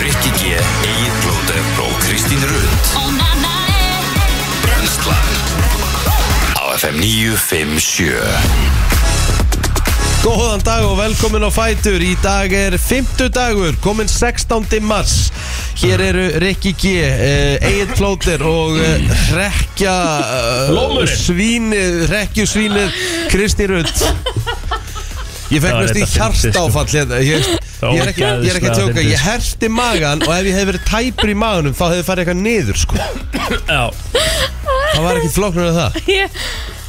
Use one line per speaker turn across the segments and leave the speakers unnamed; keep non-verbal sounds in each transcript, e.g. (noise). Rikki G, Egil Blóter og Kristín Rund Brenslan Á FM 957
Góðan dag og velkomin á Fætur Í dag er 50 dagur, komin 16. mars Hér eru Rikki G, eh, Egil Plóter og eh, Rekja eh,
Lómurinn.
Svínið, Rekkjusvínið Kristi Rutt Ég fekk
Það var
mest í
þetta fyndið, sko.
hjartáfall hérna. ég, ég er ekki, ég er ekki að
Ógeðslega
tjóka,
fyndið.
ég herti magan og ef ég hef verið tæpur í maganum þá hefði farið eitthvað niður sko
Já,
Það var ekki flóknur en það
það- heyrðu,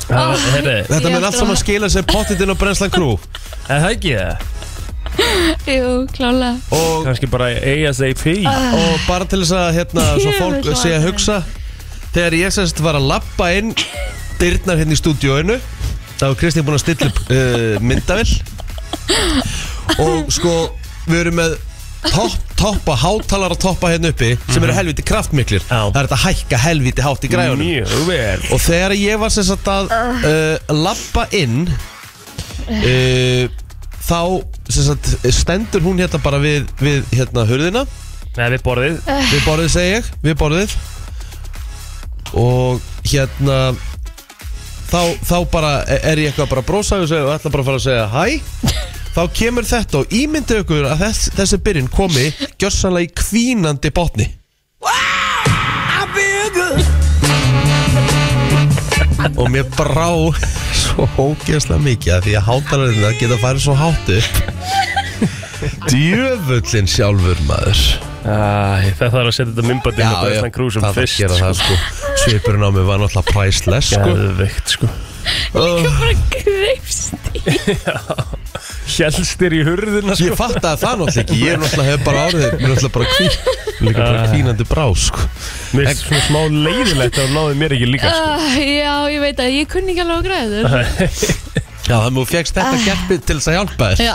Þetta
Ég
með
held
allt
að-
saman skila sér pottitinn og brennslan krú
er það ekki það?
Jú, klálega
Og
Kanski bara ASAP
og bara til þess að hérna, svo
Ég
fólk
vil svo
sé að
aðeins.
hugsa þegar ég semst var að lappa inn dyrnar hérna í stúdíóinu þá var Kristín búin að stilla upp uh, myndavill og sko við erum með topp, toppa, hátalara toppa hérna uppi sem eru helviti kraftmiklir
Mhm. Já.
það er þetta að hækka helviti hátt í græjunum
Mjög vel
og þegar ég var sem sagt að uh, lappa inn uh, þá sem sagt stendur hún hérna bara við, við hérna hurðina
Nei, við borðið
Við borðið segi ég, við borðið Og hérna Þá, þá bara e, er ég eitthvað bara að brosa og, segja, og ætla bara að fara að segja hæ Þá kemur þetta og ímyndi ykkur að þess, þessi byrjun komi Gjörsanlega í kvínandi botni Og mér brá svo ógeðslega mikið að Því að hátalarinn það geta farið svo hátt upp Djöfullin sjálfur maður
Æ, Það þarf að setja þetta mymbandi inn á Brennstan Krúsum
það
fyrst
gera það sko Svipurinn á mig var náttúrulega priceless sko
Gæðveikt sko
uh,
Bara greifst
Hjælstir í hurðina sko.
Ég fatt að það náttúrulega ekki Ég er náttúrulega hef bara árið Mér er náttúrulega bara kvín Líka bara kvínandi brá sko
Mér er svona smá leiðilegt að hún náði mér ekki líka sko.
uh, Já, ég veit að ég kunni ekki alveg að græður
Já þannig að þú fegst þetta gerpi til þess að hjálpa þér
(laughs)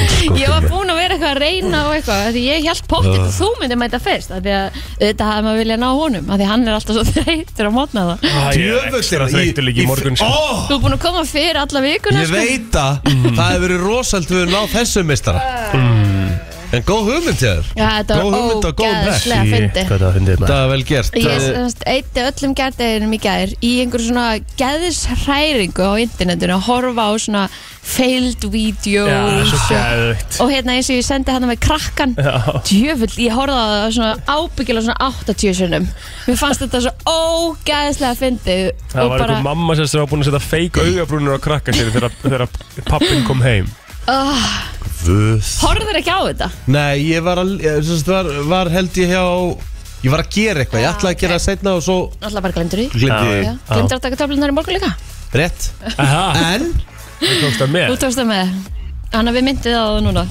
Já, ég var búin að vera eitthvað að reyna og eitthvað af Því ég held pottið
Ah.
að þú myndi mæta fyrst af Því að þetta hafði maður viljað ná honum af Því hann er alltaf svo (laughs) þreytur á mótna það
Æ, ég er
Djöfullinn,
ekstra þreytur líka í morgun sko.
Ó,
Þú er búin að koma fyrir alla vikuna
Ah.
sko.
Ég veit að það hefur verið rosald Við erum náð þessum mistara
Mm.
En góð hugmynd hjá þér
Já, þetta
Góð hugmynd
var
og góð press.
ógæðslega
Shit,
fyndi
Hvað það var fyndið
Það
maður
er vel gert
Ég
Eh,
semst, eitti öllum gerðeginum í gær í einhver svona geðishræringu á internetinu að horfa á svona failed videos
Já, svo
og,
gæðveikt
og hérna eins og ég sendi hana með krakkan djöfull, ég horfði á það svona ábyggilega svona 80 sinnum mér fannst þetta svo ógeðslega fyndið
Það
og
var
bara,
einhver mamma sem sem var búin að setja feik augabrúnur á krakka sér þegar, þegar pappin kom heim
Guð.
horfður Ah, ekki á þetta
Nei ég var að ég, sem sagt, var, var held ég hjá Ég var að gera eitthvað Ég ætlaði að
Ah,
gera það setna og svo
alltaf bara glemdur því
Glemdi
Já,
ég
Já, glemdur að taka töflunar í morgun líka
Rétt
Aha,
En
þú tókst það
þú
með
tókst það með Þannig að við myndið á það núna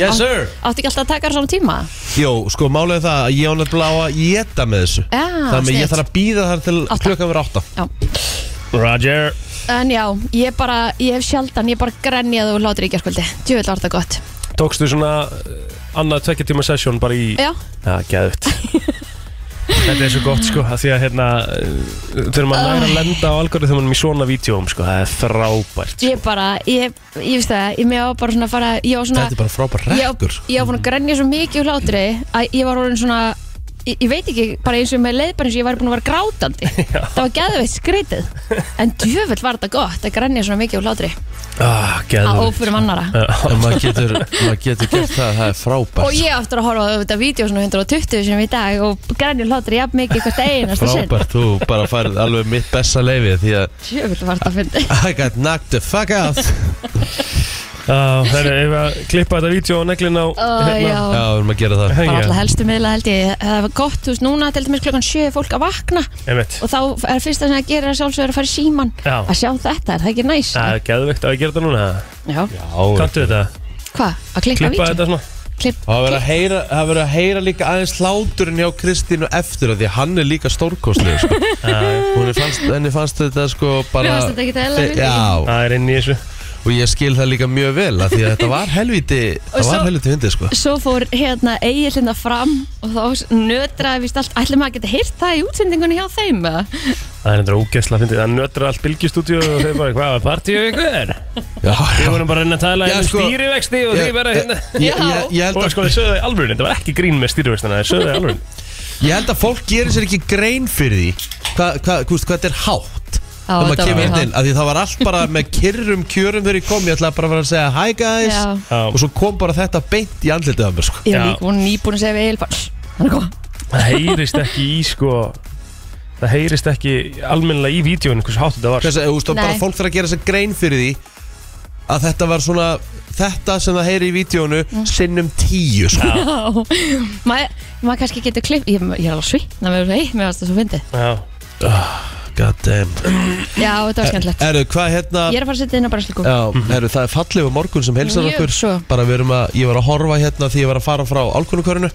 Yes sir
Áttu ekki alltaf að taka þér svona tíma?
Jó, sko málið er það að ég á nefnilega á að geta með þessu
Já,
Þannig að ég
Ah, sniðugt.
þarf að býða þar til
Átta.
klukkan verið átta
Já
Roger
En já, ég bara, ég hef sjaldan, ég bara grenjaði og hlátur í gerkvöldi. Djúvill var þetta gott.
Tókstu svona uh, annað tvekja tíma sesjón bara í
Já,
Já, gæðut Þetta er svo gott sko af Því að hérna uh, Þurfum að læra að lenda á algoritmunum í svona vídjóum sko Það er þrábært
ég bara, ég, ég veist það, ég með á bara svona að fara, ég var svona,
Þetta er bara frábær
ég á-
rekkur
ég var búin að grenja svo mikið úr hlátri að ég var orðin svona, ég, ég veit ekki, bara eins og með leið bara eins og ég væri búin að vera grátandi. það var geðveitt skrítið. En djúvill var þetta gott að grenja svona mikið úr hlátri
ah,
að
Gæðut
ófyrum annara.
En Eh, maður getur, maður getur gert það, það er frábært
Og ég aftur að horfa á þetta vídeo svona 120 sem í dag og grænjur hlátur jafn mikið hvert einasta sinn.
Frábært, þú bara færð alveg mitt besta leifi Því að
Djöfull var þetta að fyndi.
I got knocked the fuck out
Það er ef að klippa þetta vídjó og neglin á hérna.
Ó, já.
Já, við erum að gera það
bara alltaf
Hengja
helstu miðla held ég það var gott, þú veist, núna til dæmis klokkan 7 er fólk að vakna
Einmitt
og þá er fyrsta sem það gerir að sjálfsögur að fara í síman
Já.
að sjá þetta, er það ekki næs?
Það er gæðveikt á að gera þetta núna
Já,
Já,
Kanntu þetta?
hvað? Að klikka
Klippa
vítjum?
þetta svona
Klipp,
það verður að heyra- það verður að heyra líka aðeins hláturinn hjá Kristínu eftir að Því að hann er líka stórkostlið sko. Hún er fannst, henni fannst þetta sko bara
Mér fannst þetta ekki eðlilega fyndið.
Já,
Það er inn í þessu
og ég skil það líka mjög vel af því að þetta var helviti það
svo-
var helviti hindi sko
svo fór hérna Egil hérna fram og þá nötraði vist allt ætlum maður að geta heyrt það í útsendingunni hjá þeim eða?
Það er endur ógeðsla að fyndi Það nötrar allt bylgjustúdíu og þeir bara Hvað var partíu ykkur?
Já, já.
Við vorum bara að reyna að tala
Já,
um
sko-
stýrivexti og þeir bara hérna
Ég- ég- ég- ég held
Og
að-
sko þeir sögðu það í alvörunni Þetta var ekki grín með stýrivextina Þeir sögðu það í alvörunni
Ég held að fólk gerir sér ekki grein fyrir því hvað hva, hva, hva, þetta er hátt
Já,
þegar maður
þetta var
kemur hérna
hátt.
inn af því það var allt bara með kyrrum kjörum þegar ég kom ég ætlaði bara að vera að segja hi guys
Já.
Já.
og svo kom bara þetta beint í andlitið af mér sko.
Ég
Já.
er líka búin nýbúin að segja við Egil bara, Hann er góð
Það heyrist ekki í sko Það heyrist ekki almennilega í vídjóinu Hversu hátt þetta var
Þess að þú veist, og bara
Nei.
fólk þarf að gera sér grein fyrir því að þetta var svona þetta sem það heyri í vídjónu sinnum tíu
(laughs)
sko.
Já, maður ma kannski getur klipp Ég, ég er alveg svitna með þessu, ei, mér varst það svo fyndið
Já
God damn
Já, þetta
Eh,
var skemmtilegt
Erðu, Ah, hvað hérna
Ég er að fara að setja inn á bræslu
Já,
Mhm.
herru, það er fallegu morgun sem heilsar
sko. Mjög
okkur
svo.
Bara við erum að, ég var að horfa hérna því ég var að fara frá álkunnukörinu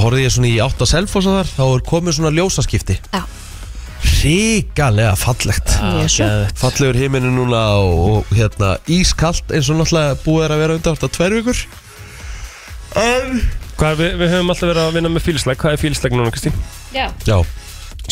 Horfði ég svona í átt að selfos að þar Þá er komið svona ljósaskipti
Já.
Ríkalega fallegt Fallegur himinu núna og, og hérna ískalt eins og náttúrulega búið er að vera undir alltaf tver vikur En
Hvað, við, við höfum alltaf verið að vinna með fílslæg Hvað er fílslæg núna, Kristín?
Já,
Já,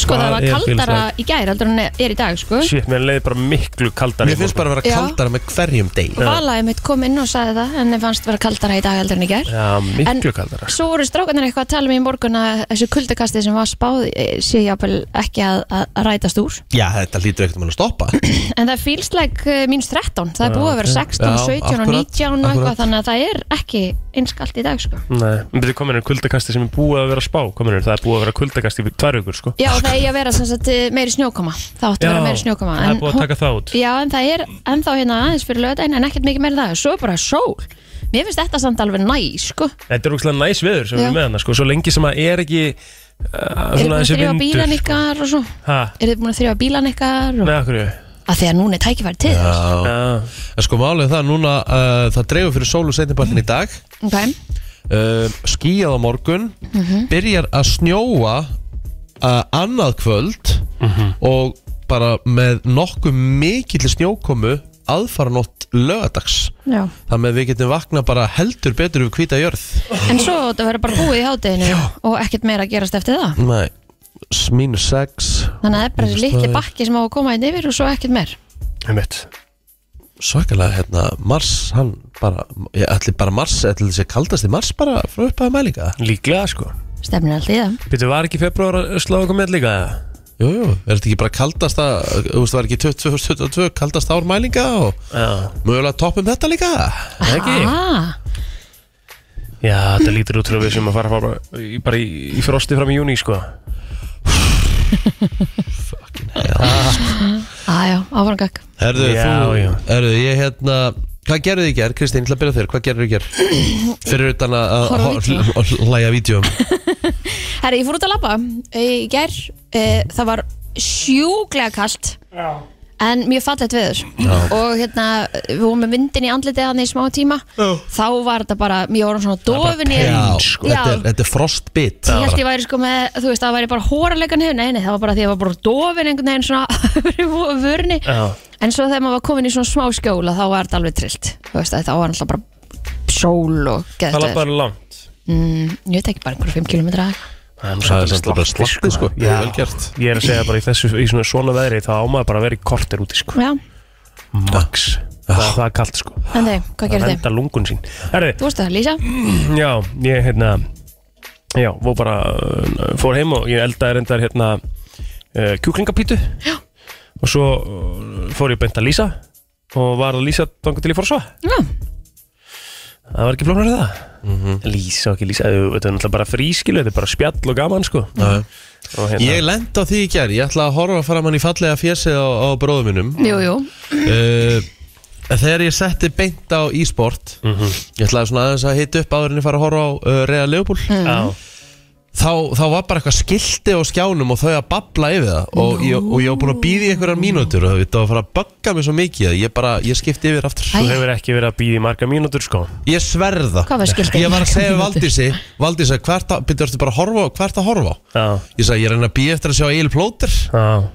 sko
Hvað
það var
er
kaldara
fílslag?
í gær heldur en er í dag, sko
Shit, mér leiði bara miklu hérna. kaldar
mér finnst bara að vera
Já.
kaldara með hverjum deg
Valaði mitt kom inn og sagði það en ég fannst vera kaldara í dag heldur en í gær
Já, miklu
En-
kaldara
Svo voru strákanir eitthvað að tala um í morgun að þessu kuldakasti sem var spáð eh, sé jáfnvel ekki að, að, að rætast úr
Já, þetta hlýtur ekkert um að stoppa
En það er fílsleg mínus 13 Það er búið að vera 16,
Já,
17 og
akkurat,
19 og
akkurat.
eitthvað Þannig að það er ekki einskalt í dag sko.
Nei, en byrju kominur kuldakasti sem er búið að vera að spá kominur, það er búið að vera kuldakasti í tvær vikur sko.
Já, og það eigi að vera sem sagt, eh, meiri snjókoma Það átti að vera meiri snjókoma
það
en
er búið að
hún-
taka það út
Já, en það er ennþá hérna aðeins fyrir löðdæn En ekkert mikið meira en það Svo er bara sól Mér finnst þetta samt alveg næ, sko
Þetta er úrslega næs viður sem við
Já.
erum með hana sko, svo lengi sem að er ekki uh,
Eru
svona
þið búin að
þessi
þrjá bílan
vindur
ykkar og svo
Hæ,
Eru þið búin að þrjá bílan ykkar og...
með okkur
Að því að núna er tækifæri til þess
Já,
Já,
en sko málið er það núna uh, það dreifur fyrir sólu setnibartin í dag
okay.
uh, skýjað á morgun byrjar að snjóa uh, annað kvöld og bara með nokkuð mikill snjókomu aðfaranótt lögadags
Já.
þannig að við getum vakna bara heldur betur við hvita jörð
En svo þetta verður bara búið í hádeginu Og ekkert meira að gerast eftir það
Nei, s- mínus 6
Þannig að það er bara þessi
Mínus
litli
tvær.
bakki sem á að koma inn yfir og svo ekkert meir
einmitt
svakalega hérna Mars, hann bara ég ætli bara Mars, ætli þessi kaldasti Mars bara frá upphæða mælinga
Líklega sko
Stefnir alltaf í það
Býttu, var ekki februar að slá okkur með líka eða?
Jú, jú, er þetta ekki bara kaldasta þú veist, var ekki 2022 kaldasta ár mælinga og
Já,
mögulega toppum þetta líka
ekki
ah,
Já, þetta lítur út fyrir að við sem að fara bara í, bara í, í frosti fram í júni sko
ah, Já, áframgak
Herðu,
Já,
þú,
já.
herðu, ég hérna Hvað gerðu þið í gerð, Kristín, ég ætla að byrja á þér, hvað gerðu þið í gerð? Fyrir utan að að
Horfa á
hor-
vídeó.
að hlæja vídjum
Herri, ég fór út að labba í gær, e, það var sjúklega kalt Já. en mjög fallegt veður Já. og hérna, við vorum með vindin í andlitið hann í smá tíma Já. þá var þetta bara, ég vorum svona dofin í
Já,
sko.
þetta er, þetta er frostbit
Ég held ég væri sko með, þú veist, það væri bara hóraleikan hefur, nei, nei, það var bara því að ég var bara dofin einhvern veginn svona (laughs) fyrir vörni
Já,
En svo þegar maður var komin í svona smá skjóla þá var þetta alveg trillt Þú veist að þetta var alltaf bara sól og
það
geðt
er bara langt
mm, Ég veit ekki bara einhverjum 5 km
Það er
Það er samt bara
slatti,
slatti, sko.
Já.
Vel gert.
Ég er að segja bara í, þessu, í svona, svona veðri þá ámaður bara að vera í kortir úti sko.
Já,
Max, það, það er kalt sko
en þau, hvað
Það
gerir þau?
enda lungun sín Herri,
Þú veist það, Lísa?
(clears throat) já, ég hérna Já, fór bara uh, Fór heim og ég eldaði reyndar hérna uh, Kjúklingapítu já. Og svo uh, fór ég beint að lýsa Og var að lýsa þangar til ég fór að svað
Já,
Það var ekki flóknar en það
Mhm.
Lýsa og ekki lýsa, þau- þetta er náttúrulega bara frískilu Þetta er bara spjall og gaman sko
Já.
og, hérna,
Ég lenda á því í gerð, ég ætla að horfa fram hann í fallega fjesið á, á bróðum minnum
jú, jú
uh, Þegar ég setti beint á e-sport
Mhm.
Ég ætlaði svona aðeins að hita upp áður en ég fara að horfa á uh, Rea Leopold
Mhm.
Já,
þá, þá var bara eitthvað skilti á skjánum og þau að babla yfir það og, ég, og ég var búin að býða í einhverjar mínútur og þetta var að fara að bugga mig svo mikið að ég bara, ég skipti yfir aftur
þú
Æ.
hefur ekki verið að býða í marga mínútur sko
ég sverða
Hvað var skiltið?
ég var að segja við Valdísi Valdísi, hvert að, byrju, ertu bara að horfa á, hvert að horfa á
Já,
ég sagði, ég reyna að býða eftir að sjá Egil Plóter
já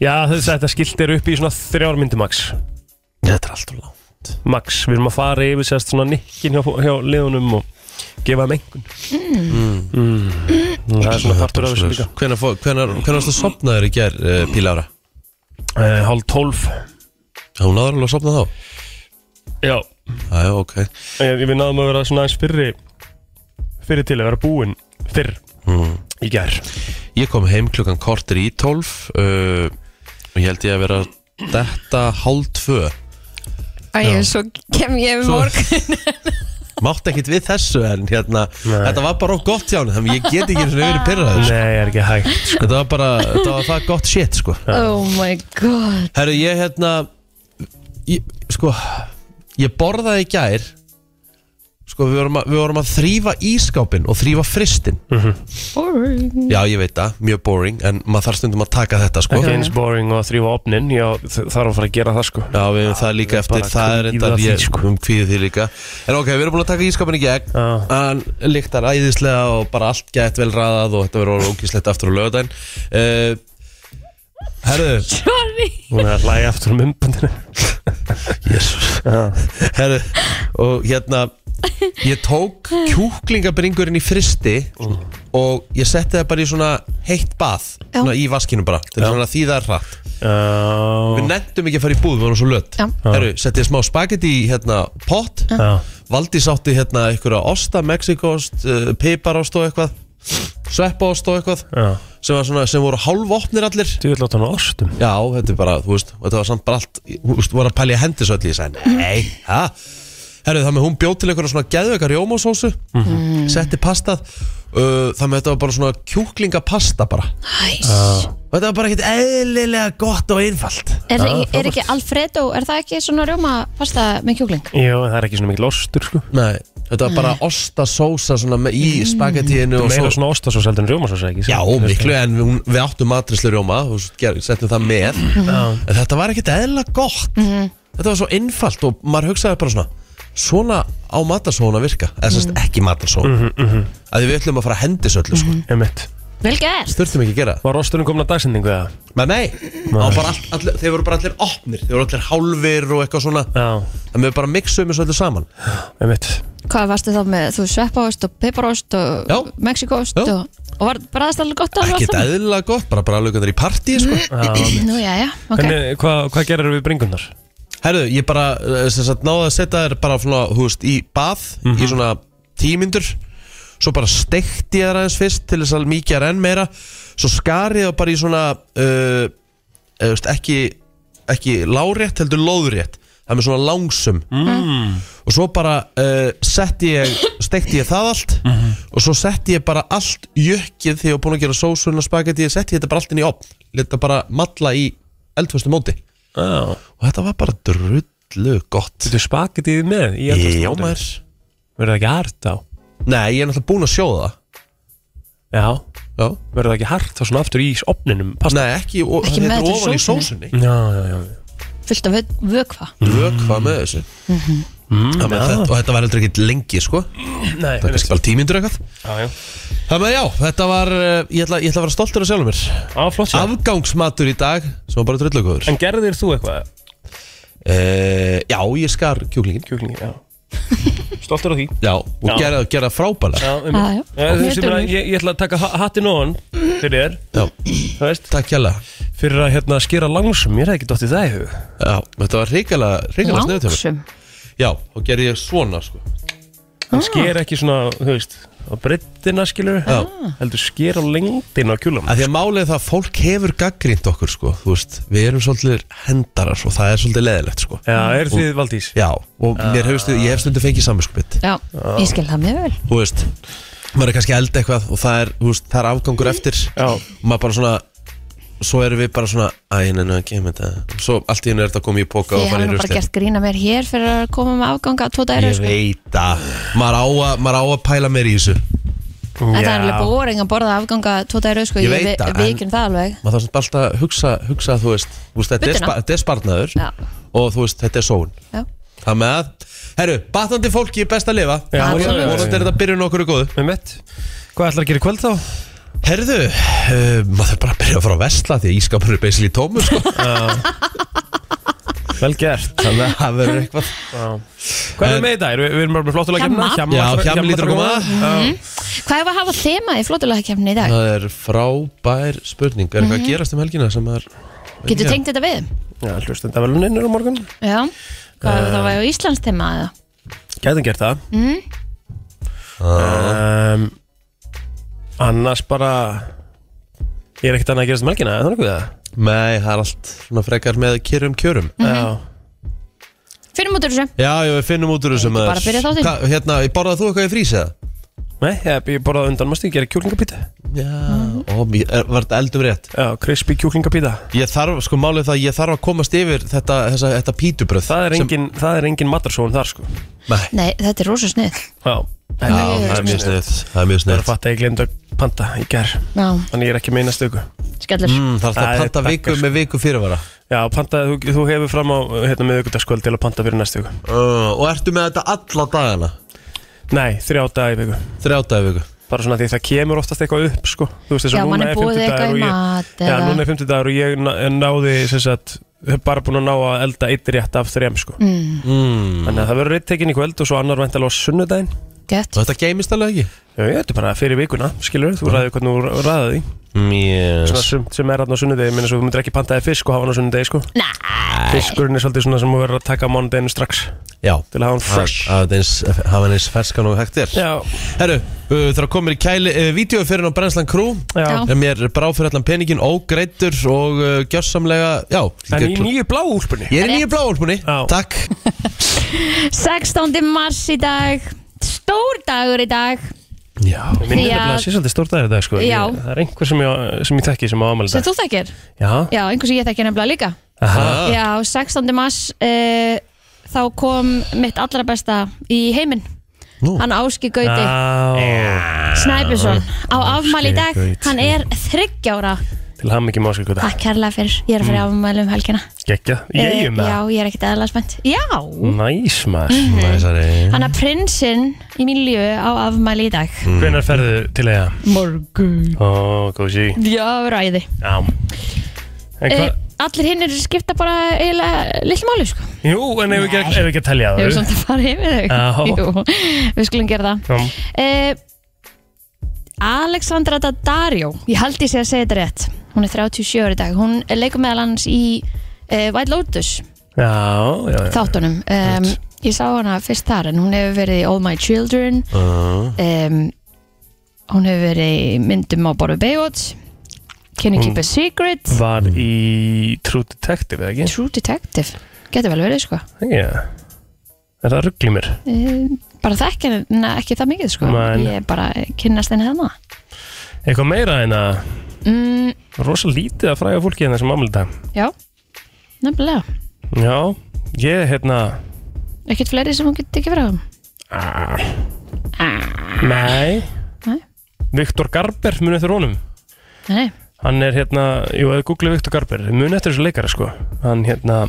Já, þess að þetta skilt er upp í svona þrjár myndi max
þetta er alltaf langt
Max, við erum að fara yfir sérst svona nikkin hjá, hjá liðunum og gefa þeim engun mm. Þannig að Það er svona partur af þessu líka
Hvenær fó- hvenær- hvenær varst það sopnaður í gær, uh, Pílára?
Eh, Hálf tólf
Hún náður alveg að sopna þá?
Já,
Já, já, ok
ég, við náðum að vera svona aðeins fyrri Fyrri til að vera búin Fyrr Í gær
Hmm. Ég kom heim klukkan kortir í tólf uh, og ég held ég að vera þetta hálf tvö
Æ, svo kem ég um
Svo-
morgun
Mátt ekkit við þessu en hérna
Nei.
þetta var bara of gott hjá hann þannig ég get ekki svona verið pyrraður sko.
Nei, er ekki hægt
Þetta var bara, þetta var það gott shit sko
Oh my god
Herru, ég hérna ég, sko, ég borðaði í gær sko, við vorum, að, við vorum að þrýfa ískápin og þrýfa fristin
Mhm.
Boring.
Já, ég veit það, mjög boring en maður þarf stundum að taka þetta sko
Ekki eins boring og að þrýfa opnin Já, þ- þarf að fara að gera það sko
Já, við hefum það líka eftir,
bara
það er
kvíða
þetta
því,
ég
sko.
um kvíðu því líka En ok, við erum búin að taka ískapin í gegn
Já.
Hann líktar æðislega og bara allt gætt vel raðað og þetta verður ógíslegt aftur á lögadaginn uh, Herðu,
Sorry
Hún er að hlæja aftur um umbandinu
Jesus Herðu, og hérna Ég tók kjúklingabringurinn í fristi og ég setti það bara í svona heitt bað
Já.
svona í vaskinu bara, til svona því það er hratt Við
Já
nefndum ekki að fara í búð, við varum svo lött
Já.
Herru, setti ég smá spagetti í hérna pott
Já
Valdís átti hérna einhverja osta, mexikost, uh, piparost og eitthvað sveppaost og eitthvað
Já
sem, var svona, sem voru hálfopnir allir
Þú vil láta hann á ostum
Já, þetta er bara, þú veist, og þetta var samt bara allt Þú veist, voru að pælja hendi svo allir Ég sagði, nei, hæ? Herru, þannig að hún bjóð til einhverja svona geðveika rjómasósu
Mhm.
Setti pastað uh, Þannig að þetta var bara svona kjúklingapasta bara
Æs.
Og þetta var bara ekkert eðlilega gott og einfalt
er, er ekki Alfredo, er það ekki svona rjóma pasta með kjúkling?
Já, það er ekki svona mikil ostur sko
Nei, þetta var bara ostasósa svona með- í spagettíinu og
Meira
svo-
svona ostasós heldur en rjómasós ekki
Já, miklu, en við, hún- við áttum matrislu rjóma og s- ger- settum það með
Mhm.
En þetta var ekkert eðla gott Þetta var svo einfalt og maður hugsaði bara svona Svona á matarsóun að virka Eða sérst
Mhm.
ekki matarsóun
Mhm,
mm Að við ætlum að fara að hendi svo öllu sko.
Emitt
Vel gert
Þurftum ekki að gera það
Mhm. Var osturinn komin að dagsendingu eða?
Men nei, það var bara all, all, þeir voru bara allir opnir Þeir voru allir hálfir og eitthvað svona
Já,
En við bara mixum þessu öllu saman
emitt
Hvað varstu þá með, þú sveppaost og piparost og
Já.
mexikost
Já.
og, og var bræðast alveg gott á
Ekkert eðla gott, bara bara í partí sko.
(laughs) Nú, já, já, ok
Hvernig, eh, hvað, hvað gerir við bringunar?
Herðu, ég bara eh, sem sagt, náði að setja þér bara svona, þú veist, í bað
Mhm.
í svona tímyndur svo bara steikti ég þær aðeins fyrst til þess að mikið er enn meira svo skari það bara í svona uh, eða, veist, ekki, ekki lárétt heldur lóðrétt það er með svona langsum mm. og svo bara uh, setti ég steikti ég það allt
Mhm.
og svo setti ég bara allt jökkið þegar ég var búin að gera sósuna spagetti setti ég þetta bara allt inn í opn leta bara malla í eldföstu móti
Já
og þetta var bara drullu gott
Þú spagetið með í
Já maður
Verður það ekki hart á?
Nei, ég er náttúrulega búinn að sjóða
Já
það Já.
Verður það ekki hart á svona aftur í opninum? Pasta
Nei, ekki, og,
Ekki
þetta
með
er
þetta í
ofan í
sósunni.
sósunni
Já, já, já
Fullt af vö- vökva
Vökva með þessu
Mhm.
mm, ja. þetta, Og þetta var heldur ekki lengi sko Það
Nei,
er kannski bara tímyndur eitthvað
Já, já
Það með já, þetta var, eh, ég ætla, ég ætla að vera stoltur af sjálfum mér
Á, flott sér
Afgangsmatur í dag, sem var bara drullu góður
En gerðir þú eitthvað?
eh, Já, ég skar kjúklingin
Kjúklingi, já Stoltur á því
Já, og
Já.
gera, gera frábælega
Já, já.
Já, einmitt. Já, þú
Mjög
veist, ég meina,
duglegur.
Ég ég ætla að taka ha- hattinn ofan Fyrir þér,
Já,
þú veist
takk hjalla
Fyrir að hérna skera langsum Mér er ekki dottið það í hug
Já, þetta var hrikalega, hrikalega snöðutöfum
Langsum
Já, og gerði ég svona sko
hann sker ekki svona, þú veist á breyttina skilur heldur sker á lengdina á kjúlum
að því að málið er það að fólk hefur gaggrínt okkur sko, þú veist, við erum svolítið hendarar og það er svolítið leðilegt sko
Já, er þið Valdís?
já, og mér hefur stundið, ég hef stundið fengið samvinskupið,
Já, ég skil það mjög vel
þú veist maður er kannski að elda eitthvað og það er, þú veist, það er afgangur eftir
Já.
og maður bara svona svo erum við bara svona, að ég nennu að kemur þetta svo allt í hennu er þetta komið í
Ég
póka og
hafði
farið í
nú bara
rusti
gert grína mér hér fyrir að koma með afganga tvo dæru
ég
sko.
veit að, maður á að maður á að pæla meir í þessu
En það er alveg boring að borða afganga tvo dæru sko.
Ég
Ég,
veit
ve-
það,
við
en-
ekki um það alveg
maður þarf samt bara alltaf að hugsa, hugsa þú veist, þú veist, þetta er
Budduna.
spa- þetta er sparnaður
Já.
og þú veist, þetta er sóun
Já.
Það með að, herru, batnandi fólki er best að lifa
Já,
Og
já, já, já.
vonandi er þetta byrjun okkur í góðu
Með mitt Hvað ætlar að gera í kvöld þá?
Herðu,
(laughs)
eh, uh, maður þarf bara að byrja að fara að vesla Því að ískapur er basically tómur sko.
Vel gert
Þannig að það verður eitthvað
Hvað
En-
er með í dag? Erum Við við erum bara með flottulega kemna
Hjamma.
Já, hjamma lítur að koma.
Mhm. Hvað er að hafa þema í flotulagakefni í dag?
Það er frábær spurning Er eitthvað að gerast um helgina sem er
Mhm. Getur tengt þetta við?
Já, hlustenda veluninn eru á morgun
Já Hvað ef það var á Íslands þema eða? Mhm.
Gætum gert það um, Annars bara Ég er ekkert annað að gerast um helgina, er það nokkuð það?
Nei, það er allt svona frekar með kyrrum kjörum
Mhm.
Já
Fyrir mútur þessu
Já, já, við finnum út úr þessu
Bara
maður.
fyrir þáttinn.
Hva- Hérna, borðað þú eitthvað í frísa?
Nei, ég, ég borðaði undan mástu, ég gera kjúklingapíta
Já, ó, mér- er- var þetta eldum rétt
Já, crispy kjúklingapíta
Ég þarf, sko, málið er það að Ég þarf að komast yfir þetta, þessa, þetta pítubröð
Það er engin, það er engin matarsón þar sko
Nei,
Nei, þetta er rosa snið
Já,
já,
það
það er mjög snið Það er mjög
er að
snið
fatta að ég glemd að panta í gær
Já,
Þannig ég er ekki meina stöku
skellur
Mm, Það er alltaf
Það
að
er
panta viku
takkar.
með viku fyrirvara
Já, panta, þú, þú hefur fram á hérna, miðvikudagskvöld til að panta fyrir næstu viku
uh, Og ertu með þetta alla dagana?
Nei, þrjá daga í viku
Þrjá daga í viku
bara svona því það kemur oftast eitthvað upp sko. þú veist þess
Já,
að
mann
núna
er
er
búið eitthvað í
fimmtudagur og ég
mat
já,
eða-
núna er fimmtudagur og ég ná- náði sem sagt, hef bara búin að ná að elda eitt rétt af þrem sko.
mm.
þannig að það verður eitt tekinn í kvöld og svo annar væntalega á sunnudaginn
Gött
Og þetta geimist alveg ekki?
já, ég veit bara fyrir vikuna, skilur þú ræðið hvernig þú ræðið því svona
Yes.
sumt sem er hann á sunnudegi, minna svo þú myndir ekki pantaði fisk og hafa hann á sunnudegi sko.
Nei
fiskurinn er svolítið svona sem þú verður að taka á mánudeginu strax
Já
til að hafa hann fresh
Að- að þetta eins- Hafa hann eins ferskan og hægt er
já,
Herru, uh, það komir í kæli uh, Vídeói fyrir á Brenslan Crew
já.
En Mér er brá fyrir allan peningin ógreittur og uh, gjörsamlega Já,
en í nýju blá úlpunni
Ég er í nýju bláhólpunni,
Já.
takk
16. mars í dag Stór dagur í dag
Já,
Minn
Því að-
er nefnilega að sé svolítið stór dagur í dag sko.
Já.
Ég- Það er einhver sem ég, sem ég þekki sem á ámæli
Sem
dag
þú þekkir?
Já,
Já, einhversu ég þekkir nefnilega líka
Aha.
Já, 16. mars uh, Þá kom mitt allra besta í heiminn
Nú.
Hann Áski Gauti
Já.
Snæbjörnsson á afmæli í dag
Gaut.
hann er þryggjára
Til sko, ham ekki máskjöku þetta
takk kærlega fyrir, ég er að fara í afmæli um helgina
Gekja, Mm. ég um er
Eh,
með
já, ég er ekkert eðalega spennt já,
það Næs maður
næsari
hann að prinsinn í mín lífi á afmæli í dag
Hvenær ferðu til eiga?
morgun
Ó, góðsí
já, ræði
Já En
e,
hvað?
allir hinn eru skipta bara eiginlega litlu máli sko,
Jú, en ef við ekki, ef við ekki að telja
ég er
það
samt að fara yfir
Já.
þau (laughs) Jú, við skulum gera það
Já.
Eh, Alexandra Daddario ég held ég sé að segja þetta rétt hún er 37 ára í dag, hún leikur meðal hans í uh, White Lotus
Já, já, já
þáttunum um, ég sá hana fyrst þar en hún hefur verið í All My Children
Uh-huh.
um, hún hefur verið í myndum á Borðu Baywatch Can You
Hún-
Keep a Secret
Var í True Detective, eða ekki?
True Detective, getur vel verið sko
Já Er það ruggli mér?
um, bara þekki hana ekki það mikið sko
Nei, nei.
ég bara kynnast henni hérna
Eitthvað meira en að
mm,
Rosa lítið að fræga fólki en þessum ámæli dag
já, nefnilega
Já, ég, hérna
ekkert fleiri sem hún getur ekki verið á
Nei
Nei.
Viktor Garber, munið þér honum
nei, nei.
Hann er hérna, jú, að googla Viktor Garber Munið eftir þessu leikara, sko Hann hérna,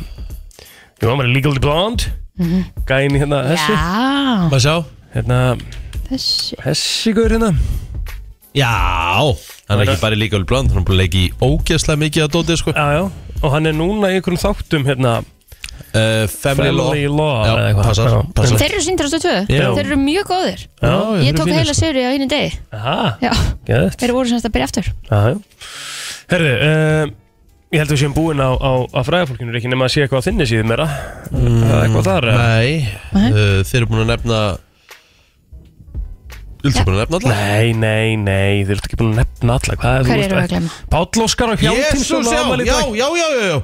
jú, hann var í Legally Blonde
Mhm.
Gæin í hérna, þessi
já,
Maður sjá
Hérna,
þessi
þessi guður hérna
Já, hann er ekki bara í líka alveg blönd Hann er búin að leika í ógeðslega mikið að dótið sko.
Já, já, og hann er núna í einhverjum þáttum hérna
uh, Family Law
Family Law
Já,
eða eitthvað.
passar,
Já.
passar.
þeir eru síndir á stöð 2,
Já.
þeir eru mjög góðir
Já, þeir
ég
eru
tók
fínir,
heila
sko.
sögur á einu degi
Aha,
já,
geðvægt
þeir voru semst að byrja aftur
Já, já Herðu, um, ég held að við séum búin á, á, á fræðafólkinu ekki nema að sé eitthvað á þinni síðum meira mm. Eitthvað þar eða?
Nei,
Nei.
uh, þeir eru búin að nefna Þú ert búin að nefna alla
Nei, nei, nei, þið ert ekki búin að nefna alla Hvað er þú
Hverju erum við að glemma?
Páll Óskar og Hjálpinsson
Jésús, já, já, já, já, já, já.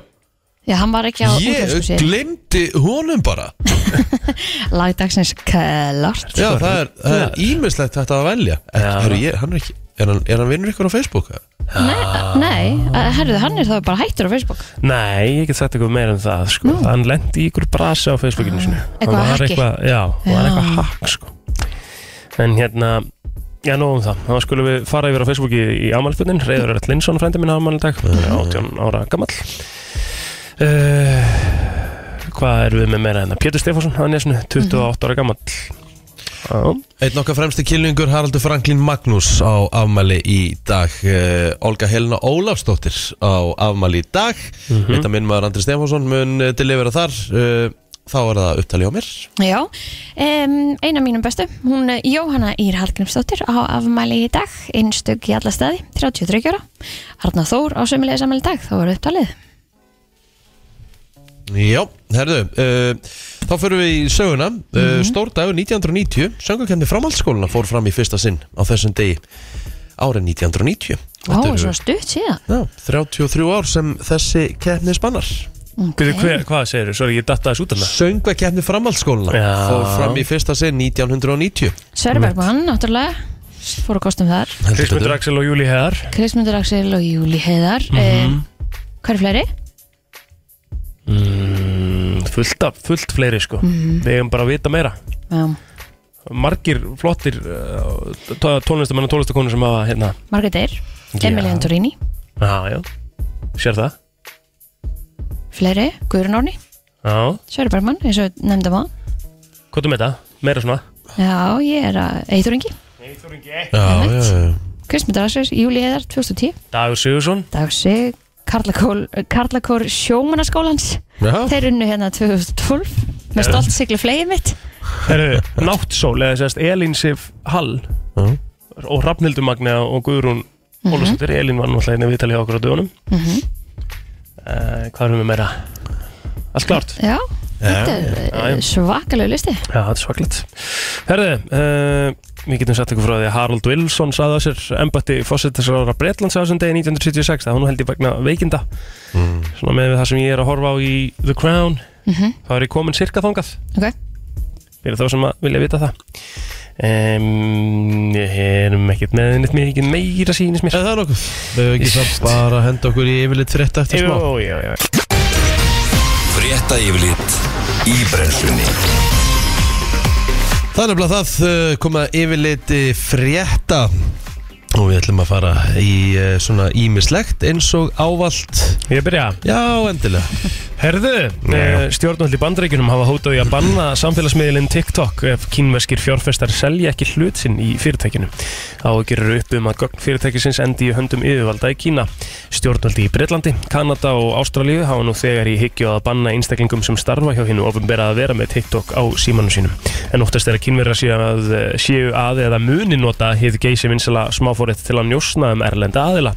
Já, hann var ekki á útvarpsrásum
Ég
síðan.
glemdi honum bara
Lagdagsins klart
Já, það er, það er ímislegt þetta að velja
Já.
Heru, ég, hann er, ekki, er, hann, er hann vinnur ykkur á Facebook? eða?
Nei, nei eh, herruðu, hann er þá bara hættur á Facebook
Nei, ég get sagt eitthvað meira en það sko. Hann lendi í ykkur brasa á Facebookinu sinu
Eitthvað hacki.
eitthvað, Já, já.
Já.
var eitthvað hack sko. En hérna Já, nóg um það. Þá skulum við fara yfir á Facebooki í ámælspunnin. Reyður Rett Linsson, frændi minn ámælindag.
Mhm.
Hann er 18 ára gamall. Uh, hvað erum við með meira hérna? Pétur Stefánsson, hann er svona 28 ára gamall.
Einn okkar fremsti kylningur Haraldur Franklín Magnús á afmæli í dag uh, Olga Helena Ólafsdóttir á afmæli í dag mm -hmm. Þetta minn maður Andri Stefánsson mun uh, delivera þar uh, Þá er það upptali á mér
Já, um, eina mínum bestu, hún eh, Jóhanna Ír Hallgrímsdóttir á afmæli í dag, einstug í alla staði, 33 ára. Arna Þór á sömulega samæli í dag, þá var upptalið.
Já, herðu uh, Þá förum við í söguna uh, Stór dagur 1990 Söngakefni framhaldsskóluna fór fram í fyrsta sinn á þessum degi árið
Vá,
1990 Þetta eru-
svona stutt síðan.
Já, 33 ár sem þessi keppni spannar
Byrju, hver, Eh, hvað segir þú? Sorry, ég datta þess út af það
Söngvakeppni framhaldsskóluna
Já.
Fór fram í fyrsta sinn 1990
Sverbergmann, náttúrulega, fór að kostum þar.
Kristmundur Axel og Júli Heðar
Kristmundur Axel og Júli Heiðar. Mm
Mhm.
hvað er fleiri?
Mm, fullt, af, fullt fleiri sko Við hefum bara að vita meira
Já,
Margir flottir uh, tó- tónlistamenn og tónlistakonur sem hafa hérna
Margrét Eir, Emilia Antorini,
Já, já, sér það
fleiri, Guðrun Orni,
Já,
Sverbergmann, eins og við nefndum á.
hvað er með það? Meira svona
Já, ég er að Eithur Ingi,
Já, já, já.
Kristmundur Axel, Júli Heiðar, 2010.
Dagur Sigursson
dagsi Karlakór, eh, Karlakór sjómanaskólans
Já.
þeir unnu hérna 2012
Eh.
með stolt siglu flegið mitt
Heru, Náttsól, eða sérst Elín Sif Hall
Já.
og Rafnildur Magna og Guðrún
Mhm.
mm Elín var náttúrulega einnig viðtalið hjá okkur á dögunum uh, Hvað erum við meira? Allt klart
já, þetta
Eh. já, já.
er eh, svakalegu listi
Já, þetta er svaklegt Herði, uh, við getum sagt ykkur frá því að Harald Wilson saði á sér embatti fósettisráðara Bretlands á þessum degi 1976 það var nú held ég vegna veikinda
Mm.
svona með við það sem ég er að horfa á í The Crown þá er ég komin cirka þangað
ok,
fyrir þá sem að vilja vita það um, Ég erum ekkert með neitt mikið meira sínis mér
Eða það er nokkuð Þau ekki samt bara að henda okkur í yfirleitt frétta eftir smá
Jú, jú, jú
Frétta yfirlit í brennslunni
Það er nefnilega það uh, komað yfirleitt frétta og við ætlum að fara í uh, svona ímislegt eins og ávallt
Ég byrja
Já, endilega
Herðu, eh, stjórnvöld í bandaríkunum hafa hótað í að banna samfélagsmiðlinn TikTok ef kínverskir fjárfestar selja ekki hlut sinn í fyrirtækinu. Áhugir eru upp um að gögn fyrirtækisins endi í höndum yfirvalda í Kína. Stjórnvöld í Breitlandi, Kanada og Ástralíu hafa nú þegar í hyggju að banna einstaklingum sem starfa hjá hinn og ofinbera að vera með TikTok á símanum sínum. En óttast er að kínverðar séu að, séu að eða muni nota hið geysi vinsala smáfórétt til að njósna um erlenda aðila.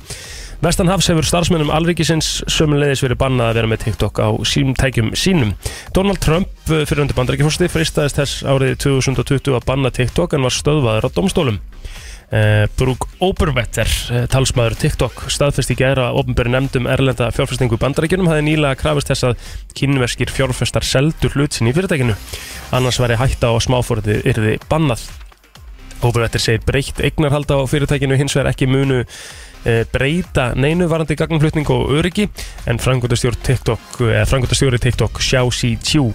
Vestanhafs hefur starfsmennum alríkisins sömulegðis verið bannað að vera með TikTok á símtækjum sínum. Donald Trump, eh, fyrirhundi bandaríkifórsti, fristaðist þess árið 2020 að banna TikTok en var stöðvaður á domstólum. Uh, Brúk Oberwetter, eh, talsmaður TikTok, staðfesti gæra að ofnbæri nefndum erlenda fjárfestingu í bandarækjunum hafði nýlega krafist þess að kínverskir fjárfestar seldu hlut sinni í fyrirtækinu annars væri hætta á að smáfórið yrði bannað Oberwetter segir breytt eignarhald á fyrirtækinu hins vegar ekki munu eh, breyta neinu varandi gagnflutning og öryggi en frangotastjóri TikTok, eh, frangotastjóri TikTok Xiao Xi-Chu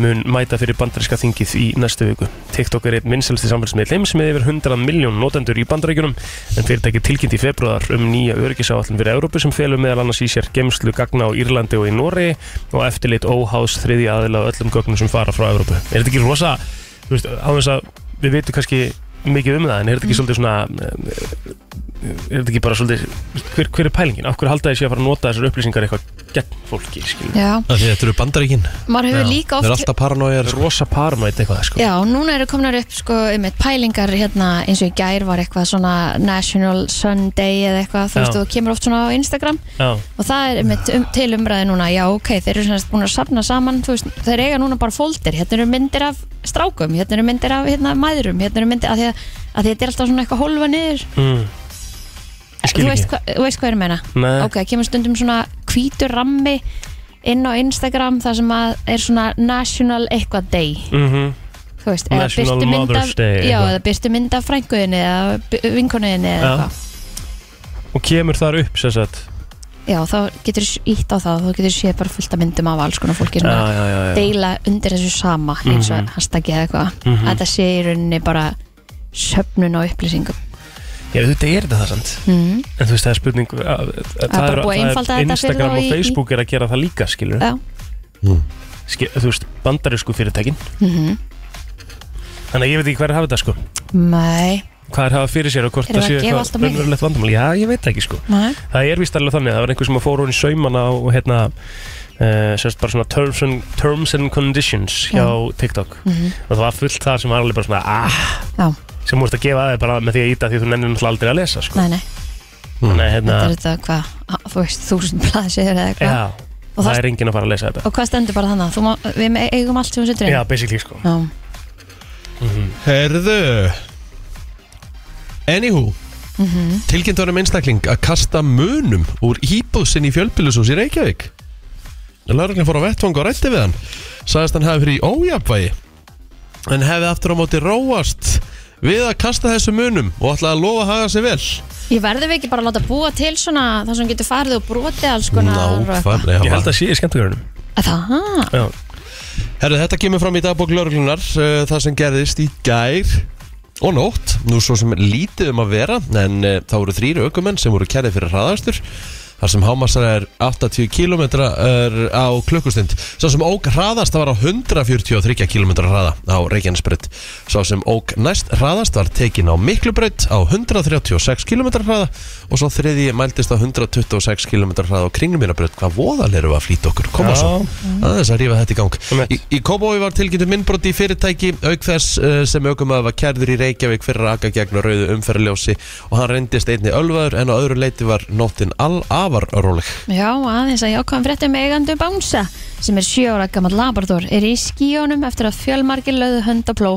mun mæta fyrir bandaríska þingið í næstu viku. TikTok er einn vinsælsti samfélagsmiðl heims með yfir 100 miljón notendur í bandaríkjunum en fyrirtæki tilkynnt í februar um nýja öryggisáallin fyrir Európu sem felur meðal annars í sér gemslu gagna á Írlandi og í Noregi og eftirlit óhás þriði aðila á öllum gögnum sem fara frá Európu. Er þetta ekki rosa, þú veist, á þess að við veitum kannski mikið um það en
Mm.
er þetta ekki svolítið svona eh, er þetta ekki bara svolítið hver, hver er pælingin, af hverju halda þessi að fara að nota þessar upplýsingar eitthvað gegn fólki skilur?
já,
Af Því þetta eru bandaríkin
maður hefur
Já,
líka
Það er
oft
alltaf paranójar sko.
rosa parmætt eitthvað sko.
Já, núna eru komnar upp sko einmitt pælingar hérna eins og í gær var eitthvað svona National Sunday eða eitthvað þú
Já.
veist og kemur oft svona á Instagram
Já.
og það er einmitt um, til umræði núna já ok, þeir eru svona búin að safna saman þú veist, þeir eiga núna bara fóldir, hérna eru myndir af strákum, hérna eru myndir af hérna, mæðrum hérna eru myndir, af því að, að því að þetta er alltaf svona eitthvað holfa niður,
Mm.
þú
Ég skil
veist,
ekki
hva, þú veist hvað ég er að meina
Nei.
ok, kemur stundum svona hvítur rammi inn á Instagram þar sem að er svona national eitthvað day
mm
þú veist, eða
National
birtu mynd af-
Mother's Day,
já,
eitthvað.
eða byrstu mynd af frænguðinni eða vinkonuðinni eða
Já.
eitthvað
og kemur þar upp sér sagt
já, þá getur ítt á það, þú getur séð bara fullt af myndum af alls konar fólki sem að
já, já, Mhm.
deila undir þessu sama eins og mm -hmm. hashtaggi eða eitthvað að þetta sé í rauninni bara söfnun á upplýsingum
já, þetta er þetta það samt
mm.
en þú veist það er spurning að, að, að,
bara
er-
búið að einfalda
er
þetta fyrir
Instagram
þá
og
í-
Facebook er að gera það líka skilur
já,
Mm.
Ski, þú veist, bandarísku fyrirtækin
mm -hmm.
Þannig að ég veit ekki hvað er að hafa þetta sko
Nei,
Hvað er að hafa fyrir sér og hvort
Erum
það
við
sé
að gefa allt á mig?
raunverulegt vandamál Já, ég veit það ekki sko
nei
Það er víst alveg þannig, það var einhver sem að fór hún í saumana og hérna uh, sérst bara svona terms and, terms and conditions hjá TikTok
Mhm.
og það var fullt það sem var alveg bara svona ah,
Já,
sem múst að gefa að þér bara með því að íta því að þú nennir náttúrulega aldrei að lesa sko.
nei, nei,
Þannig að hérna,
þetta er þetta hvað á, Þú veist, þúsund blaðsir eða eitthvað
já,
Og
það
það-
er enginn að fara að lesa þetta
Og hvað stendur bara þannig? Þú Má, við me- eigum allt sem við setur inn
Já, basically sko
Já.
Mhm.
Herðu Anywho
Mhm.
Tilkynnt var um einstakling að kasta munum úr íbúðsinn í fjölbýlusús í Reykjavík Lörglinn fór á vettvang og rætti við hann Sagðist hann hafi fyrir í ójafvægi En hefði aftur á móti róast Við að kasta þessu munum Og ætlaði að lofa að haga sig vel
Ég verðum ekki bara að láta búa til svona þar sem getur farið og brotið alls konar og eitthvað.
Nákvæmlega.
Ég held að sé í skemmtugjörnum
Að Það, ha,
Já,
Herðu, þetta kemur fram í dagbók lauruglunar uh, það sem gerðist í gær og nótt, nú svo sem lítið um að vera en uh, þá voru þrýri aukumenn sem voru kærið fyrir hraðastur þar sem hámasar er 80 km á klukkustund sá sem ók hraðast var á 143 km hraða á Reykjanesbreyt sá sem ók næst hraðast var tekin á Miklubreyt á 136 km hraða og svo þriði mældist á 126 km hraða á Kringlumýrabreyt hvað voðal eru að flýta okkur, koma
Já.
svo aðeins að rífa þetta í gang
Einmitt.
Í, í Kóbói var tilkynntu minnbroti í fyrirtæki auk þess uh, sem aukumæður var kærður í Reykjavík fyrir að aka gegn rauðu umferðljósi og hann reyndist einni ölvaður en á öðru leiti var nóttin all afar róleg
já, aðeins að jákvæðan fréttum eigandu Bánsa sem er sjö ára gammal labrador er í skíjónum eftir að fjölmargir löðu höndapló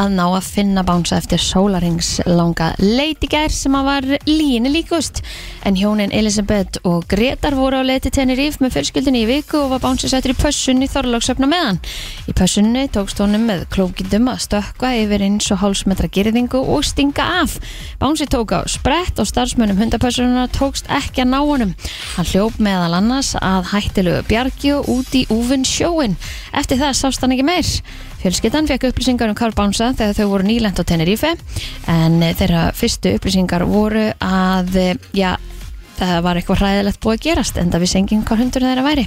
að ná að finna Bánsa eftir sólarings langa leitigær sem að var líni líkust en hjónin Elisabeth og Gretar voru á leiti tennir yf með fjölskyldinni í viku og var Bánsi settur í pössun í Þorlóksöfna meðan í pössunni tókst honum með klókindum að stökkva yfir eins og hálsmetra girðingu og stinga af. Bánsi tók á sprett og starfsmönnum hundapössununa tókst ekki að ná honum. Hann hljóp meðal annars að hættilegu bjargi og út í úfinn sjóin. Eftir það sást hann ekki meir. Fjölskyldan fekk upplýsingar um Karl Bánsa þegar þau voru nýlend á Tenerife en eh, þeirra fyrstu upplýsingar voru að, eh, já, það var eitthvað hræðilegt búið að gerast en það vissi enginn hvað hundur þeirra væri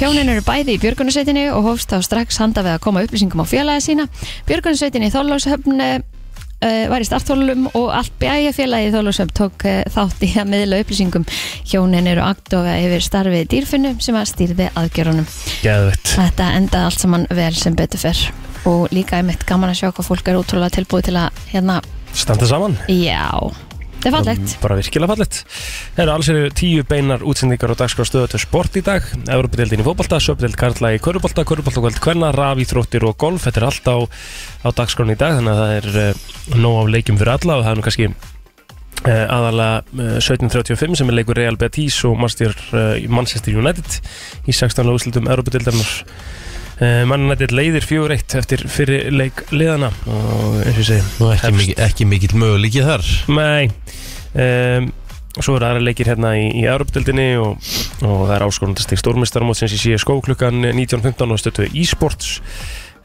Hjónin eru bæði í björgunarsveitinu og hófst þá strax handa við að koma upplýsingum á félaga sína Björgunarsveitin í Þorlóshöfn uh, var í startþólum og allt bæjarfélagi í Þorlóshöfn tók uh, þátt í að miðla upplýsingum Hjónin eru aktofa yfir starfið í dýrfinnu sem að stýrði aðgerunum
geðvett
Þetta endaði allt saman vel sem betur fer og líka er mitt gaman að sjá hvað fólk er útrúlega tilbúið til að hérna,
Standa saman
já, þetta er fallegt
bara virkilega fallegt Það eru alls eru tíu beinar útsendingar og dagskráðstöðu til sport í dag Evropadeildin í fótbolta, söpdeild karla í körubólta körubólta kvöld kvenna, rafíþróttir og golf þetta er allt á, á dagskráðin í dag þannig að það er uh, nóg af leikjum fyrir alla og það er nú kannski uh, aðalega uh, 17.35 sem er leikur Real Betis og Manchester, uh, Manchester United í 16. úrslutum Evropadeildarnar uh, Mannanættir leiðir 4-1 eftir fyrir leik liðana og eins og ég segi
Nú ekki,
hefst-
mikil, ekki mikill möguleiki þar
Nei um, Svo eru aðra leikir hérna í, í Europdeildinni og, og það er áskorundastig stórmestaramótsins í CSGO klukkan 19.15 og stöttu e-sports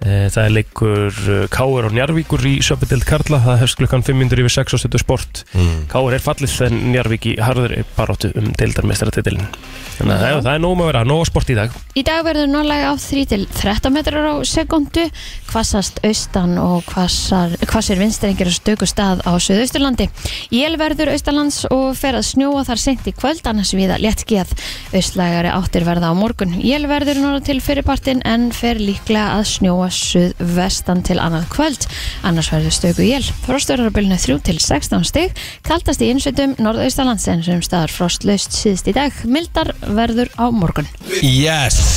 Eh, Það er leikur eh, KR og Njarvíkur í Söpideld Karla, það hefst klukkan 500 yfir 6 og stöttu sport
mm.
KR er fallið en Njarvík í harður baróttu um deildarmestaratitilin Þannig að það er- það er nóg um að vera, nóg af sport í dag
Í dag verður norðlæg átt 3 til 13 metrar á sekundu, hvassast austan og hvassar, hvassir vinstrengir á stöku stað á söðausturlandi. Jél verður austalands og fer að snjóa þar sent í kvöld annars viða léttskíð. Austlægari áttir verða á morgun. Jél verður norða til fyrirpartin en fer líklega að snjóa suðvestan til annað kvöld. Annars verður stöku jél. Frosturarbylnu 3 til 16 stig, kaldast í innsveitum norðaustalands en sem staðar frostlaust síðst í dag. Mildar verður á morgun.
Yes,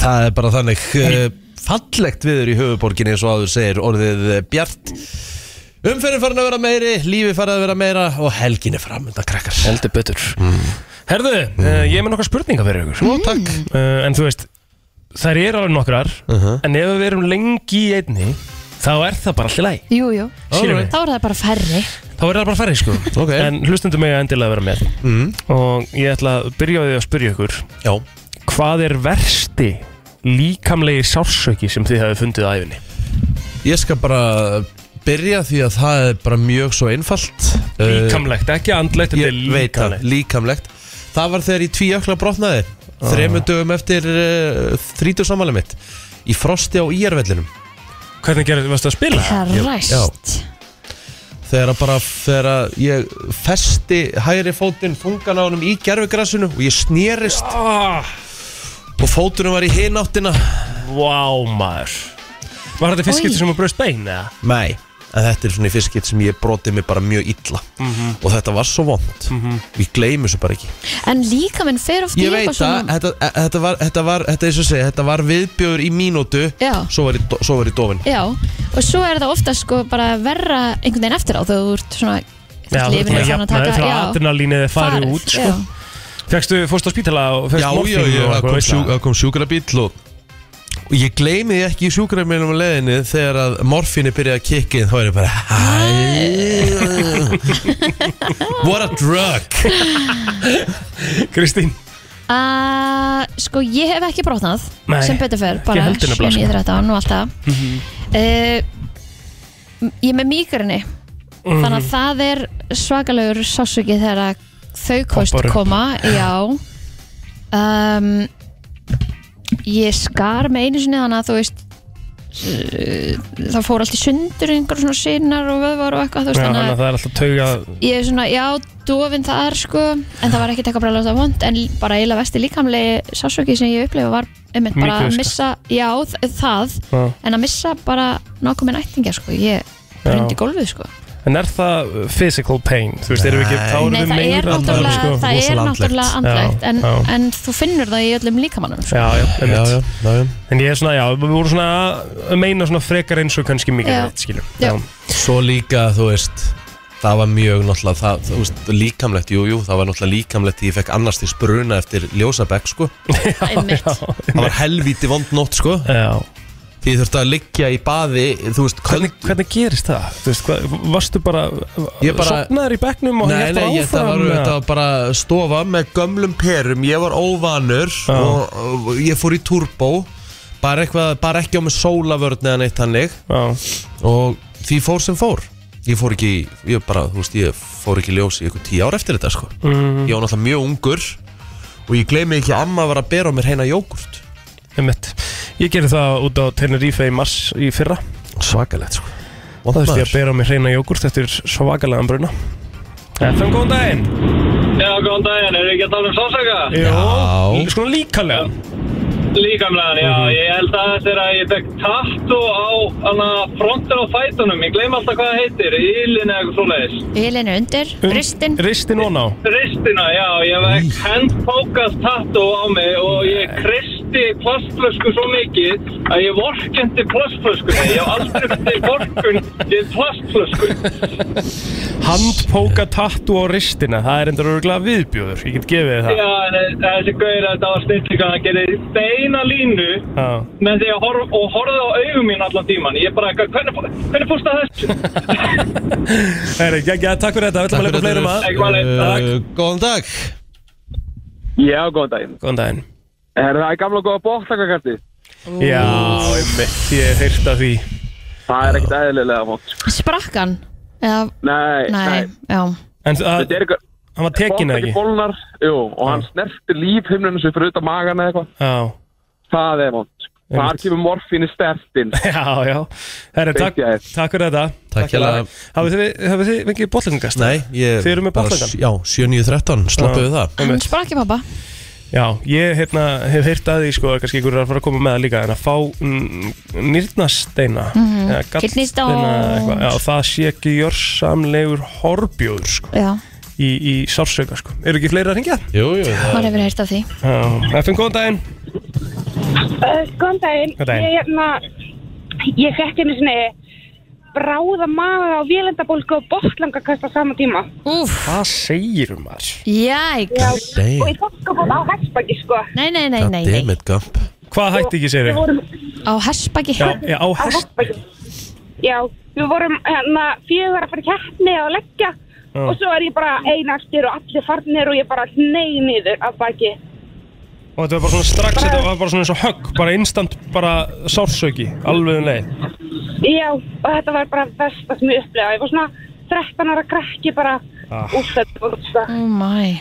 það er bara þannig uh, fallegt viður í höfuborginni eins og áður segir orðið eh, bjart Umferðin farin að vera meiri, lífi farin að vera meira og helgin er framönda krakkar Mm.
Heldur betur Herðu, eh, ég er með nokkar spurningar fyrir ykkur
Nú, takk
uh, En þú veist, þær eru alveg nokkrar
Mhm.
En ef við erum lengi í einni Þá er það bara allir læg
Jú, jú.
Skilur við
Þá er það bara færri.
Þá er það bara færri sko
Ok.
En hlustundum mig að endilega vera með
mm.
Og ég ætla að byrja á því að spyrja ykkur
Já
Hvað er versti líkamlegi sársöki sem þið hafi fundið á æfinni?
Ég skal bara byrja því að það er bara mjög svo einfalt Eh,
Líkamlegt, ekki andlegt, þetta er
Ég veit það,
líkamlegt Ah.
líkamlegt Það var þegar ég tvíökla brotnaði eh, Þremur dögum eftir uh, þrítur sammáli mitt Í frosti á íjarvellinum
Hvernig gerði, varstu að spila?
Herræst
þegar að bara þegar að ég festi hægri fótinn þungan á honum í gerfugrassinu og ég snerist
Ah,
og fótunum var í hináttina
Vá maður Var þetta
Oj.
fiskilti sem að braust bein eða?
Nei, en þetta er svona í fiskitt sem ég brotið mig bara mjög illa
Mhm.
og þetta var svo vond ég gleymi þessu bara ekki
En líka minn fer oft í
Ég veit
Mhm. eitthvað
það,
svona
þetta, e- þetta var, þetta var, þetta er svo að segja, þetta var viðbjöður í mínútu,
Já.
svo var ég, do- svo var ég dofin.
Já, og svo er það ofta sko bara verra einhvern veginn eftir á þegar þú ert svona þú ert lifin er farin að taka
Það
já,
adrenalínið er farið út sko.
já.
Fegstu, fórstu á spítala og
Já,
fegst
já,
morfín
já,
og
það
eitthvað
kom,
veist
sjú,
það?
það kom sjúkrabíl og, og ég gleymi því ekki í sjúkrabílum á leiðinni þegar að morfinni byrjaði að kikki þá er ég bara "Hæ." What a drug
(laughs)
Kristín
Uh, sko ég hef ekki brotnað
Nei,
sem betur fer,
ekki
bara
heldur nefnilega,
sjön í
sko.
þrættan og allt það uh, ég er með mýgrinni
Mhm.
þannig að það er svakalegur sásöki þegar að þau kost
Poppar upp.
koma já um, ég skar með einu sinni þannig að þú veist uh, það fór allt í sundur einhver svona sínar og vöðvar og eitthvað þú
Já,
veist,
þannig að það er alltaf tauga
ég er svona, já, dofin þar sko, en það var ekkert eitthvað bræðilegt að vond en bara eiginlega vesti líkamlegi sásöki sem ég upplifa var einmitt bara að
Mýkviska.
missa já, þ- það,
Já.
en að missa bara nákomin ættinga sko, ég brindi gólfið sko.
En er það uh, physical pain? Þú veist, erum við ekki
Nei.
Þá erum
Nei,
við
það er
meira
náttúrulega það
sko.
rosa
er
landlegt.
náttúrulega andlegt
Já,
en,
já.
en þú finnur það í öllum líkamannum sko.
Já, já,
já,
einmitt
já, já, já.
En ég er svona, já, við vorum svona að meina svona frekar eins og kannski mikið
Já.
rétt, skiljum
Já.
Svo líka, þú veist það var mjög náttúrulega það, þú veist, líkamlegt, jú, jú, það var náttúrulega líkamlegt því ég fekk annars til spruna eftir ljósabekk,
(laughs)
sko
einmitt,
það var helvíti vond nótt, sko
Já.
því ég þurfti að liggja í baði, þú veist, köld
Hvernig, hvernig gerist það? Þú veist, hvað, varstu bara,
Ég bara-
sopnaður í bekknum og
Nei,
hélt
nei, ég, það var,
eða?
þetta var bara stofa með gömlum perum Ég var óvanur
Já.
og, og ég fór í turbo Bara, eitthvað, bara ekki á með sólavörn eða neitt hannig
Já,
Og því fór sem fór Ég fór ekki, ég bara, þú veist, ég fór ekki í ljós í eitthvað tíu ár eftir þetta, sko
Mhm.
Ég var náttúrulega mjög ungur Og ég gleymi ekki að amma var að bera á mér heina jógurt
einmitt. Ég gerði það út á Tenerife í mars í fyrra.
Svakalegt, sko
Það veist ég að
Vondmaður
bera á mig hreina jógurt eftir svakalegan bruna. FM, góðan daginn!
Já, góðan daginn, eru ekki að tala um sásaka?
Jó, Svona líkalega.
Líkamlegan, já, ég held að þetta er að ég fekk tattu á hana, frontin á fætunum, ég gleym alltaf hvað það heitir, ílin eða eitthvað svoleiðis.
vilin er undir, ristin
Ristin og ná.
Ristina, já, ég fekk handfókast tattu á mig og ég kristi plastflösku svo mikið að ég vorkendi plastflöskunni, ég hef aldrei fyrir vorkun við plastflösku.
Handpóka tattu á ristina. Það er endur örgulega viðbjóður. Ég get gefið þér það.
Já, en þessi gauðir þetta var snillika, það gerir beina línu
Já.
með því að horf, og horfði á augum mín allan tíman ég bara, hvernig, hvernig fórst það þessu?
Heri, já, já, takk fyrir þetta. Við ætlum að leipa fleirum að.
Takk fyrir
uh, Góðan dag
Já, góðan daginn
Góðan daginn.
Er það gamla og góða bóttakakarti?
Já, einmitt. Ég hef heyrt af því.
Það er ekkert eðlilega mótt
sprakkan eða,
Nei,
nei, já,
En það,
Þetta er eitthvað
hann var tekin eða
Bóttaki
ekki?
bólnar, jú, og hann snerti lífhimnunum sem fyrir utan magan eða eitthvað
Já.
Það er mótt Þar
Einmitt.
kemur morfínu stertinn
(laughs) Já, já. Herri, takk,
Fyrirgefðu.
takk fyrir þetta.
Takk hérlega.
Hafið þið, hafið þið fengið bollengast?
Nei, ég
Þið eru með
bara-
bollangan?
Já, 7.9.13, slappuðu það
hann sprakki pappa
Já, ég hérna, hef heyrt að því, sko, að kannski ykkur er að fara að koma með það líka, en að fá mm, nýrnasteina, mm
Mhm.
-hmm. eða gallsteina,
Kidneystones.
eitthvað, já, það sé ekki jörsamlegur horbjóður, sko,
já,
í, í sársöka, sko. Eru ekki fleiri að ringja?
Jú, jú, það
maður hefur heyrt af því
Já, FM, góðan daginn.
Uh, Góðan daginn.
Góðan daginn.
Ég, hérna, ég fekk einu sinni bráða maga á vélendabólku og botlangakast á sama tíma.
úf,
Hvað segir um það?
jæk,
Og
Damn,
í botlangakast á hestbaki, sko.
nei, nei, nei, nei, nei.
goddammit, Gump
Hvað hætti ekki, segir
Við
þið?
vorum
á hessbaki
Já, já, á
á
hest.
hestbaki. Já, við vorum hérna fjögur að fara í keppni og leggja
Já.
og svo er ég bara einastir og allir farnir og ég bara ney niður af baki.
Og þetta var bara svona strax, þetta var bara svona eins og högg, bara instant, bara sársöki, alveg um leið.
Já, og þetta var bara besta sem ég upplega. Ég var svona 13 ára krakki bara
Ah.
úr þetta bólk, sko.
oh my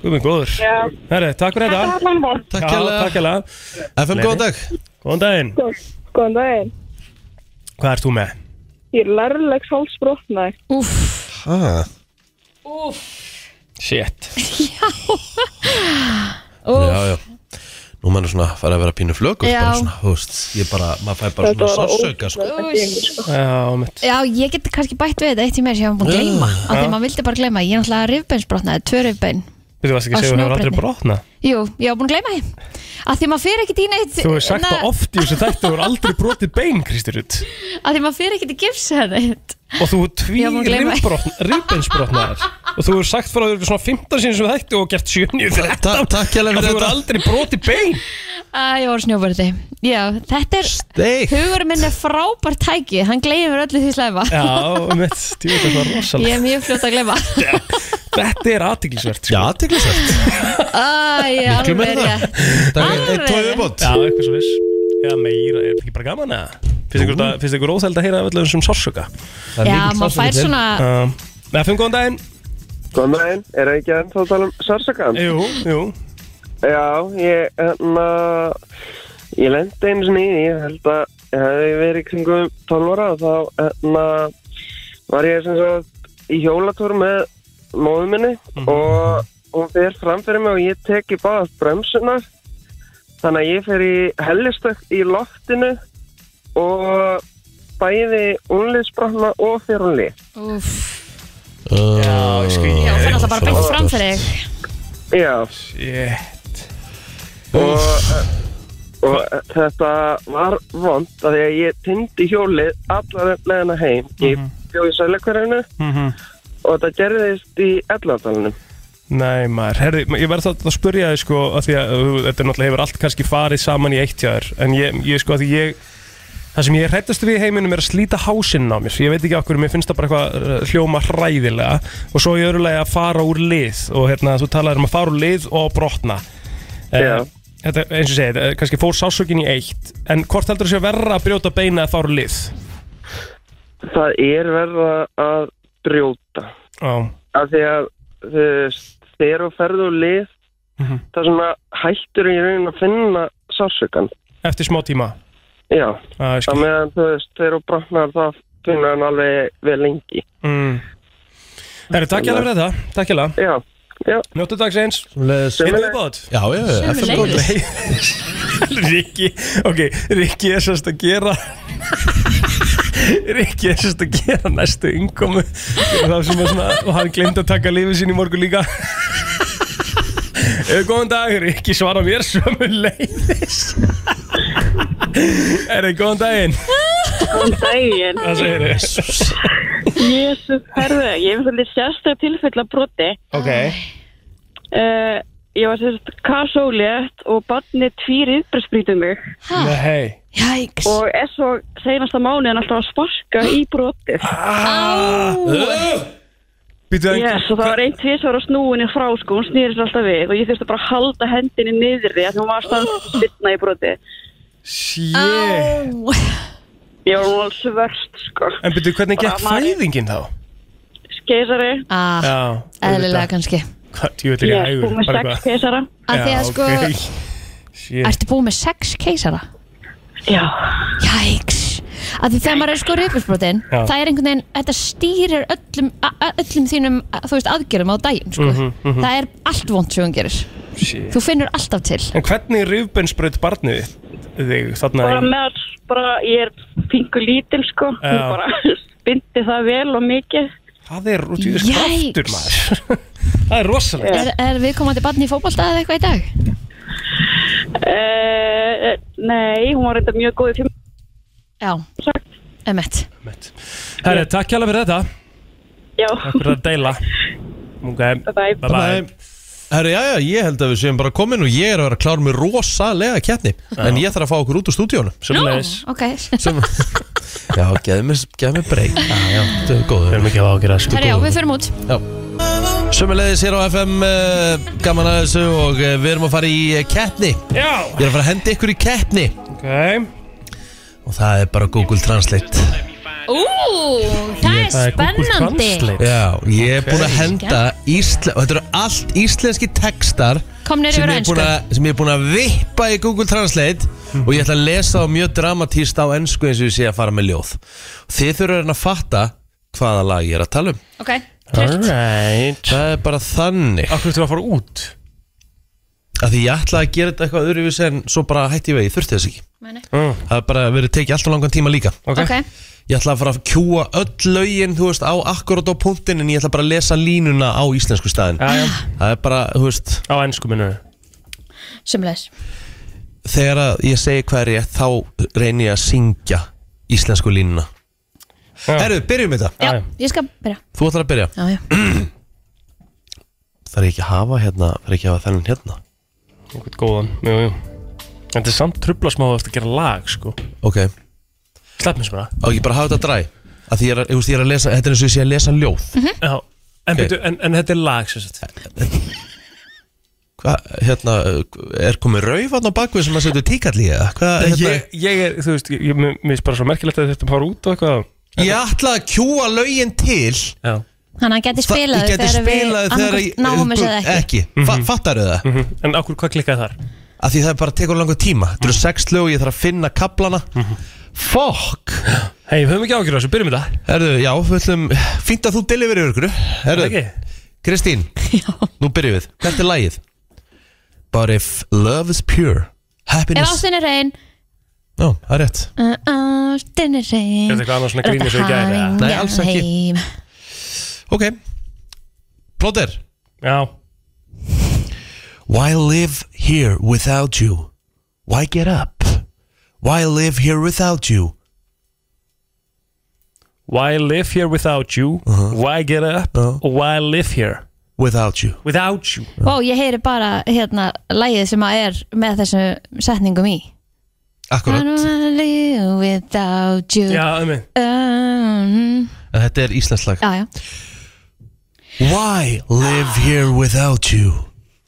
Guð minn góður.
Já,
Herri, takk fyrir
þetta var
þetta.
allan von.
Takk
Já, takk
hérlega
hérlega.
FM, góðan dag
Góðan daginn.
Góðan daginn.
Hvað ert þú með?
Ég er lærlegs hálsbrotnaði.
Úf,
Ah,
(laughs)
Shit
úf,
já, já Nú maður svona fara að vera pínu flögur
Já.
bara svona, þú veist, ég bara, maður fær bara
Þetta
svona
var
sársauka sko.
úf
Já, mitt
Já, ég geti kannski bætt við þetta eitt í mér sem ég hef búin að gleyma
Ah.
af því maður vildi bara gleyma, ég er náttúrulega rifbeinsbrotnaði tvö rifbein,
Þú varst ekki
Á
að segja að þú hefur
snjóbretti.
aldrei brotnað
jú, ég hef búin að gleyma því af því maður fyrir ekkit í neitt
Þú hefur sagt
na-
það oft í þessu þætti Þú hefur aldrei brotið bein, Kristi Rutt
af því maður fyrir ekkit í gifsa neitt
Og þú hefur
Ég var búin að
tví
gleyma því.
rimbeinsbrotnaðar Og þú hefur sagt frá þér svona 15 sinni sem þætti og gert 7 nýju fyrir
Ta- Takk hérlega
Þú
fyrir
hefur
þetta
aldrei brotið bein
að ég var snjóbörði já, þetta er,
Steik
hugur minn er frábært tæki hann gleymir öllu því slæma (laughs)
Já, mitt, djú, þetta var
ég
rosalega
er mjög fljótt að
(laughs)
gleyma
Þetta er sko. aðtiklisvert
Já, teglisvægt
Æ,
Miklu
alveg
meira.
rétt
Það er
Alveg.
eitt tóið viðbót
Já, eitthvað svo viss Eða meira, er þetta ekki bara gaman eða? Finnst ykkur þetta- finnst ykkur óþæld að heyra af öllum sem sársöka?
Það er
já,
mikill
maður fær
sársauki til.
svona
Um, með fimm góðan daginn
Góðan daginn, er það ekki ennþá að tala um sársakan?
Jú, jú
Já, ég, hérna, ég lendi einu sinni í, því, ég held að ég hefði verið í kringum 12 ára og þá, hérna, var ég sem sagt í hjólatúr með móðu minni
Mhm.
og hún fer fram fyrir mig og ég tek í báðar bremsunar þannig að ég fer í hellistökk í loftinu og bæði unliðsbrotna og fyrir hún
úf,
Já, ég skil
já, fann alltaf bara beint fram fyrir þig
Já,
Shit
og, eh, og þetta var vond að því að ég tindi hjólið allar leðina heim ég bjó í sælakverðinu og þetta gerðist í 11-talunum
Nei maður, herri, ég verð þá að spurja þig sko að því að uh, þetta náttúrulega hefur allt kannski farið saman í eitt hjá þér en ég, ég sko að því ég það sem ég er hrættast við í heiminum er að slíta hásinn á mér ég veit ekki okkur, mér finnst það bara eitthvað uh, hljóma hræðilega og svo ég örulega að fara úr lið og hérna þú talaðir um að fara úr lið og brotna
Já.
Þetta, eins og segið, eh, kannski fór sásökin í eitt en hvort heldur þú sé verra að brjóta beina að fara úr lið?
það er verða að brjóta
Já,
að því að þú veist, þegar þú ferðu úr lið
Mhm.
það sem að hættur í raunin að finna sársökan
eftir smá tíma
já,
ah,
það meðan þú veist þegar þú brotnar það finna hann alveg vel lengi
mm. Herri, takk hjá fyrir þetta, takk hjá
já, já,
Njóttu dags eins
Svoleiðis.
Einu viðbót
Já, já, já, FM
leiðis.
góð
(laughs) Rikki, ok, Rikki er sérst að gera (laughs) Rikki er sérst að gera næstu yngkomu Það sem er svona, og hann glemt að taka lífið sín í morgun líka Eh, Góðan dag, Rikki svara mér sömu (laughs) leiðis Er þið góðan daginn?
Góðan daginn.
Það segir þið
Jésus, herðu, ég hef svolítið sérstöð tilfell að broti.
Ok
Uh, ég var sérst kassólétt og barnið tvýr yfirbreyðsprítið mig
Nei, hei
jæks
og er svo senasta mánuðin alltaf að sparka í brotið.
Býtu að
Yes, og það var einn tvísvar á snúinni frá sko, hún snýrist alltaf við og ég þurfti bara að halda hendinni niðri að hún var
(gasps)
stann spilna í broti.
Sjé
Ég var nú alveg svörst sko.
En býtu, hvernig gekk
Bara maður-
fæðingin þá?
Skeisari,
ah,
Já,
eðlilega kannski
Hvað, ég veit ekki
ég er
hægur
sko með sex
bara eitthvað.
skeisara.
að því að
Já,
sko,
ok. Shit.
ertu búið með sex keisara?
Já,
Jæks að því þegar maður er sko rifbeinsbrotin
Já.
það er einhvern veginn, þetta stýrir öllum, a- a- öllum þínum, þú veist, aðgjörum á daginn sko.
Mhm,
það er allt vond sem hún gerir
Shit.
þú finnur alltaf til
En hvernig rifbensbraut barnið þitt- þig þarna
bara
í...
með að bara, ég er pingu lítil sko,
Já.
hún bara (laughs) spindi það vel og mikið.
Það er út í þessu
Yikes.
kraftur maður (laughs) Það er rosalega
er, er viðkomandi barn í fótbolta eða eitthvað í dag?
Uh, nei, hún var reynda mjög góð í fimm.
já, emmett
Herri, takk hjá fyrir þetta
Já,
Takk fyrir að deila Ok,
bye bye.
bye bye
Herri, já, já, ég held að við séum bara komin og ég er að vera klár með rosalega keppni En ég þarf að fá okkur út úr stúdíónu
Sjöfnleis
ok,
sem... Já, geðu mér, geðu mér breyk Já, já, þetta er góð
Við erum ekki að ágjöra
(laughs)
þessu
herri já, við förum út
Sumulegis hér á FM uh, Gaman að þessu og uh, við erum að fara í uh, keppni Ég
Já,
er að fara að henda ykkur í keppni
ok
Og það er bara Google Translate
ú, það er
Það er Google
spennandi
Translate.
Já, ég er búin að henda Ísle... og Þetta eru allt íslenski textar
komnir
sem
yfir á
ég, er
einsku
búin að, sem ég er búin að vippa í Google Translate og ég ætla að lesa á mjög dramatíst á ennsku eins og ég sé að fara með ljóð þið þurfa að reyna að fatta hvaða lag ég er að tala um
Ok, trillt
Alright
það er bara þannig
Akkur þú að fara út
að því ég ætla að gera þetta eitthvað öðruvis en svo bara hætti ég vegi, þurfti þess ekki
Meni.
það er bara verið tekið alltaf langan tíma líka
Mm. Ok,
Ok,
ég ætla að fara að kjúa öll lögin þú veist á akkurat á punktin en ég ætla bara að lesa línuna á íslensku staðin
Já, já.
það er bara, þú veist,
Á ennsku minnu
sumleis
þegar að ég segi hvað er ég þá reynir ég að syngja íslensku línuna
Já.
Herru, byrjum við þetta
Já,
já.
ég skal byrja
Þú ætlar að byrja
Já, já
Það er ekki að hafa hérna, það er ekki að hafa þennan hérna
Einhvern góðan Jú, jú En þetta er samt trubla smá eftir að gera lag, sko
Ok, á
Slepp mér svona
ekki bara að hafa þetta dræ að því ég er, að- þú veist, ég er að lesa, þetta er eins og ég sé að lesa ljóð
Já En,
Ok.
okay. en, en þetta er lag, sem sagt
Hvað, hérna, er komið rauðan á bakvið sem að setja tíkall í eða? Hvað, hérna,
ég, ég er, þú veist, ég, ég mér finnst bara svo merkilegt að þetta fara út og eitthvað
ég, ætla að kjúa lögin til
Já
Þannig að hann geti
það-
spilað
Ég geti spilaði þegar
annarkvort náum þessu eða ekki
ekki mm Fattar þau það?
mm En akkur hvað klikkaði þar? Mhm.
Af því það er bara tekur langur tíma Þetta eru sex lög, ég þarf að finna kaplana Fuck
Hei, við höfum ekki ágjörðu þessu, byrjum þetta
Herðu, já, við ætlum Fínt að þú deliverið ykkur Herðu,
Ekki?
Kristín Nú byrjum við, hvert er lagið? But if love is pure
Ef
Happiness
ástin er reyn
Já, það er rétt
uh, Ástin er reyn
Er þetta eitthvað annars svona grín eins og í gær, eða?
Nei, alls ekki. Ok Plóter
Já
Why live here without you? Why get up? Why live here without you?
Why live here without you? Why get up?
Já.
Og why live here
Uh-huh. Without you
without you?
Ó, ég heyri bara hérna lægið sem að er með þessu setningum í I
Akkurat
don't wanna live without you
Já, ömmi
um,
En þetta er íslensk lag
Já, já
Why live here without you?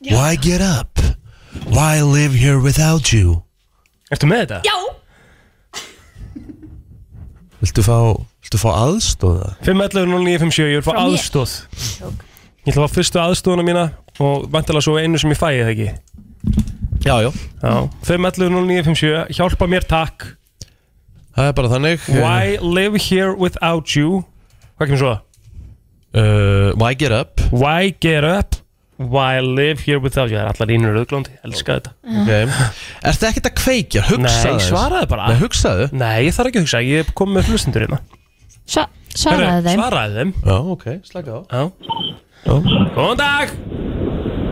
Why get up? Why live here without you?
Ertu með þetta?
Já,
Viltu fá, viltu fá aðstóða?
5.11.09.57, ég vil fá
Frá mér.
aðstóð Ég ætla að fá fyrstu aðstóðuna mína og vantilega svo einu sem ég fæi það ekki
Já, já
Já, 5.11.09.57, hjálpa mér takk
Það er bara þannig
Why live here without you Hvað kemur svo?
uh, Why get up?
Why get up Why live here without you Það er allar línur auðglóndi, elska þetta
Okay. Ertu ekkert að kveikja? Hugsaðu
Nei,
þess.
svaraðu bara.
Nei, hugsaðu
Nei, ég þarf ekki að hugsa, ég er komið með hlustundur hérna
Sva svaraði þeim
Svaraði þeim
Já, ok, slaka á
Já Góðan dag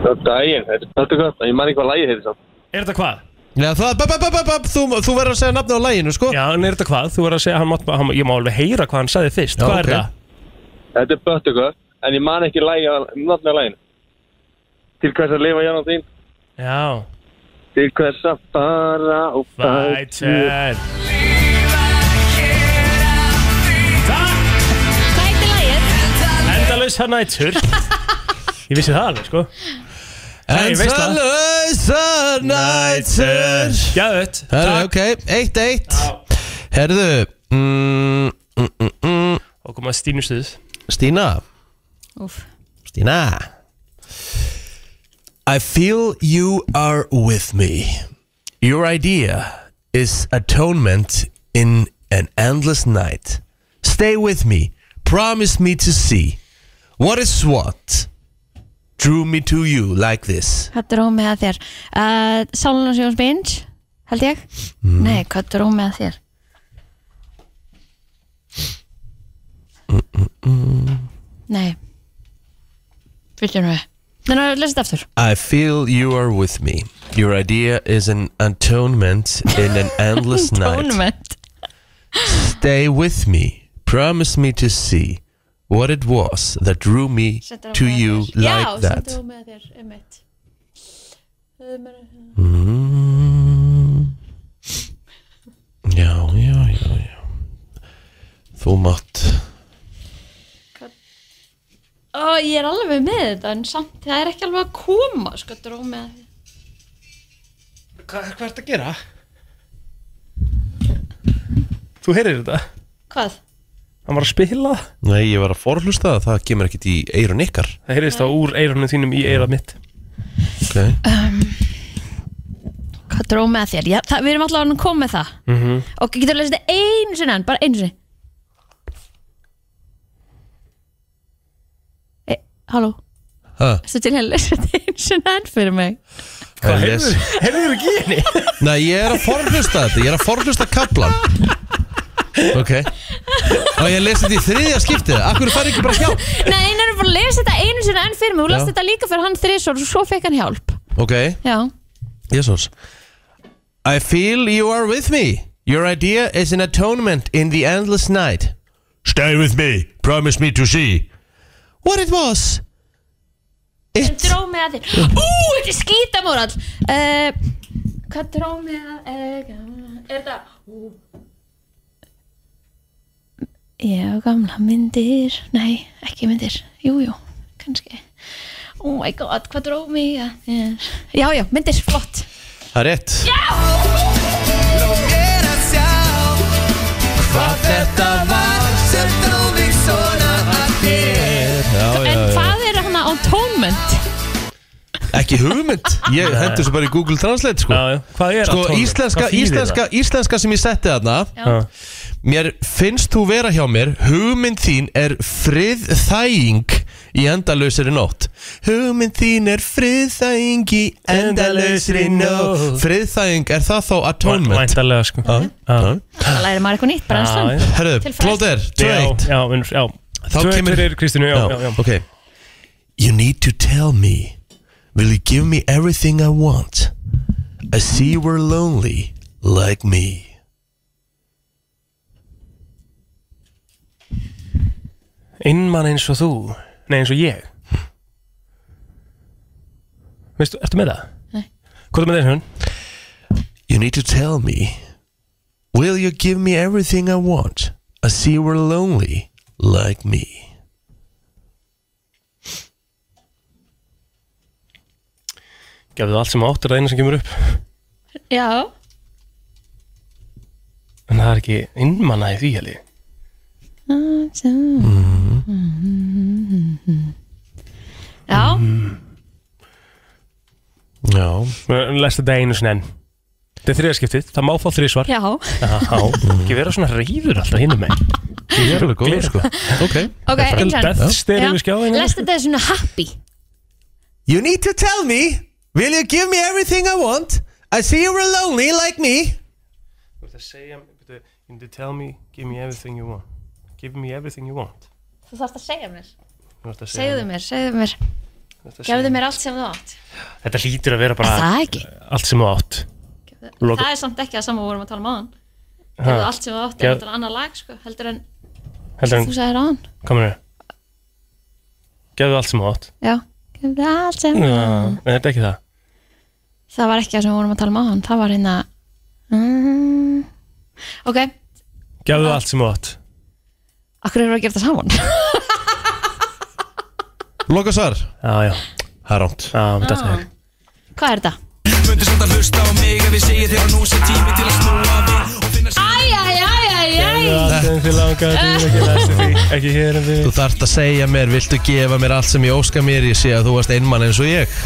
Það er daginn, þetta er alltaf gott, ég man ekki hvað lægið heitir samt.
Er þetta hvað?
Já, það, bap, bap, bap, bap, þú, þú verður að segja nafni á læginu, sko
Já, en er þetta hvað? Þú verður að segja, hann, mátt- hann, ég má alveg heyra hvað hann sagði fyrst
Já,
Hvað
ok.
er það?
Þetta er Buttercup, en ég man ekki um lægið, náttúrulega læginu. Til hvers að lifa jánum þín,
Já
til hvers að fara og
Fætjær
Hvað heitir lægið?
Endalösa nætur hérna
(laughs)
Ég vissi það alveg sko Nei,
En hérna
ég veist
það
það.
lausa nætur
Gjöðut
Herðu, ok, eitt, eitt Herðu mm, mm, mm, mm.
Og koma Stínu stuðs
Stína
Úf
Stína I feel you are with me Your idea is atonement in an endless night Stay with me Promise me to see What is what Drew me to you like this
Hvað er rómið að þér? Uh, Sálunars Jóns Binge, held ég
Mm.
Nei, hvað er rómið að þér? Nei Fylgjum við Nei, ná, lesa þetta aftur
I feel you are with me. Your idea is an atonement in an endless night.
Tónumönd
Stay with me. Promise me to see what it was that drew me to you like
Já,
that.
sendur rómið að þér, einmitt
Mm. Já, já, já, já. Þú mátt.
Ó, ég er alveg með þetta En samt, það er ekki alveg að koma Sko, drómið að þér
Hva, Hvað ert að gera? Þú heyrir þetta?
Hvað?
Hann var að spila
Nei, ég var að forhlusta það. Það kemur ekkit í eirun ykkar.
Það heyrðist þá úr eirunum þínum í eirað mitt
ok
Ehm, Hvað dró með þér? Já, það, við erum allavega að koma með það
Mm-hmm.
Og getur lesið þetta einu sinni enn, bara einu sinni e, Halló,
Ha,
erstu til að lesa þetta einu sinni enn fyrir mig?
Hvað
heyrðu- Heyrðu ekki í henni?
Nei, ég er að forhlusta þetta, ég er að forhlusta kaplan Ok Og ég lesi þetta í þriðja skiptið Akkur fær ekki bara hjálp
Nei, einu er bara að lesa þetta einu sinni enn fyrir mig Þú
Já.
lest þetta líka fyrir hann þrisvar og svo fekk hann hjálp
Ok,
Já,
Jesus I feel you are with me Your idea is an atonement in the endless night Stay with me, promise me to see What it was
sem
It
dró með að þér Ú, þetta er skítamórall uh, Hvað dró með að Eh, Er þetta Ú. Já, gamla myndir Nei, ekki myndir Jú, jú, kannski Oh my god, hvað dró mig að þér Já, já, myndir, flott
Það er rétt Hvað þetta var sem dró mig svona að þér Já, já,
En hvað er hana atonement?
Ekki hugmynd Ég hendur þessu bara í Google Translate sko
Já, já, hvað er
Sko,
atonement?
íslenska,
Hvað þýðir
íslenska, íslenska sem ég setti þarna
Já.
Já.
Mér finnst þú vera hjá mér Hugmynd þín er frið þæging Í endalausri nótt Hugmynd þín er frið þæging Í endalausri nótt Frið þæging, er það þá
það?
atonement?
Væntanlega, sko
Já, já.
Það læri maður eitthvað nýtt,
Já,
brennslan
já.
Herðu,
Til frest.
plóter, 2-1
Já, já, en- já
Þá
Tvö
kemur-
fyrir Kristínu, já, já, já
Ok You need to tell me Will you give me everything I want I see you were lonely Like me
Innmann eins og þú Nei, eins og ég Veistu, ertu með það?
Nei.
Hvað er með þessu hún?
You need to tell me. Will you give me everything I want? I see you were lonely like me.
Gefðu allt sem áttur að eina sem kemur upp
Já,
En það er ekki innmanna í því heli Mhm.
já
Mhm.
Já,
Lestu þetta einu sinni enn Þetta er þriðaskiptið, það má fá þriðsvar
Já,
Já,
(laughs)
ekki vera svona reyður alltaf hinn með
ég er alveg góð,
Gleði.
sko. Ok.
ok,
Death
einhvern
stare yfir skjáin
Lest þetta er svona happy
You need to tell me. Will you give me everything I want? I see you were lonely like me.
Þú ert að segja, byrju, you need to tell me, give me everything you want Give me everything you want
Þú þarfst að segja mér
Þú ert að segja
Segðu mér, segðu mér,
þú ert að segja-
gefðu mér allt sem þú átt
Þetta hlýtur að vera bara
Það ekki
allt sem þú átt Loka-
Það er samt ekki að saman vorum að tala um áðan
Ha,
Gefðu allt sem þú átt
Gef-
er náttúrulega annað lag sko Heldur en
Heldur
þú
hann,
sagðir áðan
komur hér Gefðu allt sem þú átt
Já, gefðu allt sem
Nei, þetta er ekki það
Það var ekki að sem við vorum að tala um áðan Það var hérna mm, Ok,
Gefðu allt sem þú átt
akkur erum við að gera það saman
(laughs) Loka svar.
Já, já,
Það er rámt.
já, þetta
Ah.
er það
Hvað er þetta?
Möndu samt að hlusta á mig ef ég segi þér að nú sé tími til að snúa við og finna sér
Æ, æ, æ, æ, æ
Gefðu allt sem þið langar til ekki næstu því Ekki hér en við
Þú þarft að segja mér, viltu gefa mér allt sem ég óska mér? Ég sé að þú varst einmann eins og ég.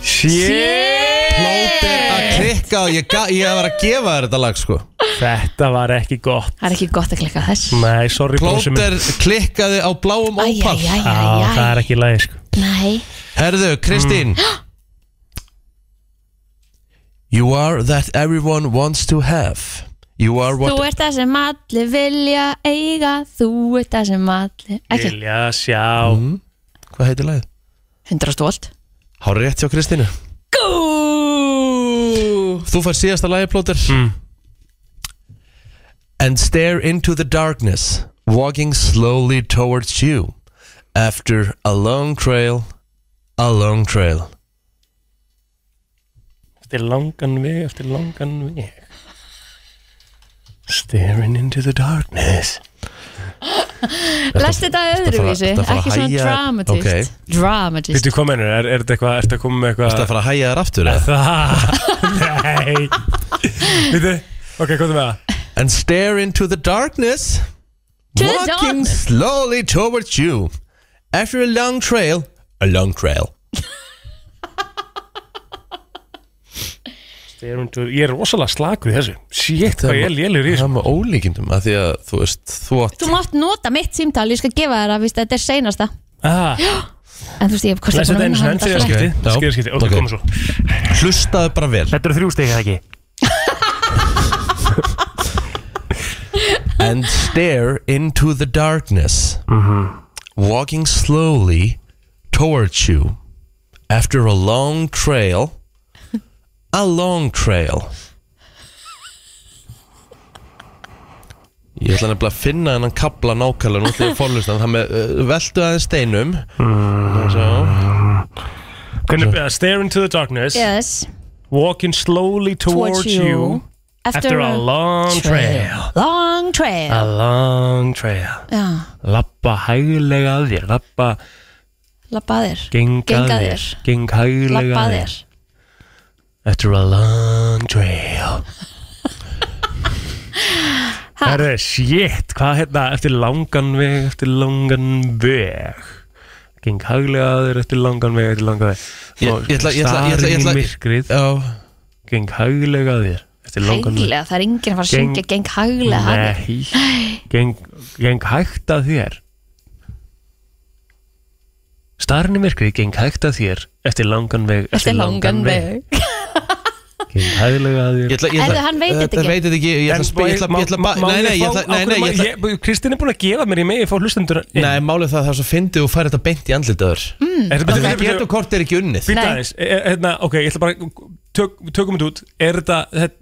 Plóter að klikka og ég, ga- ég var að gefa þér þetta lag, sko.
Þetta var ekki gott
Það er ekki gott að klikka þess
Nei, sorry brósi minn
Plóter klikkaði á
Æ,
bláum
æ, æ,
ópall.
Já,
æ,
það
æ
er ekki lægi sko
Nei
Herðu, Kristín
Mm.
(gasps) You are that everyone wants to have You are what
Þú ert það sem allir vilja eiga Þú ert það sem allir Ekki,
Vilja sjá
Hvað heitir Mm, lagið?
100 stólt
Hára rétt hjá Kristínu
Gú
Þú fær síðasta lagið, Plóter
Mm.
And stare into the darkness Walking slowly towards you After a long trail A long trail
Eftir langan veg, eftir langan veg Staring into the darkness
Lest þetta öðruvísi,
þetta fara að
ekki svona
hægja-
dramatist
ok.
Dramatist
Vittu hvað mennur, er, er þetta eitthvað, ertu að koma með
Þetta
eitthvað
fara að hæja þér aftur eða?
Það, nei Vittu, ok, hvað er með það?
And stare into the darkness
To the
Walking
darkness.
slowly towards you After a long trail A long trail
Þegar hún- Ég er rosalega slagur í þessu Sétt hvað ég er lélur í þessu
Það er með ólíkindum að því að þú veist Þú átt
Þú mátt nota mitt símtal, ég skal gefa þér að víst, þetta er seinasta
Ah,
En þú veist, ég hef kostið
Læs þetta einu sinni enn fyrir
þetta
skipti
Já.
Skýra skipti, ok,
Ok.
komum svo
Hlustaðu bara vel
Þetta eru þrjú stegið ekki
(laughs) and stare into the darkness,
Mhm.
walking slowly towards you after a long trail. A long trail. Ég ætla nefnilega að finna hennan kabla nákvæmlega nú þegar fórlustan það með uh, veltu aðeins steinum Svo.
Mhm. Hvernig, uh, Stare into the darkness
Yes,
Walking slowly towards you After a Ah. long trail
Long trail
A long trail
Já,
Lappa hæglega að þér Lappa,
labba að þér
geng að
Geng að
þér
þér.
Geng hæglega
Labba að
að
þér
þér After a long trail Herre, shit, hvað hérna Eftir langan veg, eftir langan veg Geng hæglega að þér Eftir langan veg, eftir langan veg
Ég- ég ætla- ég ætla- ég ætla- ég
Starin
ætla-
í myrkrið
Já,
Geng hæglega að þér Eftir langan veg
Hæglega, það er enginn að fara að
Geng-
syngja geng hæglega að þér.
Nei, geng, geng hægt að þér Starinn í myrkrið geng hægt að þér Eftir langan veg
Þetta er langan veg
Geng hæglega að þér
Ég ætla, ég
Erðu, hann veit þetta ekki.
Veit þetta ekki, ég ætla að spila, ég ætla, ég ætla,
Má-
ba-
má
nei,
ég
nei, ég
fá-
ætla,
af
nei,
hverju
nei,
má-
ég ætla,
ég- Kristín er búin að gefa mér í megi Ég fór hlustendur
nei, málið það að það er svo fyndið og færi þetta beint í andlitaður. Það
Býta
getur kort er ekki unnið.
Mm, Nei.
aðeins E- e- hérna, Ok, ég ætla bara tök, Tökum þetta út Er þetta þetta-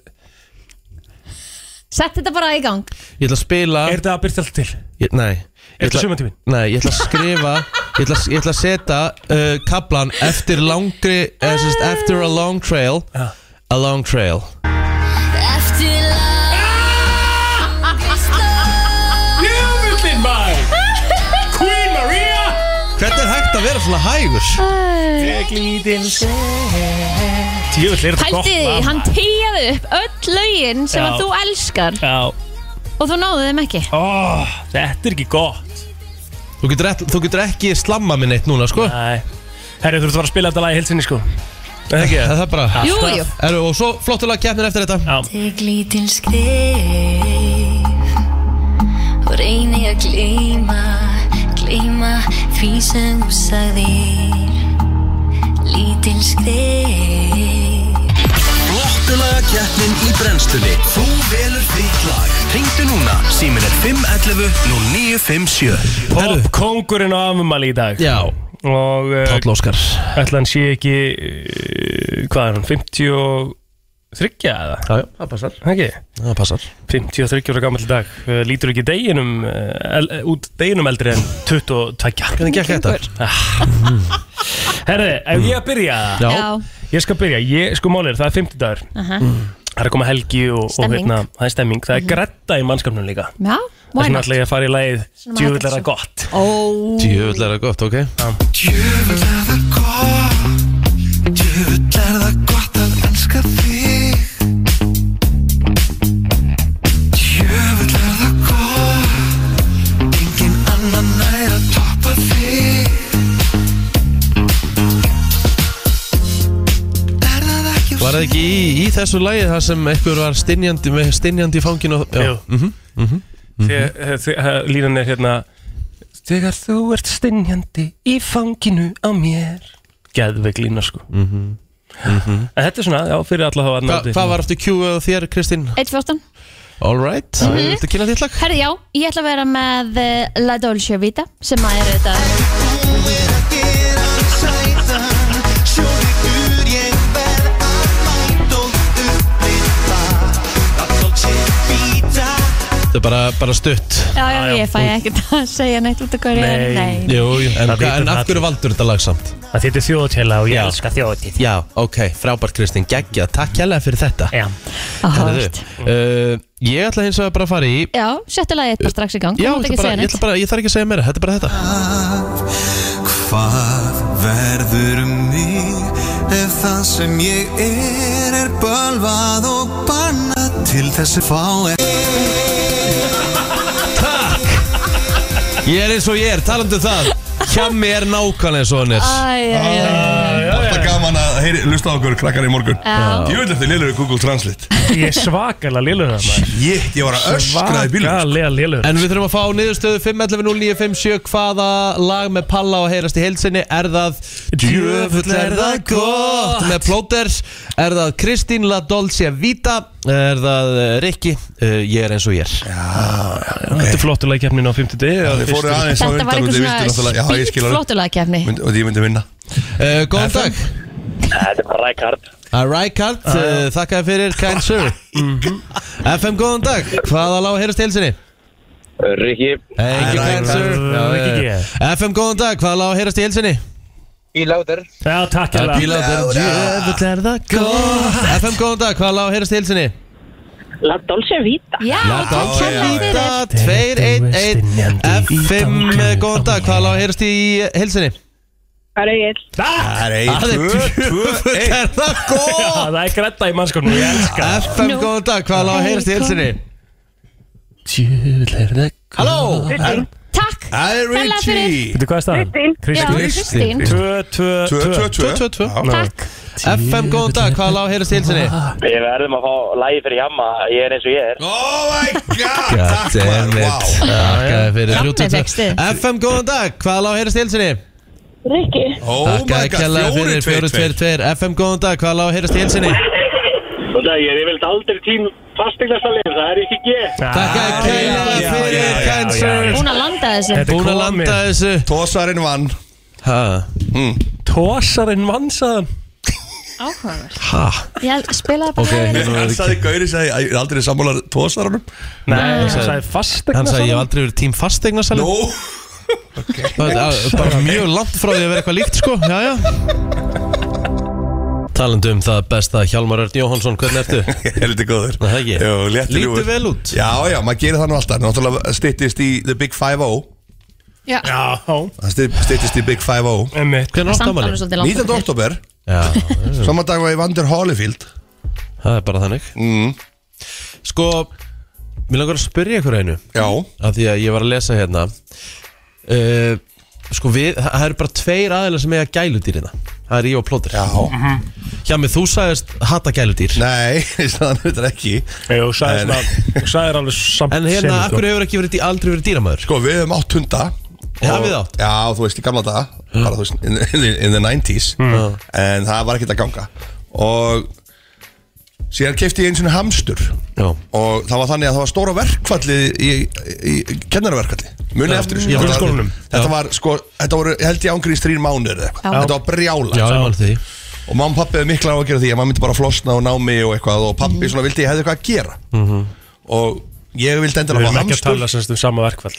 Sett þetta bara í gang
Ég ætla að spila,
er þetta að byrta allt til?
ég, nei, ég
Er þetta
ætla,
sumantíminn?
nei, ég ætla að skrifa, ég ætla, ég ætla að setja uh, kablan eftir langri, eða sem sagt, after a long trail,
Já.
a long trail.
Jöfullin maður Queen Maria
Hvernig er hægt að vera svona hægur?
Jöfull er þetta gott
Pældi því,
lag,
hann
maður.
tíjaði upp öll lögin sem
Já.
að þú elskar
Já,
og þú náðu þeim ekki
Ó, þetta er ekki gott
Þú getur, ekki, þú getur ekki slamma minn eitt núna, sko.
Nei Herri, þú ert að fara að spila þetta lag í heilsinni sko Er Það ekki
Það er bara,
Jú, jú,
eru, og svo flottulega keppnir eftir þetta.
Tek lítil skrif og reyni að gleyma, gleyma því sem þú sagðir. Lítil skrif.
Flottulaga keppnin í brennslunni Þú velur þitt lag Ringdu núna, símin er 511 0957
Pop kongurinn á afmæli í dag
Já,
Og uh,
Páll Óskar.
ætla hann sé ekki uh, Hvað er hann, 53 eða?
Já, já, það passar.
Það Ekki?
Það passar.
53 ára gammal dag uh, Lítur ekki deginum uh, el, Út deginum eldri en 22
Hvernig gekk þetta?
Herri, Ah. ef ég að byrja það
Já.
já,
Ég skal byrja, ég, sko málir, það er 50 dagur
aha. Mm.
Það er að koma helgi og, og
Stemming. Mhm.
það er stemming Það er gretta í mannskapnum líka
já,
Það
why not? Oh.
er náttúrulega að fara í lagið
Svona maður
Djúvill er
þetta
það gott
Ó,
Djöfull er það gott, ok?
Djöfull er það gott Djöfull er það gott að elska þig Djöfull er það gott Engin annan nær að toppa þig Er það ekki
Var það ekki í, í þessu lagi þar sem einhver var stinjandi með stinjandi í fanginu? og- Já. Mhm,
Jú. Þegar- þegar- þegar- Línan er hérna Þegar þú ert stinjandi í fanginu á mér Geðveik lína sko En þetta er svona, já, fyrir alla þá að
Mhm. Hva,
náti
hvað var aftur Q og þér, Kristín?
1.14
All mhm. right. Viltu kynna þitt lag?
Herði, Mhm. já, ég ætla að vera með eh, La Dolce Vita sem að er þetta
Þetta er bara, bara stutt.
Já, já, ég fæ ekkert að segja neitt út af hverju ég er. Nei,
Nei.
Jú, jú. En,
Það
hva-
vitum
en
það
af hverju valdur þetta lag samt?
Það þetta er þjóðtjela og ég
Já.
elska þjóðtjela
Já, ok. Frábært, Kristín. Geggja. Takk hérlega fyrir þetta.
Já,
áhört
uh, ég ætla hins vegar bara að fara í...
Já, settu lagið bara strax í gang Þú
Já,
mátt ekki
ég, ætla
segja
bara, ég,
neitt
ætla bara, ég þarf ekki að segja meira. Þetta er bara
(laughs)
þetta.
Hvað verður um mig ef það sem ég er er bölvað og bannað til þessi fá er
Ég er eins og ég er. Talandi um það. Hjá mér nákvæmlega eins og hann er.
Æ, æ, æ, æ.
Það
ógeðslega gaman að heyri, lusta á okkur krakkar í morgun
Já.
Ég vil eftir liður Google Translate
Ég er svakalega lélur það maður
Jétt, ég var að öskra í bílum
Svakalega lélur
En við þurfum að fá niðurstöðu 5.11.09.57 Hvaða lag með Palla og heyrast í heilsinni Er það Djöfull er það gott Með Plóters Er það Kristín La Dolce Vita Er það eh, Rikki eh, Ég er eins og ég er
Þetta er flottulega keppnin á 50
Já, þið fóruð aðeins á
Þetta var
undan og
einhver
þið vildu náttúrulega- Já,
svona
ég skil alveg.
flottulegakefni
Mynd- Og ég myndi vinna
uh, Góðan dag
Þetta er bara Rækard
Að Rækard,
Ah,
uh, þakka þér fyrir Kind
(laughs)
sir FM, góðan dag Hvaða lag og heyrast í heilsinni
Rikki
Ekki Kind sir Já,
Rikki
eh, FM, góðan dag Hvaða lag og heyrast í heilsinni
Bíláður
Já, takk
Það er
hérlega.
bíla
Já,
þetta er djöfull er það gott FM góðan dag, hvað lág að heyrast í hilsinni?
La Dolce Vita
Já,
Vita 211 F5 góðan dag, hvað lág að heyrast í hilsinni?
Hvað er Egil?
Það
er
Það er djöfull er það gott
Það er gretta í mannskapnum, ég elska það.
FM góðan dag, hvað lág að heyrast í hilsinni? Djöfull er það gott Halló
Takk
Það er
Kærlega fyrir.
Veitu hvað er staðan?
Kristín.
Já, Kristín.
2-2-2
222 FM góðan dag, hvað lág að heyrast í hilsinni?
Við verðum að fá lægi fyrir hjamma Ég er eins og ég er
Oh my god
Goddammit Þakkaði fyrir
Jafnir
322.
vexti.
FM góðan dag, hvað lág að heyrast í hilsinni?
Rikki
Oh my
Þakkaði kjærlega fyrir
god, fjóri, tveir,
422 FM góðan dag, hvað lág að heyrast í hilsinni?
Og það er yfirleitt aldrei tím fastegnarsalinn, það er ekki ég.
Þakkaði kjærlega fyrir Cancer
Búin að landa
Þetta
þessu
er
Búin að
komið.
landa þessu
Tósarinn vann Mm.
ha.
Tósarinn vannsaðan
Áhugaverð
Ha.
Ég spilaði
Ok,
bara hægri.
hérna var
Hann
ekki-
sagði Gauri, sagði, "Æ, ég er aldrei sammálar tósarunum
Nei, hann
sagði-
sagði fastegna
Hann sagði ég hef aldrei verið tím fastegna sæli
Nó
Bara mjög langt frá því að vera eitthvað líkt sko Já, já Talandi um það besta Hjalmar Örn Jóhansson, hvernig
(laughs)
ertu?
Heldi góður
Er það ekki?
Jú, (laughs) léttur
Lítur
ljúfur.
vel út.
Já, já, maður gerir það nú alltaf Náttúrulega styttist í The Big 5-0
Já,
Já,
Það stytt- styttist í Big 5-0
emmitt
Hvernig átt
samt
ámali?
alveg svolítið langt
19.
frá þér.
oktober
Já,
Sama dag var ég vandur Holyfield
það er bara þannig
mm.
Sko, mér langar að spyrja ykkur einu
Já
af því að ég var að lesa hérna uh, sko við, það það eru bara tveir aðeila sem eiga gæludýrina það er ég og plótur
Já
Mhm.
hjá mig þú sagðist hata gæludýr
Nei, (laughs) það er ekki
Jú, sagði
En-
svona Sagði alveg samt
en
sinn,
hérna,
sko.
akkur hefur ekki verið dý- aldrei verið dýramæður
Sko, við höfum átt hunda
Já,
Og-
við átt.
Já, þú veist, í gamla daga Bara, þú veist, in, in, the- in the 90s
Mm.
En það var ekkert að ganga Og Síðan kefti ég eins og hamstur
Já.
Og það var þannig að það var stóra verkfallið Í, í, í kennaraverkfalli Munið
Já.
eftir
Í
Þetta-
grunnskólanum.
Þetta var, sko, þetta voru, ég held ég ángriðist þrín mánir
Já.
Þetta var brjála
já, ég man því
Og mamma og pappi hefði mikla á að gera því að maður myndi bara flosna og ná mig og eitthvað og pappi
Mhm.
svona vildi ég hefði eitthvað að gera
Mhm.
og ég vildi
Við
endilega
erum
fá
ekki að
hamstur
tala semst um sama verkfall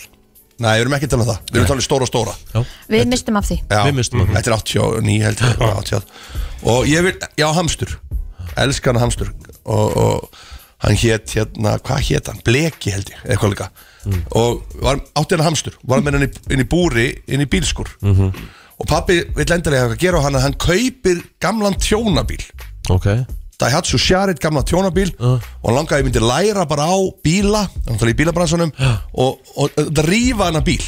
Nei, við erum ekki að tala um það, við erum að tala um stóra stóra
Við mistum af því
Já,
Við mistum það.
Þetta er 89 held ég, 80 Og ég vil, já hamstur Elskan hamstur Og, og hann hét hérna, hvað hét hann? Bleki held ég, eitthvað líka Og var, átti hann hamstur Var með hann inn í, inn í búri, inn í bílskur
Mhm.
Og pappi vill endilega hafa að gera á hann að Hann kaupir gamlan tjónabíl
ok,
Daihatsu Sharit, gamla tjónabíl og hann langaði að ég myndi læra bara á bíla þannig í bílabransanum og, og, og rífa hann að bíl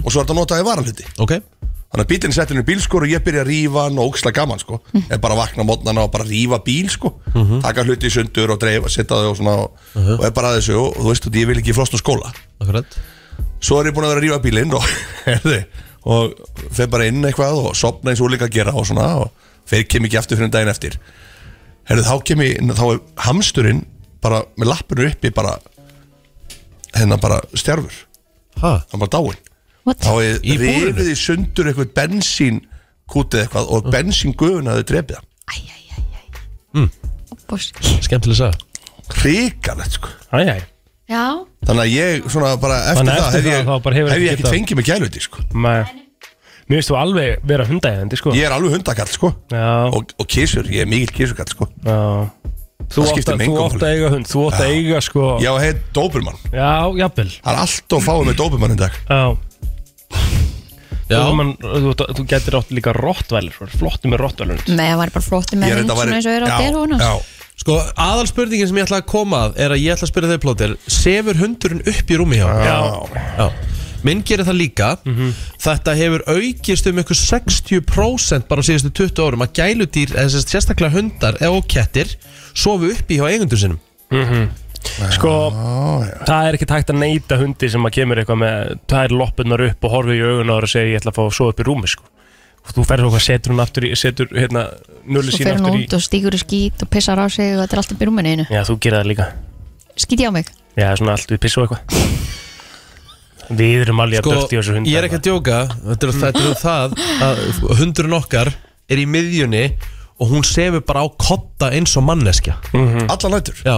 og svo er þetta notaði varaluti
ok
þannig að bílinn settur henni bíl sko og ég byrja að rífa hann og óksla gaman sko en bara vakna mótnana og bara rífa bíl sko
Mhm.
taka hluti í sundur og dreifa, setja þau og svona og, og er bara að þessu og, og þú veist þú, ég vil ekki flosna úr skóla
akkurat
svo er ég búin að vera að rífa bílinn og, (laughs) heyrðu, og fer bara inn eitthvað og sopna eins og líka að gera og svona og fer kem ekki aftur fyrir daginn eftir Herðu, þá kem ég, inn- þá er hamsturinn bara með lappinu uppi bara hérna bara stjárfur
ha,
hann bara dáinn
What?
þá er
Í búrinu?
rifið í sundur eitthvað bensín kútið eitthvað
Mhm.
og bensíngufun hafði drefið hann
Bors.
skemmtileg sag
hrikalegt sko
Æjæj
Já,
þannig að ég svona bara eftir
Þannig að
það
eftir
hef ég,
það þá bara hefur
hef ég
ekki
ekki
getað-
fengið mig gæluti sko
Mér finnst þú alveg vera hundæðandi sko
ég er alveg hundakall sko
Já,
og, og kísur, ég er mikill kísurkall sko
já Þú
Það
átt
skiptir
að-
mig
þú
engu
átt að
máli.
eiga hund, þú átt að eiga sko
ég á að heit dópurmann
Já, jafnvel
það er allt of fáið með dópurmann í dag
Já,
já,
Þú, man, þú, þú getur átt líka rottvælir Flottu með rottvælir
með að var bara flotti
Ég
með
er
hund
þetta
svona
væri-
eins og er á
Já,
derhúnum
já.
sko aðal spurningin sem ég ætla að koma að er að ég ætla að spyrja þau plótir sefur hundurinn upp í rúmi hjá þér?
Já, Mhm.
já, minn gerir það líka þetta hefur aukist um ykkur 60% bara á síðustu 20 árum að gæludýr, eða sem sagt sérstaklega hundar eða og kettir, sofu uppi hjá eigendur sinum
Mhm. Sko, það er ekki hægt að neyta hundi sem að kemur eitthvað með tvær loppurnar upp og horfið í augun á þér og segja ég ætla að fá að sofa upp í rúmi sko. og þú ferður okkar, setur hún aftur í setur hérna, nullu
Svo
sín
fer hún
aftur í
út og stígur í skít og pissar á sig og þetta er allt upp í rúminu einu
Já, þú gerir það líka
Skít ég á mig
Já, svona allt við piss og eitthvað Við erum alveg að
Sko,
dörti á þessu hundar
ég er ekki að djóka þetta er, þetta er um það að hundurinn okkar er í miðjunni og hún sefur bara á kotta eins og manneskja
Mhm.
alla nættur já.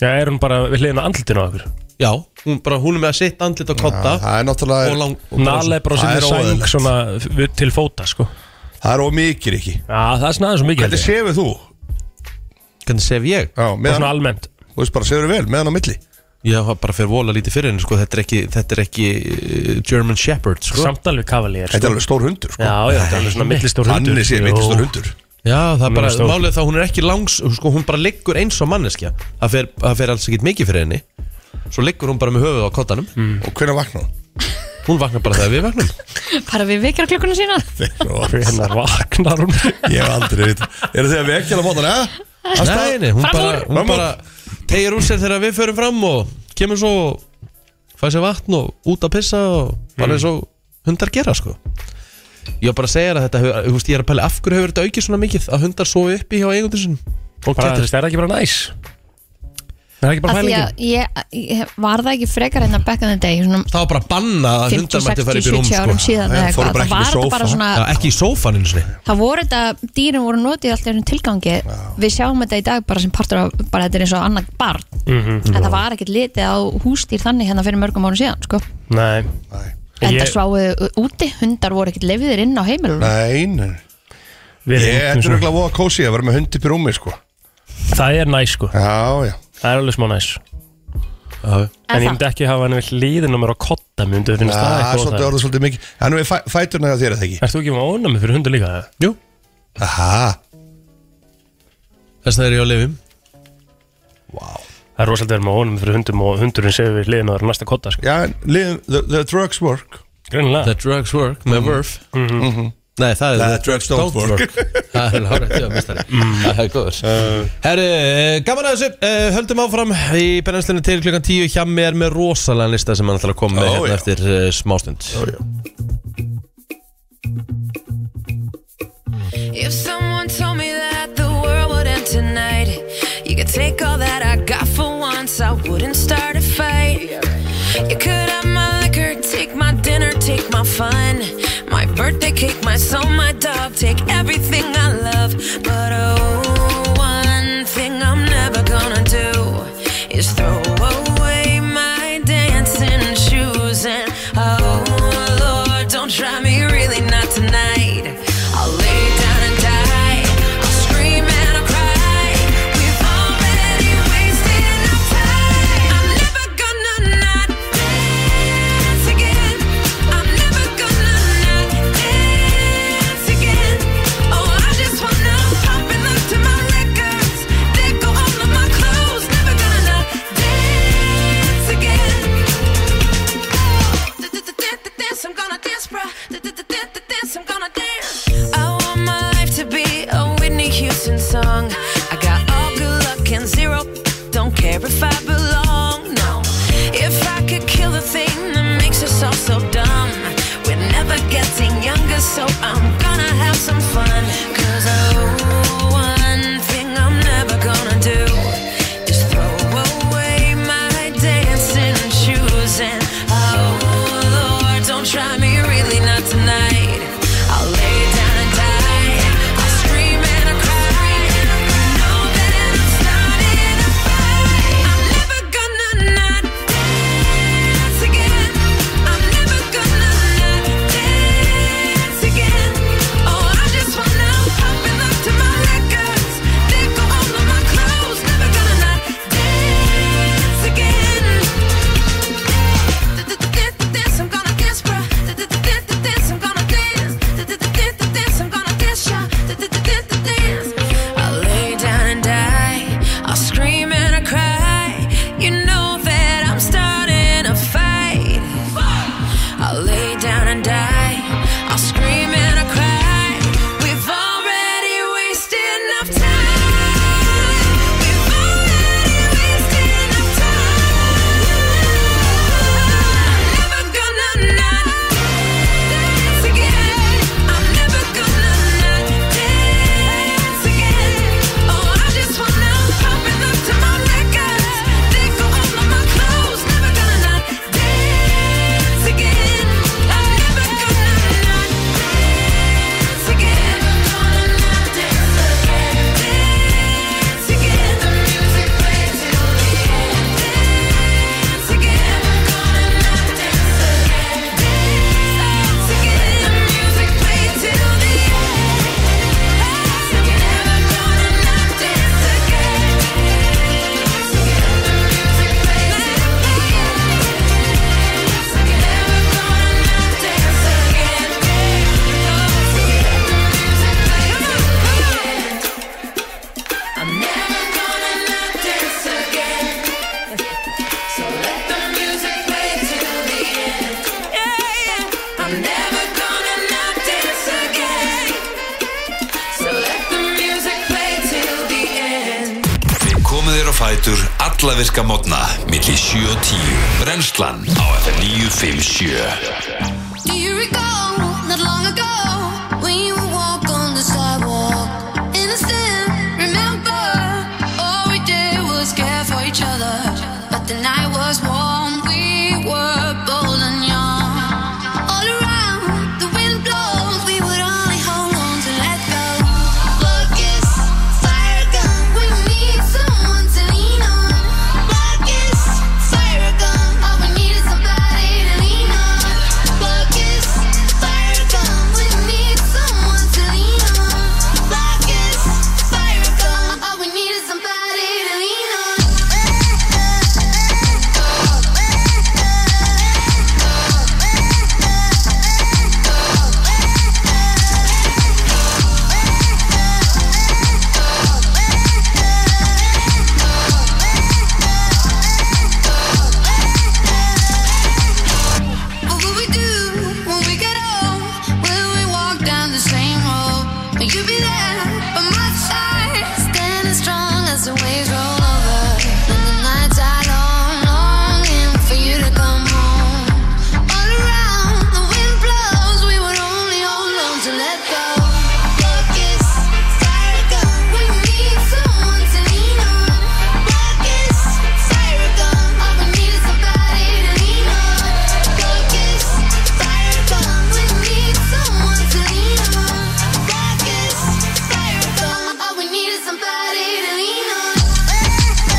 já, er hún bara við hliðina andlutinu á okkur
já, hún bara hún er með að sitt andlit á kotta
Já, það er náttúrulega-
og lang, og
Nala er bara á
Það
sinni
er
sæng
óeðlilegt.
svona við- til fóta sko
Það er ómikið ekki
Já, það er svona aðeins of mikið
Hvernig
held ég.
sefur þú?
Hvernig sef ég?
Já, meðan
svona almennt
Þú veist bara, sefur þú vel, meðan á milli
Já, það bara fer vola lítið fyrir henni sko. þetta, er ekki, þetta er ekki uh, German Shepherd sko.
Samt alveg kavalýr
Þetta er alveg stór hundur sko.
Já, já, þetta er
(laughs)
alveg svona millistór hundur
Þannig sé
Jú.
millistór hundur
Já, það
Hún
er
er
bara,
stór.
málið er það að hún er ekki langs sko, hún bara liggur eins og manneskja það fer, það fer alls ekkit mikið fyrir henni svo liggur hún bara með höfuð á kottanum
Mm.
Og hvernig vaknar hún?
Hún vaknar bara þegar við
(laughs)
vaknum
Bara við vekjar klukkuna sína
Hvernig vaknar hún?
Ég hef aldrei veit Eru þið að vekja hana mótan, eða?
Nei, nei, hún bara, hún bara tegir úr sér þegar við förum fram og kemur svo og fær sér vatn og út að pissa og
Mm.
bara eins og hundar gera sko Ég var bara að segja þér að þetta, hefur- þú veist, ég er að pæla af hverju hefur þetta aukið svona mikið að hundar sofi uppi hjá eigundur sinum og
Bara,
kettir?
þú veist, er það ekki bara næs? Það er ekki bara
Af því
pælingin
að ég, ég var það ekki frekar hérna back in the day svona,
Það var bara bannað að
50,
hundar mætti fara upp í
60,
rúm
70 árum síðan eða
Nei, fóru
eitthvað. Það var þetta bara svona-
Já, Ekki í sófaninu sinni
Það voru þetta, dýrin voru notið alltaf einu tilgangi Við sjáum þetta í dag bara sem partur af, bara þetta er eins og annað barn
Mhm.
En það var ekkert litið á hústýr þannig hérna fyrir mörgum árum síðan sko.
Nei
En
Ég-
það sváðu úti, hundar voru ekkert leifiðir inn á heimilunum
Nei, nei
Við
Ég þetta
erum út
er
með
auðvitað voða kósi að vera með hundi pyr rúmi, sko
Það er næs sko
Já, já
Það er alveg smá næs
Já.
En ég myndi ekki hafa hann við hlýðin á mér á kotta Mér myndi við finnast það
Það er
eitthvað
svolítið orðið svolítið mikið Þannig við fæ- fæturna hjá þér, eða ekki?
Ert þú ekki með ónami fyrir hundu líka?
Jú
Aha
Þess að það er ég á lifum
Það er rosalega verið með ónami fyrir hundum og hundurinn séu við hlýðin á þér á næsta kotta sko.
Já, liðum, the, the drugs work
Greinilega
The drugs work, með mm. Verf Nei, það er
Nei, drugs don't work. (laughs)
Það er hárið, já, mistari Það er góður Herru, Mm. eh, gaman að þessu, eh, höldum áfram í brennslunni til klukkan 10 Hjá mér með rosalega lista sem hann ætlar að koma með
Ó,
hérna
já.
eftir uh, smástund
If someone told me that the world would end tonight, you could take all that I got for once, I wouldn't start a fight. You could have my liquor, take my dinner, take my fun, my birthday cake, my soul, my dog, take everything I love. But oh, one thing I'm never gonna do is throw away my dancing shoes. And oh, Lord, don't try me really not tonight. I'll lay down and die. I'll scream and I'll cry. We've already wasted our time. I'm never gonna not dance again. I'm never gonna not dance again. Oh, I just wanna pop and look to my records. They go all of my clothes. Never gonna not dance again. Dance, I'm gonna dance, bruh. Dance, I'm gonna dance. I want my life to be a Whitney Houston song. I got all good luck and zero. Don't care if I belong, no. If I could kill the thing that makes us all so dumb. We're never getting younger, so I'm gonna have some fun. Cause oh, one thing I'm never gonna do. Just throw away my dancing shoes and oh Lord, don't try me really not tonight. I'll lay down and die. I'll scream and I'll cry. I know that I'm starting a fight. I'm never gonna not dance again. Oh, I'm never gonna not dance again.
fætur alla virka mótna millir 7 og 10 Brennslan á FM 957
Do you recall not long ago when you would walk on the sidewalk? Innocent, remember all we did was care for each other. But the night was warm, we were bold and young. All around, the wind blows, we would only hold on to let go. Love is fire gun, we need someone to lean on. Love is fire gun, all we need is somebody to lean on. Love is fire gun, we need someone to lean on. Love is fire gun, all we need is somebody to lean on. What would we do when we get old? Will we walk down the same road? Will you be there by my side, standing strong as the waves roll over? And the nights are long, longing for you to come home. All around, the wind blows. We would only hold on to let go. Love is fire gun. We need someone to lean on. Love is fire gun. All we need is somebody to lean on. Love is fire gun. We need someone to lean on. Love is fire gun. All we need is somebody to lean on.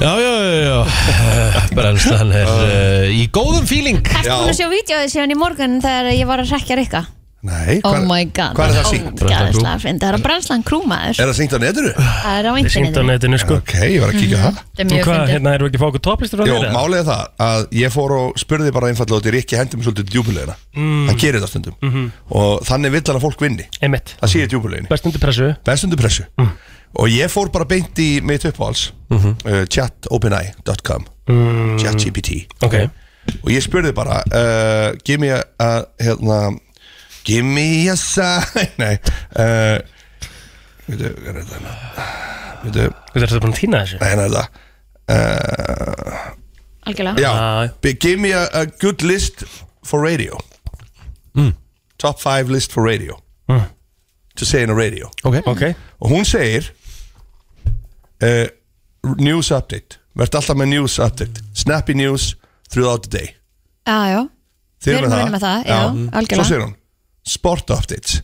Já, já, já, já (laughs) Brennslan er uh, í góðum feeling
Ertu búin að sjá vídeoið síðan í morgun þegar ég var að rekja Rikka?
Nei,
oh my god
hvar er það sýnt?
Ógæðislega fyndið, það er á brennslan krúmaður
(laughs) Er það syngt á netinu?
Það er á
Ég sýndi á
internetinu Mm,
netinu sko
Ok, ég var að kíkja á það
er mjög
Og hvað,
fyndið.
hérna, erum við ekki að fá okkur topplistur frá
Jó,
þér, eða?
málið er það að ég fór og spurði bara einfallega út í Rikki hendur mig svolítið djúbulegina
Mm.
Hann gerir það stundum
Mhm.
Og þannig vill hann að fólk vinni
Einmitt.
Það sé ég djúbuleginni
Best undir pressu Mm.
Best undir pressu Og ég fór bara beint í mitt uppáhals
Mhm.
uh, chatopenai.com
Mm.
chatgpt
Ok.
Og ég spurði bara uh, Give me a, a hérna, Give me a sign (laughs) Nei uh, Veitu, hvað er þetta? hérna? Veitu
Veitu, er þetta búin að týna þessu?
Nei, nei, þetta uh,
Algjörlega
Já, Be- give me a, a good list for radio Top 5 list for radio
Mm.
To say in a radio
Mm.
okay.
Okay.
Og hún segir uh, News update Vert alltaf með news update Snappy news throughout the day
Já, já
Þið
Við
eruð Mm.
erum að vinna með það, já, algjörlega.
Svo segir hún Sport updates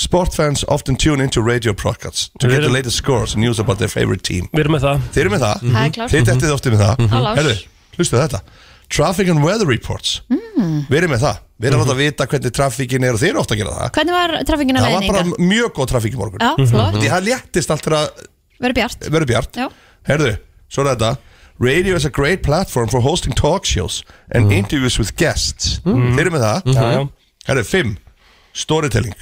Sportfans often tune into radio podcasts to
Við
get the
erum-
latest scores and news about their favorite team
Við erum með það
Þið eru með það,
Mhm. Það er klárt.
þið dettið oftið með það
Mm-hmm.
Mhm. Á lás.
Herðu, hlustu þetta Traffic and weather reports mm. Við erum með það, við
Mhm.
erum mm að vita hvernig trafíkin er og þið eru ofta að gera það
Hvernig var trafingin að
Það var
leiðninga?
bara mjög góð trafík í morgun Mhm.
Já, flott.
Því það léttist allt þegar að
Verður bjart
verður bjart
Já.
Herðu, svo er þetta Radio is a great platform for hosting talk shows and interviews with guests
Mm.
Þeir eru með það
Mhm. Já, já.
Herðu, fimm, storytelling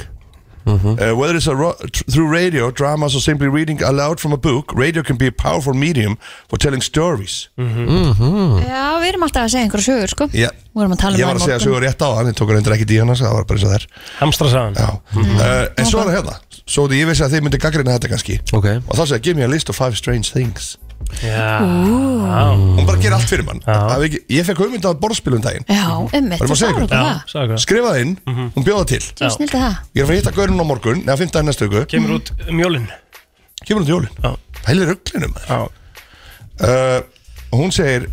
Mhm.
Uh, whether it's a ro- tr- through radio, dramas or simply reading aloud from a book Radio can be a powerful medium for telling stories
Mhm.
Já, við erum alltaf að segja einhverja sögur, sko
Mm. Já.
Við erum að tala um
Ég
það
var
í
að segja
morgun.
sögur rétt á hann, ég tók reyndar ekki díðan það var bara eins og það er
Hamstra sagan
Já,
Mhm.
uh, en svo er það hérna Svo því ég vissi að þið myndi gaggrina þetta kannski okay. Og þá segja, give me a list of five strange things
Já
Hún bara gerir allt fyrir mann Að við ekki- Ég fekk hugmynda á borðspilum daginn
Já, ummitt,
Varum Mhm. að segja ykkur?
það
Skrifaði inn, hún bjóða til
Þú snildi það
Ég er að fara að hitta gaurinn á morgun, neða 15. næstu viku
Kemur út mjólin
kemur hún til jólin Pæli rugglinum uh, Hún segir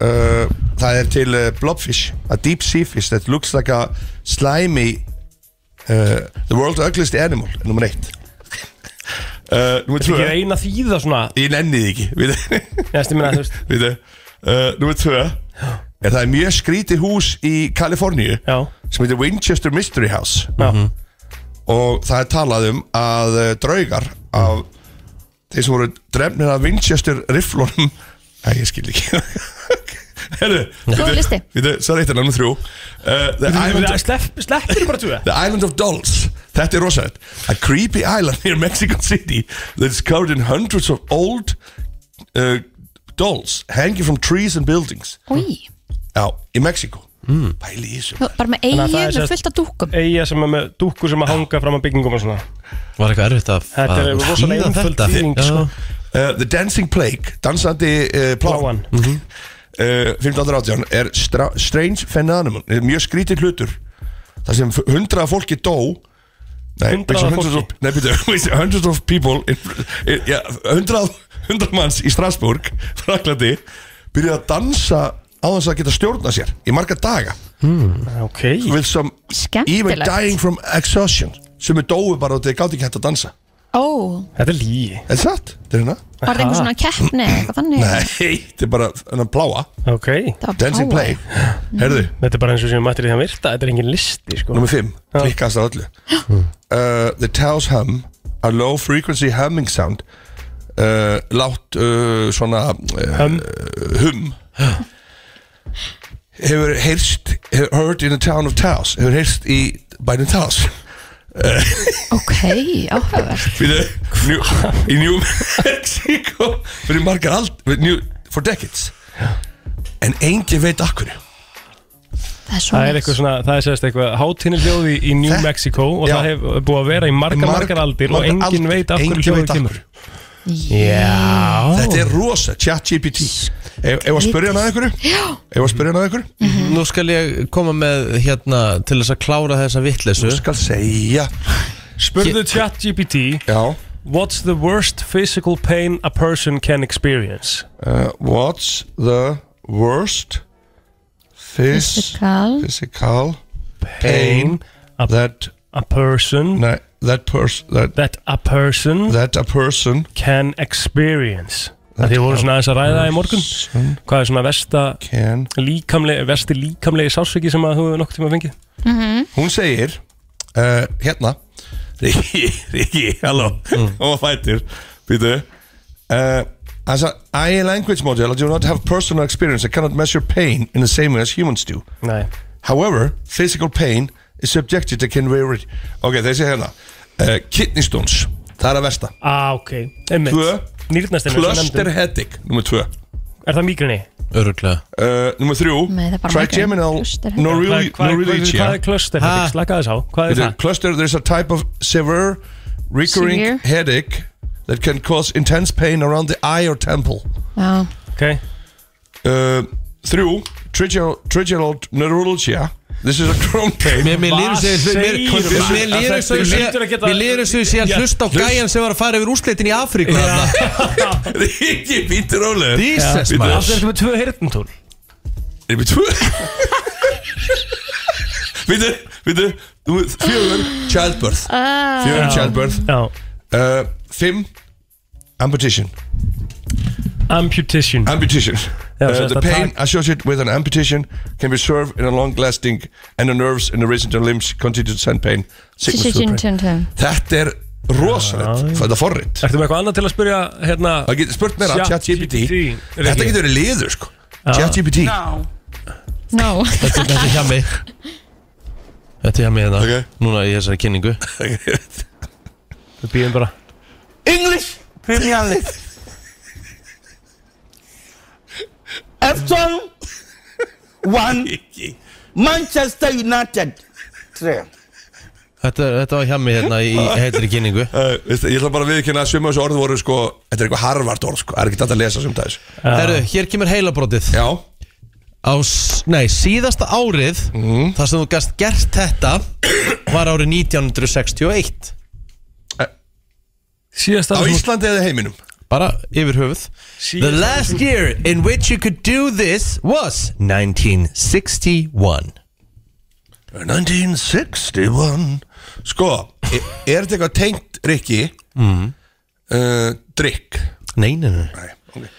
uh, Það er til uh, blobfish A deep sea fish that looks like a slimy uh, The world's ugliest animal er Númer eitt uh, Númer
Þetta
tvö
er ekki eina þýða svona
Ég nenni því ekki
Næstu minna þú veist
Við þau uh, Númer tvö er það er mjög skrítið hús í Kaliforníu Já. sem heitir Winchester Mystery House Já. og það er talað um að uh, draugar af þeir sem voru drefnir af Winchester rifflunum Æ, ég skil ekki (laughs) Herru
Góð listi.
Við þau, sorry, þetta er náttúrulega þrjú uh, the, island,
Slepp, sleppir bara tvö
the Island of Dolls Þetta er rosalegt A creepy island near Mexico City that is covered in hundreds of old uh, dolls hanging from trees and buildings
Új,
Já, í Mexiko mm. Pæli í þessu
bara með
Þannig
eigið
að það er
með
sem sagt-
fullt af dúkum
Eyja sem er með dúkku sem að hanga fram að byggingum og svona
Var eitthvað erfitt að
Þetta er
að
rosalega
þýða
einföld
þetta?
þýðing
Já.
sko.
Uh, The Dancing Plague, dansandi uh, pláan mm -hmm. uh, 1518 er stra Strange Phenomenon er mjög skrítið hlutur þar sem hundraða fólki dó Nei,
Hundrað
(laughs) veistu,
af
hundruð
fólki?
of- Nei, byrju, hundreds of people in, in, Eh, ja, hundrað, hundrað manns í Strasbourg Fraklandi byrjuð að dansa á þess að geta stjórna sér í marga daga
Hmm. Ok
with some even
Skemmtilegt.
dying from exhaustion sem er dói bara og þeir gátt ekki hægt að dansa
Ó,
Þetta er lígi
Er það satt? Þetta er hérna
var það einhver svona keppni eða eitthvað þannig
Nei, (laughs) þetta er bara hennar pláa
Ok
var
Dancing
pláa.
Play Herðu,
Þetta er bara eins og sem við mættir í það virta Þetta er engin listi sko Mm.
nummer 5 Klikkast á öllu uh, The Taos Hum A low frequency humming sound uh, Látt uh, svona uh, Hum Hum Hefur heyrst hefur Heard in the town of Taos Hefur heyrst í bænum Taos
(laughs) Ok, áhugavert
Fyrir New, Í New Mexico Fyrir margar ald fyrir new, For decades En engin veit akkur
Það er
Það
svona
er eitthvað svona, það er sérst eitthvað hátinni hljóði í New Mexico og
Já.
það hefur búið að vera í margar,
Marg-
margar aldir og
margar aldir,
enginn veit af
enginn
hverju hljóði
veit af
kemur.
Já Þetta er rosa, chat GPT Ef ef að spyrja hann að einhverju Ef að spyrja hann að einhverju
Mhm. Nú skal ég koma með hérna til þess að klára þessa vitleysu Nú
skal segja
Spurðu chat GPT
Já
What's the worst physical pain a person can experience?
uh, What's the worst phys
Physical.
physical pain
a,
that
a person
ne, that, pers that,
that a person
that a person
Can experience Það þið voru svona aðeins að ræða í morgun Hvað er svona versta
can
líkamlega, versti líkamlega sásviki sem að þú hefur nokkuð tíma fengið?
Hún segir uh, Hérna Riki, Riki, halló Hún var fættir Býtu uh, As an AI language model I do not have personal experience I cannot measure pain in the same way as humans do
Nei
However, physical pain is subjected to can vary Ok, þessi hérna uh, Kidney stones, það er að versta
Ah, ok, einmitt
Tvö.
Nýrnastinu
Cluster headache, nummer 2 uh,
Er það mýgrinni?
Öruglega
Nummer 3
Nei, það er bara migraine.
Trigeminal
Cluster headache.
Hvað
neurali-
hvað- hvað- hvað
neuralgia
er cluster headache?
Ha?
Slaka þess á Hvað er
Þetta er
það?
Cluster, there's a type of severe recurring
Severe.
headache that can cause intense pain around the eye or temple
Já,
Ok
uh, Þrjú, trigeminal trigeminal neuralgia This is a chronic pain
Mér, mér líður sem
Hvað
mér-
segirðu
mér-
maður?
mér líður eins og ég
Þetta er
sé-
geta-
mér líður eins og ég sé að
Já.
hlusta á
(laughs)
gæjan sem var að fara yfir úrslitin í Afríku þarna.
Riki, býttu rólegur
Jesus
Bíddu.
maður
Það er með tvö heyrnintól
Er við tvö? Vítu, vítu Fjögur, childbirth Fjögur, childbirth
Já
uh, Fimm, amputation
Amputation
Amputation
Já,
Uh,
sem
the
sagt að
pain associated with an amputation can be served in a long lasting and the nerves in the wrist and limbs continue to send pain. Sickness to the brain. Þetta er rosalegt, þetta er forrið.
Ertu með eitthvað annað til að spyrja hérna
Það getur spurt meira, ChatGPT.
ChatGPT.
Þetta getur verið liður, sko. ChatGPT.
No.
Þetta þetta er hjá mig Þetta er hjá mig þetta
Ok.
Núna í þessari
(laughs)
kynningu
Við býðum bara
English Premier League. Everton 1, Manchester United 3.
Þetta, þetta var hjá mig hérna í heitri kynningu
Uh, veistu, ég ætla bara að viðkynna að suma þessu orð voru, sko, þetta er eitthvað harvart orð, sko. Það er ekki alltaf að lesa sem það
Herru, hér kemur heilabrótið
Já,
Á, s- nei, síðasta árið
Mhm.
þar sem þú gast gert þetta var árið 1961
Síðasta
Á Íslandi eða heiminum
Bara yfir höfuð The last year in which you could do this was 1961
1961 Sko, e- er þetta eitthvað tengt, Rikki mm.
Mhm.
uh, Drikk
Nei, nei, nei, nei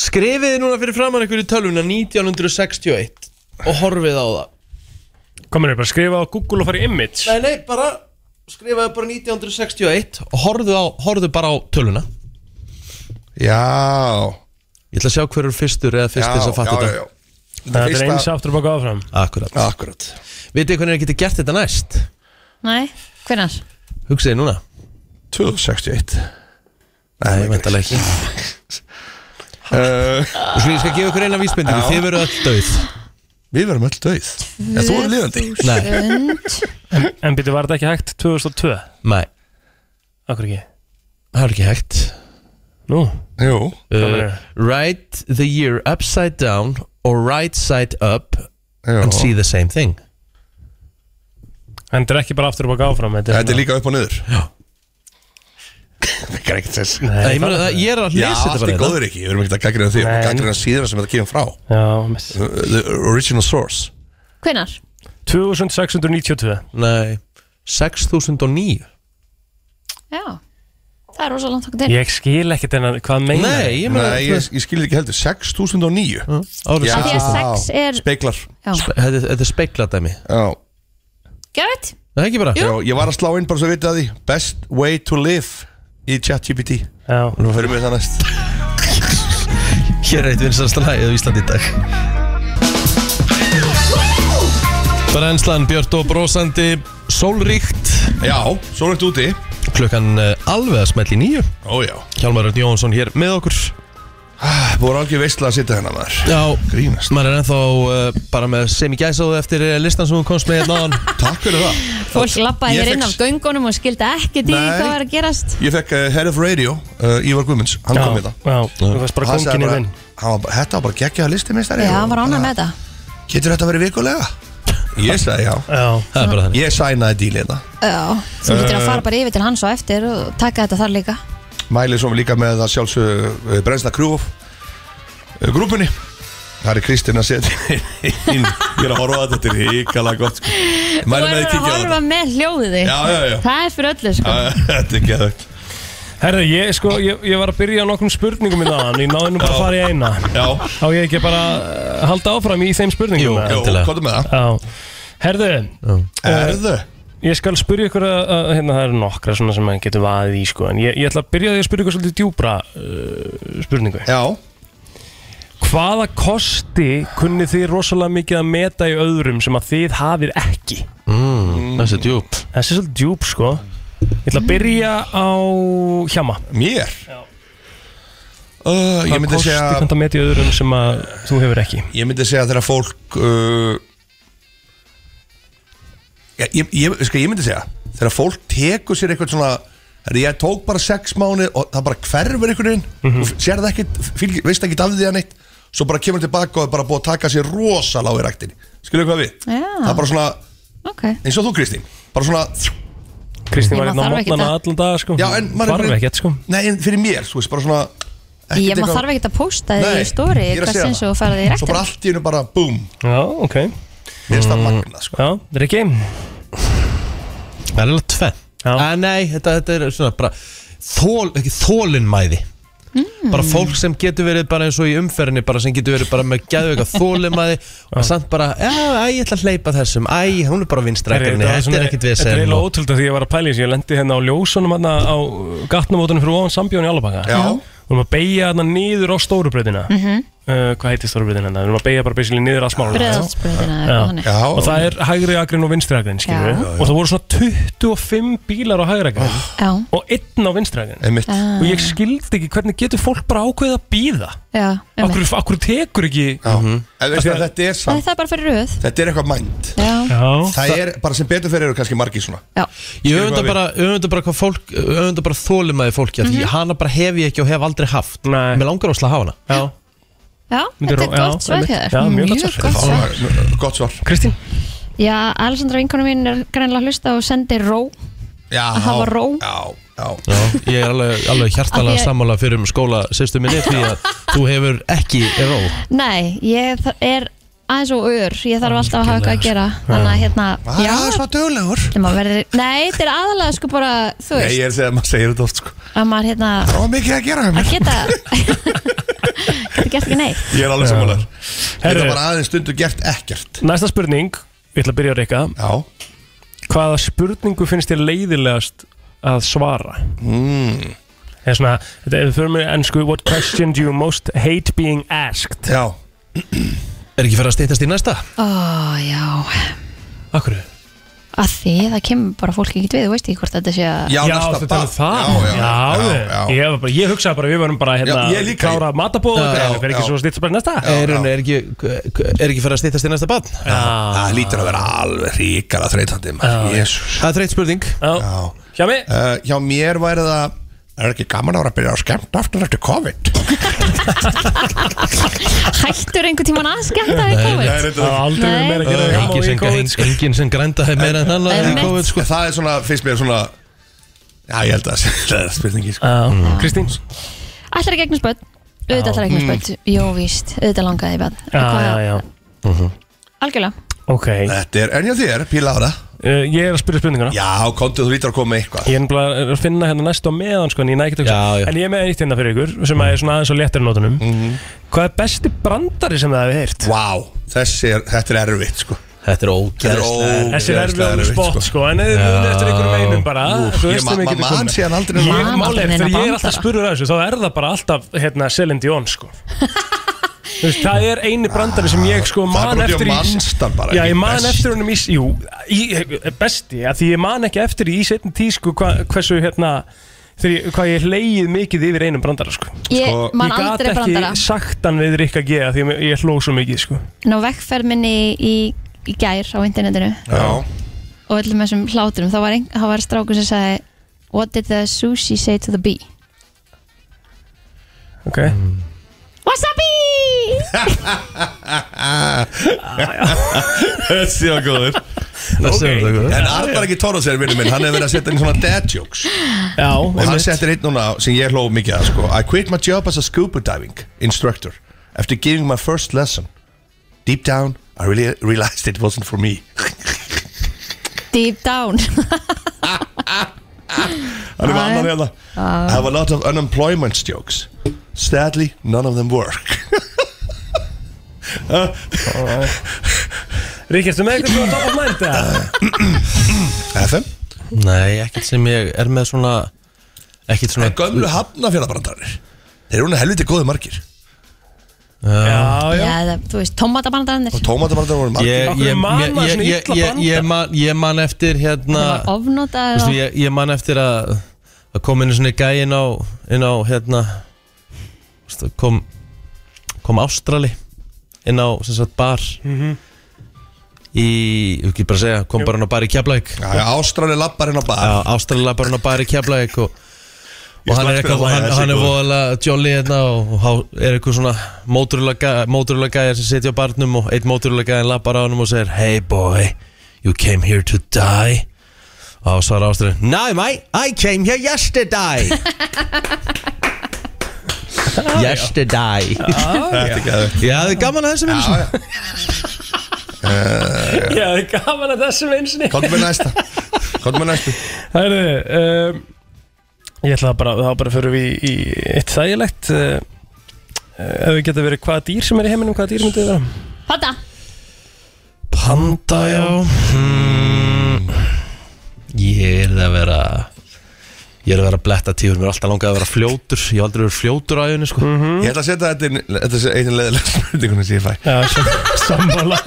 Skrifiði núna fyrir framann ykkur í tölvuna 1961 og horfið á það
Komin er bara að skrifa á Google og fara í image
Nei, nei, bara skrifaði bara 1961 og horfðu, á, horfðu bara á töluna
Já
Ég ætla að sjá hver er fyrstur eða fyrst þess að fatta þetta
Það er eins aftur og baka áfram
Akkurat
Akkurat
Vitið hvernig þið getið gert þetta næst?
Nei, hvernar?
Hugsiði núna
261 Nei,
ég veit alveg ekki
uh,
Svo ég skal gefa ykkur eina vísbendingu,
Já.
þið verður öll döið
Við verðum öll döið
En þú eru lifandi.
Nei
En, en byrju, var þetta ekki hægt 2002?
Nei
Akkur ekki
Það er ekki hægt
Nú
Jú
uh, Write the year upside down or right side up and see the same thing
En þetta er ekki bara aftur og baka áfram
Þetta er líka upp og niður
Já
Það er ekkert þess
Nei, ég meina það- ég er að lesa þetta
Já, allt
bara
er
hérna.
góður ekki, við erum ekki að gaggrina því
Nei.
Gaggrina síðan sem þetta kemur frá
Já, miss
The the original source
Hvernar?
2692
Nei 6009
Já Það er rosa langt okkur til
Ég skil ekkert en að hvað meina
Nei, ég, Nei, ég, ég skil ekki heldur 6009
árið
Því
Já.
6009.
að sex er-
Speklar
Já.
Spe- Þetta þetta er speikladæmi
Já
Gæt?
Það er ekki bara
Já, ég var að slá inn bara svo vitið að því Best way to live í ChatGPT
Já
Nú fyrir mig það
(laughs)
næst
Hér er eitt vinsast lagið á Íslandi í dag Brennslan Björn og brósandi Sólríkt
Já, sólríkt úti
Klukkan eh, alveg að smelli nýju
Ó já Ah,
Hjálmar Örn Jóhansson hér með okkur
Búið ekki veistla að sitja hennar maður
Já,
Grínast.
maður er ennþá uh, bara með sem í gæsáðu eftir eh, listan sem hún komst með hérna áðan
(laughs) Takk fyrir það
Fólk lappaði
Ég
hér inn
fekk-
af göngunum og skildi ekkert í
Nei.
hvað var að gerast
Ég fekk uh, Head of Radio, uh, Ívar Guðmunds, hann
Já,
kom í það
já, þú varst bara
Hann sagði
kónginn í
bara-
vinn.
hann var bara, Þetta var bara geggjaða listi meistari
Já,
og
hann var ánað með
bara,
þetta
Getur þetta verið vikulega? Ég sagði já,
já.
Það er bara þannig
Ég hérna. sænaði díli þetta
Já, þú getur að
Eh.
fara bara yfir til hans og eftir og taka þetta þar líka
Mælið svo líka með að sjálfsög Brensna Krúf uh, Grúpunni Það er Kristina að setja inn Ég er að horfa á þetta, þetta er hikalega gott sko.
Þú erum
Mælið með að
að
kíkja á þetta
horfa með hljóðið þig.
Já, já, já.
Það er fyrir öllu sko
Já, Ah, (laughs) Þetta er geðvögt
Herðu, ég, sko, ég, ég var að byrja á nokkrum spurningum í þaðan Ég náði nú bara að fara í eina
Já
Á ég ekki bara að halda áfram í þeim
Jú,
spurningum eða?
jú, komdu með það
Já Herðu
Herðu
Eh, Ég skal spyrja ykkur að, að hérna, það eru nokkra svona sem maður getur vaðið í sko, en ég, ég ætla að byrja á því að spyrja ykkur svolítið djúbra uh, spurningu.
Já.
Hvaða kosti kunni þið rosalega mikið að meta í öðrum sem að þið hafið ekki?
mm, Þessi er djúp
Þessi er svolítið djúp sko. Ég ætla að byrja á hjama.
Mér?
Já.
Uh, ég
Hvaða
myndi
kosti
segja-
kanntu að meta í öðrum sem að þú hefur ekki?
Ég myndi segja þegar fólk uh, já, ég, ég, sko, ég myndi segja Þegar fólk tekur sér eitthvað svona herri, Ég tók bara sex mánu og það bara hverfur einhvern veginn
Mhm.
mm -hmm. Sér það ekkit, fylg, veist ekkit af því að neitt Svo bara kemur tilbaka og er bara búið að taka sér rosalega í ræktinni Skilju hvað við?
Já.
Það er bara svona,
Ok
eins og þú Kristín Bara svona,
Kristín
Ég
var hérna á
maður þarf ekkert
mótnana
að-
allan dag sko.
Já, en maður er
Þarf
bara-
ekkert sko.
nei en fyrir mér Þú veist bara svona ekkert
Ég maður
eitthvað-
þarf ekkert að posta þig
Nei,
í stóri
ég er að
Hvers
segja
eins
það.
og fara þig í
Svo bara
rektin
allt í hennu bara búm
Já, ok. Mm.
Mér finnst það magna sko.
Já, Rikki?
Það er alveg tvenn ah, Nei, þetta, þetta er svona bara þól, ekki, Þólinmæði
Mm.
Bara fólk sem getur verið bara eins og í umferðinni bara sem getur verið bara með
(laughs)
geðveika þólinmæði og samt bara, já, æ, ég ætla að hleypa þessum Æ, hún er bara vinstrækjumni, þetta er ekkit
Þetta er
vesen
eiginlega
og-
ótrúld að því ég var að pæla í þessu Ég lendi hérna á ljósunum hérna á gatnamótunum fyrir ofan sambjón í Alabaka
Já.
Við erum að beigja hérna niður á stórubröðina mm
Mhm.
uh, Hvað heitir stórubröðina hérna? Við erum að beigja bara basically niður að smála
Breiðholtsbrautina eða eitthvað þannig.
Já.
Og það er hægri agrin og vinstri agrin
Já.
skilur
Já, Oh.
Og það voru svona 25 bílar á hægri agrin
Já,
Og einn á vinstri agrin
Einmitt.
Ah.
Og ég skildi ekki hvernig getur fólk bara ákveðið að býða
já, um
Akkur, akkur tekur ekki
En veist það, þetta
Nei,
er samt
það er bara fyrir röð
Þetta er eitthvað mænt
Já,
Það er bara sem betur fyrir eru kannski margir svona
já,
Ég
Skilur
öfunda
hvað við?
bara, öfunda bara hvað fólk öfunda bara þólimaði fólki mm -hmm. hana bara hef ég ekki og hef aldrei haft
Mhm. Nei.
Mér langar óslega að hafa hana
Já,
já
Myndir
Þetta er
þú- já,
gott svar
einmitt.
hér
Já, mjög gott svar.
gott svar
Fá- Gott svar
Kristín
Já, Alessandra vinkonu mín er greinlega að hlusta og sendi ró
já,
að hafa ró
já,
já. Ég er alveg, alveg
Af því
hjartalega
að-
sammála fyrir um skóla sýstu minni því að þú hefur ekki ró
Nei, ég þ- er aðeins og ör Ég þarf alltaf að hafa eitthvað að gera Þannig að hérna
Var aðeins
var duglegur Nei, þetta er aðalega sko bara, þú
Nei,
veist
ég er að segja að maður segir þetta oft sko
Að maður hérna
Það var mikið að gera hjá mér.
Að geta Geta gert ekki neitt
Ég er alveg samanlega Þetta
Herru.
var aðeins stundu gert ekkert
Næsta spurning, ég ætla að byrja á Rikka
Já
Hvaða spurningu finnst þér leiðilegast að svara?
Hmm.
Mm. Eða svona, þetta er fyrir mér ennsku What question do you most hate being asked?
Já
Er ekki fyrir að steytast í næsta?
Ó, já
Akkur
Að því það kemur bara fólk ekki við Þú veist ekki hvort þetta sé að
já ertu að tala um það Já, já, Ég, var bara, ég hugsaði bara, við varum bara hérna
Já, ég líka.
Klára matabóð og það fyrir ekki svo stýtt bara í næsta
Er, hún- er ekki, er ekki fyrir að steytast í næsta barn?
Það lítur að vera alveg ríkala þreytandi maður. Jesús. Eh,
Það er þreyt spurning
Hjá mér?
hjá mér væri það Er ekki gaman ára að byrja á skemmt aftur eftir COVID?
Hættur einhvern tímann að skemmta í
Nei,
COVID
það er aldrei verið meira að gera
Nei.
gaman í
Engin sem-
COVID,
engin-
sko. Enginn sem grænda hefur meira en hann að
En
í COVID sko.
Það er svona, finnst mér svona Já, ég held að (laughs) það er spurningi sko.
Mhm.
mm. Kristín?
Ætlar ekki eignast börn Auðvitað ætlar ekki
Mm.
eignast börn Jó, víst, auðvitað langaði í börn
Já, já, já
Mhm.
Algjörlega
Ok
Þetta er, en já þér, píla ára
uh, Ég er að spyrja spurninguna
Já, kontu þú lítur að koma með eitthvað
Ég er nefnilega að finna hérna næstu á meðan sko, en ég næ ekki að hugsa. En ég er með eitt hérna fyrir ykkur sem er svona aðeins á léttari nótunum
Mhm.
Hvað er besti brandari sem það hefur heyrt?
Vá, wow, þessi er, þetta er erfitt sko
Þetta er ógeðslega
Þessi er erfið á spott sko En eða munið eftir ykkur meinum bara
Úff,
þú
ég
veist
ma-
þeim
ma-
ekki
man
komið.
síðan aldrei
Ég-
neina-
málið er,
aldrei neina
Þegar ég er
bandara.
alltaf spurður að þessu Þá er það bara alltaf hérna, Selin Dion sko Þú veist, Það er eini brandari sem ég sko
Það er
man
bara út í
eftir
að manstan bara,
Já,
ekki
ég man
best.
eftir honum í Jú, í, eh, besti að Því ég man ekki eftir í setni tí sko hva, Hversu hérna Þegar, ég- hvað ég hleið mikið yfir einum brandara sko.
Ég
Sko,
man
gat
aldrei brandara.
ekki sagt hann við Rikka G af Því ég, ég hló svo mikið sko.
Ná vegferð minni í, í gær á internetinu
Já
og öllum þessum hláturum þá var, ein, þá var strákur sem sagði What did the sushi say to the bee?
Ok
Wasabi!
Ah, (laughs) Þessi var góður
Þessi var
Ok.
góður.
En Arnar ekki Tóros er vinnu minn Hann hefur verið að setja inn svona dad jokes
Já,
Og hann settir einn núna sem ég hló mikið að sko I quit my job as a scuba diving instructor After giving my first lesson Deep down I really realized it wasn't for me
Deep down
Hann hefur annan hérna
Ah.
I have a lot of unemployment jokes Sadly none of them (laughs) work
Ríkir, ertu með eitthvað svona top of mind eða?
FM?
Nei, ekkert sem ég er með svona Ekkert svona
Gömlu hafnafjörðabrandarir Þeir eru hún helviti góði margir
Ah, Já,
Já, það, þú veist, tómatabandaranir
Tómatabrandarar voru margir
Ég, ég, ég, ég, ég, ég, ég, man, ég man eftir hérna
Ofnóta
Vistu, ég, ég man eftir að að kom inn svona gæi inn á inn á hérna vistu, kom, kom Ástrali inn á sem sagt bar í, ég ekki bara að segja kom bara inn á bar í Keflæk
já, Ástrali lappar inn á bar
Já, Ástrali lappar inn á bar í Keflæk og,
Ég
og hann
slapp fyrir að
er eitthvað
hlæja,
hann,
þessi
hann er
góður.
voðalega jolly hérna og, og há- er eitthvað svona móturulega gæjar sem sitja á barnum og eitt móturulega gæjar lappar á hann og segir Hey boy, you came here to die og svo er Ástrali No mate, I came here yesterday Yesterday
Þetta er gæður
Já, það er gaman að þessu minn
(laughs)
(laughs)
Eh,
Já, það er gaman að þessu einsinni
Komdu með næsta Komdu með næsta
Hæru, um, ég ætla bara, þá bara fyrir við í, í eitt þægilegt uh, Ef við geta verið hvaða dýr sem er í heiminum, hvaða dýr myndið vera?
Pata
Panda, já hmm. Ég er að vera Ég er að vera bletta tífur Mér er alltaf langað að vera fljótur Ég hef aldrei verið fljótur á æðinu sko. mm
Ég ætla að setja þetta inn- Þetta er einu leðilega spurningunum sem ég fæ
Já, sammála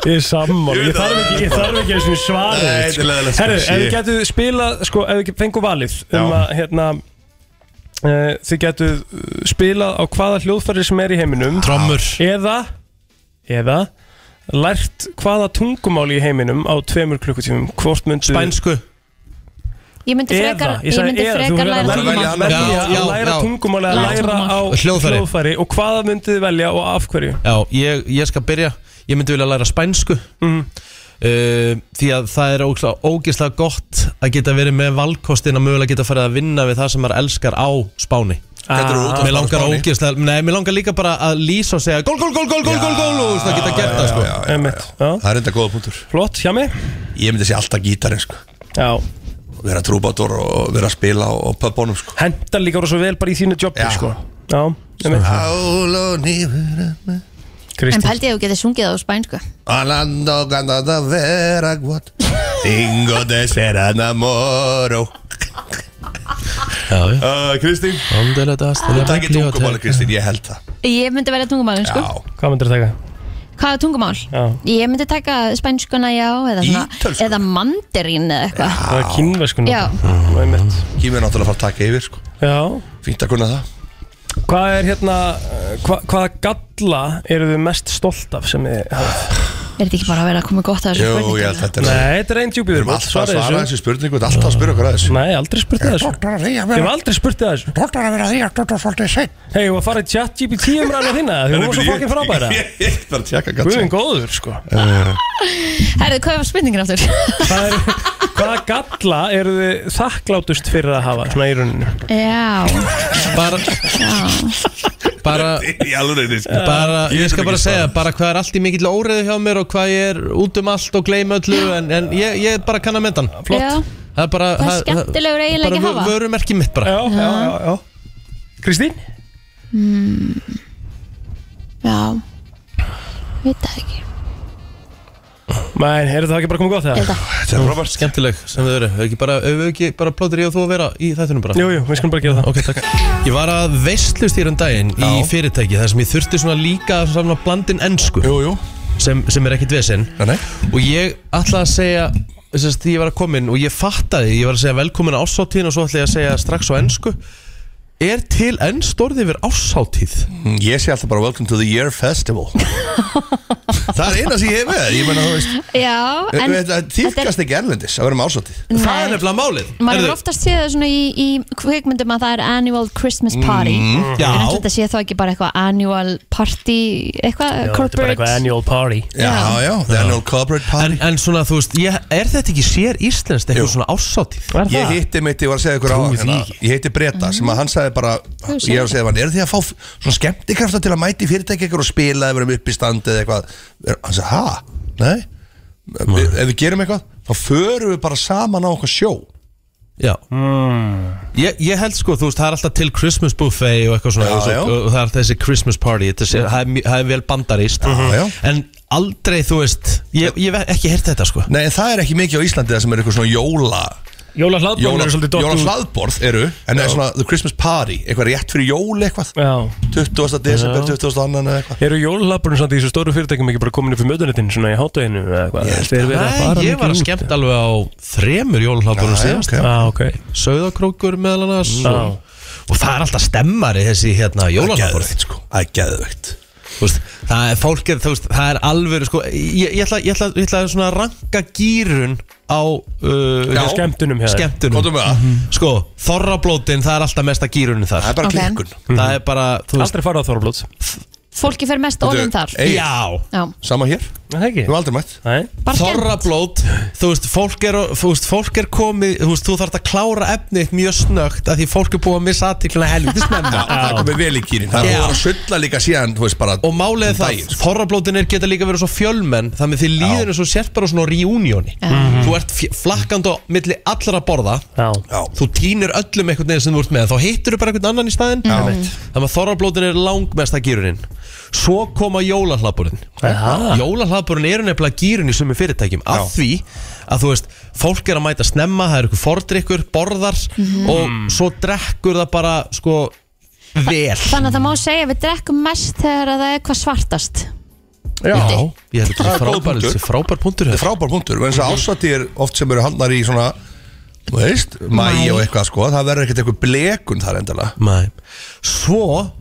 Ég er sammála, ég þarf ekki, ég þarf ekki að svara
Nei, þetta er leiðilegt, sko.
Herru, ef
Shit.
við getum spilað, sko, ef við fengum valið um að, hérna uh, Þið getum uh, spilað á hvaða hljóðfæri sem er í heiminum
Trommur
Eða, eða Lært hvaða tungumáli í heiminum á tveimur klukkutímum Hvort myndu
Spænsku
Ég myndi frekar,
Ég
ég
sagði
myndi
eða, þú
frekar
verður
læra
að velja
tungumál.
annað. Velja
Já, já,
að læra
já.
tungumál eða
Læra
læra á
tungumál. Hljóðfæri.
hljóðfæri Og hvaða mynduð þið velja og af hverju
Já, ég, ég skal byrja Ég myndi vilja læra spænsku mm uh, því að það er ógislega, ógislega gott að geta verið með valkostin að mögulega geta farið að vinna við það sem maður elskar á Spáni
Þetta eru útvarpsmaður
Mér langar
Spáni.
ógislega, nei, mér langar líka bara að lýsa og segja gól, gól, gól, gól, gól, gól, gól og þú veist, það geta gert það sko
Það er enda góða punktur
Flott, hjá mig
Ég myndi sé alltaf gítarinn sko
Já
Vera trúbátor og vera að spila á pöpunum sko
Hendar líka voru svo vel bara í þínu jobbi sko Já, einmitt.
Sál og nýfur
En pældi ég að þú getið sungið það á spænsku
Alando cantata vera guat Ingo de serana moro
Já,
já Uh, Kristín
Þú
takkir tungumáli Kristín, ég held það
Ég myndi velja tungumálin, sko
Hvað myndir taka?
Hvað er tungumál?
Já
Ég myndi taka spænskuna, já Eða, svona, eða mandarín eða eitthvað
Það er kínverskun
Já.
Kími er náttúrulega að fara að taka yfir sko
Já
Fínt að kunna það
Hvað er hérna hva, Hvaða galla eru þið mest stolt af sem þið hafið?
Er þetta ekki bara að vera að koma gott að þessu
Jú,
spurningu?
ég held þetta
Nei, þetta er einn djúpið
Við erum alltaf að svara þessu spurningu Við erum alltaf að spyrja okkur að þessu
Nei, aldrei spurt að þessu
Doktor að því að
Við hefum
vera
aldrei spurt að þessu
Doktor að vera því að doktor svolítið sein
Hei, þú var að fara í chat GPT um ræðina þína Því hún var svo fokkin frábæra
(laughs) Ég ég er bara að tjekka Eh. gata
Guðin góður sko
Herðu, hvað var spurningin aftur?
Hvað er, Hvaða galla eru þið þakklátust fyrir að hafa Svona í rauninu
já
Bara (laughs) Bara
Í alveg
sko.
bara,
Ég
Ég
get
skal bara
ekki
segja, bara hvað er allt í mikill óreðu hjá mér og hvað ég er út um allt og gleym öllu en, en ég, ég er bara kann að myndan
Flott. Já.
Það er bara
Það er skemmtilegur eiginleiki að
bara
hafa.
vö- vörumerki mitt bara
Já, já, já, já. Kristín?
mm, Já Veit það ekki
Mæn, er það ekki bara komið gott það?
Þetta er frábært
Skemmtileg sem þau eru, Hefur ekki bara, hefur ekki bara plótur ég og þú að vera í þættunum bara
Jú, jú, við skulum bara gera það
Ok, takk Ég var að veistlust í raun daginn í fyrirtæki þar sem ég þurfti svona líka að samla blandin ennsku
Jú, jú
Sem, sem er ekkit vesinn
Nei
Og ég ætlaði að segja þess að því ég var að koma inn og ég fattaði Ég var að segja velkomin á ársáttíðin og svo ætlaði ég að segja strax á ennsku Er til ennstorði yfir ársáttíð?
Ég sé alltaf bara Welcome to the Year Festival
(laughs)
Það er eina sem ég hef með Ég menna þú veist
Já, en
Það týrkast ekki erlendis að vera með ásátið
Nei. Það er
nefnilega málið
maður er oftast séð það svona í, í kvikmyndum að það er annual Christmas party
Mm,
En
já.
ætli þetta sé þá ekki bara eitthvað annual party eitthvað corporate
annual party
Uh, Já, já, the annual corporate party
En, en svona, þú veist, ég, er þetta ekki sér íslenskt eitthvað svona ársáttíð?
Ég hitti mitt, ég var að segja ykkur á
Trúi því
hérna, Ég hitti
Mm.
Breta sem að hann sagði bara
Þú
Ég var að segja hann, eru þið að fá f- svona skemmtikrafta til að mæti fyrirtæki ykkur og spila Ef við erum upp í standi eða eitthvað Er- Hann sagði, ha? Nei? Vi, ef við gerum eitthvað, þá förum við bara saman á okkur sjó
Já ég, ég held sko, þú veist, það er alltaf til Christmas buffet og eitthvað svona
Já,
og, svo-
já.
og það er alltaf þessi Christmas party þetta sé- það er mi- það er vel bandarist
Já, já.
en aldrei, þú veist ég, ég hef ekki heyrt þetta sko
Nei, en það er ekki mikið á Íslandi það sem er eitthvað svona jóla
Jóla hlaðborð
Jóla,
eru svolítið dott
jóla
úr-
hlaðborð eru En það er
Já.
svona the Christmas party Eitthvað rétt fyrir jól eitthvað
Já
20. desember,
Já.
20. annan eitthvað
Eru jólalaburinn samt í þessu stóru fyrirtækjum ekki bara komin upp í möðunetinn svona í hátæginu eða hvað? Þeir verið að fara
Nei, ég
mikið
var
út.
að skemmt alveg á þremur
Já,
jólhlaðbúrum
já,
síðast
ok. Já, Ah, ok.
Sauðakrókur meðal annars
Já.
og, Mm. og það er alltaf stemmari þessi hérna jólhlaðbúrum
sko. Það er geðveikt
Veist, það er fólk, er, þú veist, það er alveg sko, ég, ég, ætla, ég, ætla, ég ætla svona að ranka gýrun á uh,
Já. Skemmtunum hjá þér.
skemmtunum.
Komdu með það.
sko, þorrablótin, það er alltaf mesta gýrunin þar
það er
bara Ok. klikkun.
það er bara, þú veist
Aldrei fara á þorrablót
fólki fer mest
Þetta-
ofinn þar
Ey. Já.
já.
Sama hér
Það ekki Við
erum aldrei mætt
Bara skemmt.
Þorrablót, þú veist, fólk er, þú veist, fólk er komið, þú veist, þú þarf að klára efnið mjög snögt að því fólk er búið að missa aðtíkluna helviti snemma
Það er komið vel í kýrin Það er
Já.
voru að sulla líka síðan, þú veist bara
Og málið er
um
það,
daginn, sko.
þorrablótinir geta líka verið svo fjölmenn Þannig þið líður eins og sért bara á svona reunioni
Já.
Þú ert fj- flakkandi á milli allra borða
Já.
Þú týnir öllum einhvern veginn sem þú ert með Þá hittur þú bara einhvern annan í staðinn
Já.
Þannig að þorrablótin er langmesta gýrunin Svo koma jólahlaðbúrin Jólahlaðbúrin eru nefnilega gýrun í sumi fyrirtækjum
Já.
Af því að þú veist, fólk er að mæta snemma Það eru ykkur fordrykkur, borðar
Mhm.
Og svo drekkur það bara, sko, vel
þannig að það má segja að við drekkum mest þegar að það er hvað svartast
Já, ég held að þetta
Það
er
er góð
frábær
punktur. Þetta
Þetta er frábær punktur Mhm.
er frábær punktur En þess að ásatýr oft sem eru handnar í svona Þú veist, mæ og eitthvað sko Það verður ekkert eitthvað blekun þar endala
Mæ Svo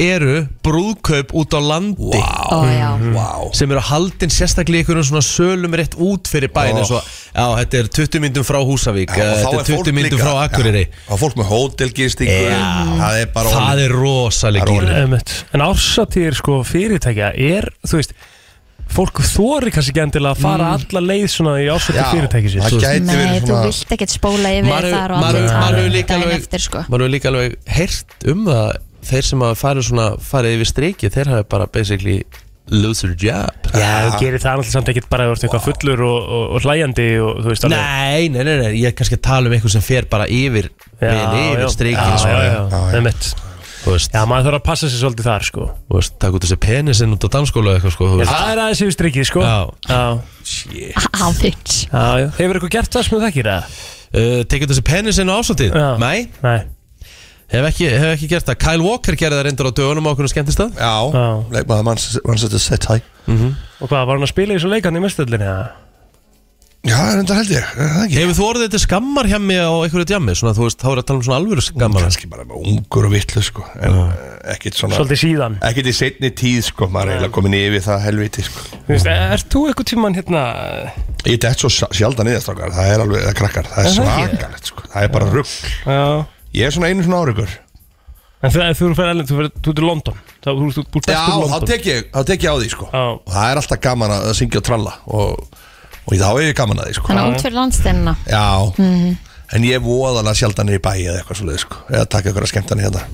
eru brúðkaup út á landi Mhm.
Ó, já. wow.
sem eru haldin sérstaklega í einhverjum svona sölum rétt út fyrir bæin
Ó.
eins og, já, þetta er 20 myndum frá Húsavík eh,
Já, og þá er
þetta er
fólk
20 myndum
líka-
frá Akureyri
já, og fólk með hótelgistingu það er bara
það er rosalega
Einmitt. En ársatýr sko fyrirtækja er, þú veist fólk þóri kannski ekki endilega að fara alla leið svona í ásöktu
Já,
fyrirtæki sér
það gæti verið
Nei, þú vilt ekkert spóla yfir
Maður hefur-
þar og
maður
allir
hefur- maður
tala
hefur
um
líka
daginn
alveg-
eftir sko
maður hefur líka alveg heyrt um það þeir sem hafa farið svona farið yfir strikið, þeir hafa bara basically loser job
Já, þú gerir það alltaf samt ekkert bara að þú ert eitthvað fullur og, og, og hlæjandi og þú veist alveg
Nei, nei, nei, nei, ég er kannski að tala um eitthvað sem fer bara yfir veginn, yfir strikið
já,
sko.
já, já, já, já. já, maður þarf að passa sér svolítið þar sko
Þú veist, takk út þessi penisinn út á dansskóla eða eitthvað sko, þú
Já,
veist.
Það er aðeins yfir strikið sko
Já.
já.
Aðeins
Já, já. Hefur eitthvað gert það sem þú þekkir það?
Uh, Tekið þessi penisinn á ásótið? Nei,
Nei.
Hef ekki, hef ekki gert það Kyle Walker gerði það reyndar á dögunum á okkur skemmtist það
Já, leikmaður mannsættu sett hæ Mhm.
Og hvað, var hann að spila í svo leikann í mestöldinni?
Já, reyndar held ég
Hefur þú orðið þetta skammar hjá mig á einhverju djammi? Svona, þú veist, þá er að tala um svona alvöru skammar
Kanski bara með ungur og vitlu sko En uh. ekkit svona
Svolítið síðan
Ekkit í setni tíð sko Maður er eiginlega komin yfir það helviti sko
Þú veist, ert þú eitthvað tímann hérna
Ég dett svo sj- sjaldan niður strákar Það er alveg, það er krakkar Það er
Er það ekki?
svakalegt sko Það er bara rugg
Já
Ég er svona einu svona árikur
En þegar þú eru fyrir Erlend, þú fyrir, þú ert í London Þá þú ert búið
Já,
bestur í
þá
London
tek ég, þá tek ég á því sko Já. Og það er alltaf gaman að að syngja og tralla Og, og þá er ég gaman að því sko
Þannig að út fyrir landsteinina
Já,
Mhm.
en ég er voðalega sjaldan niður í bæi eða eitthvað svolítið sko Eða taka ykkur að skemmtani hérna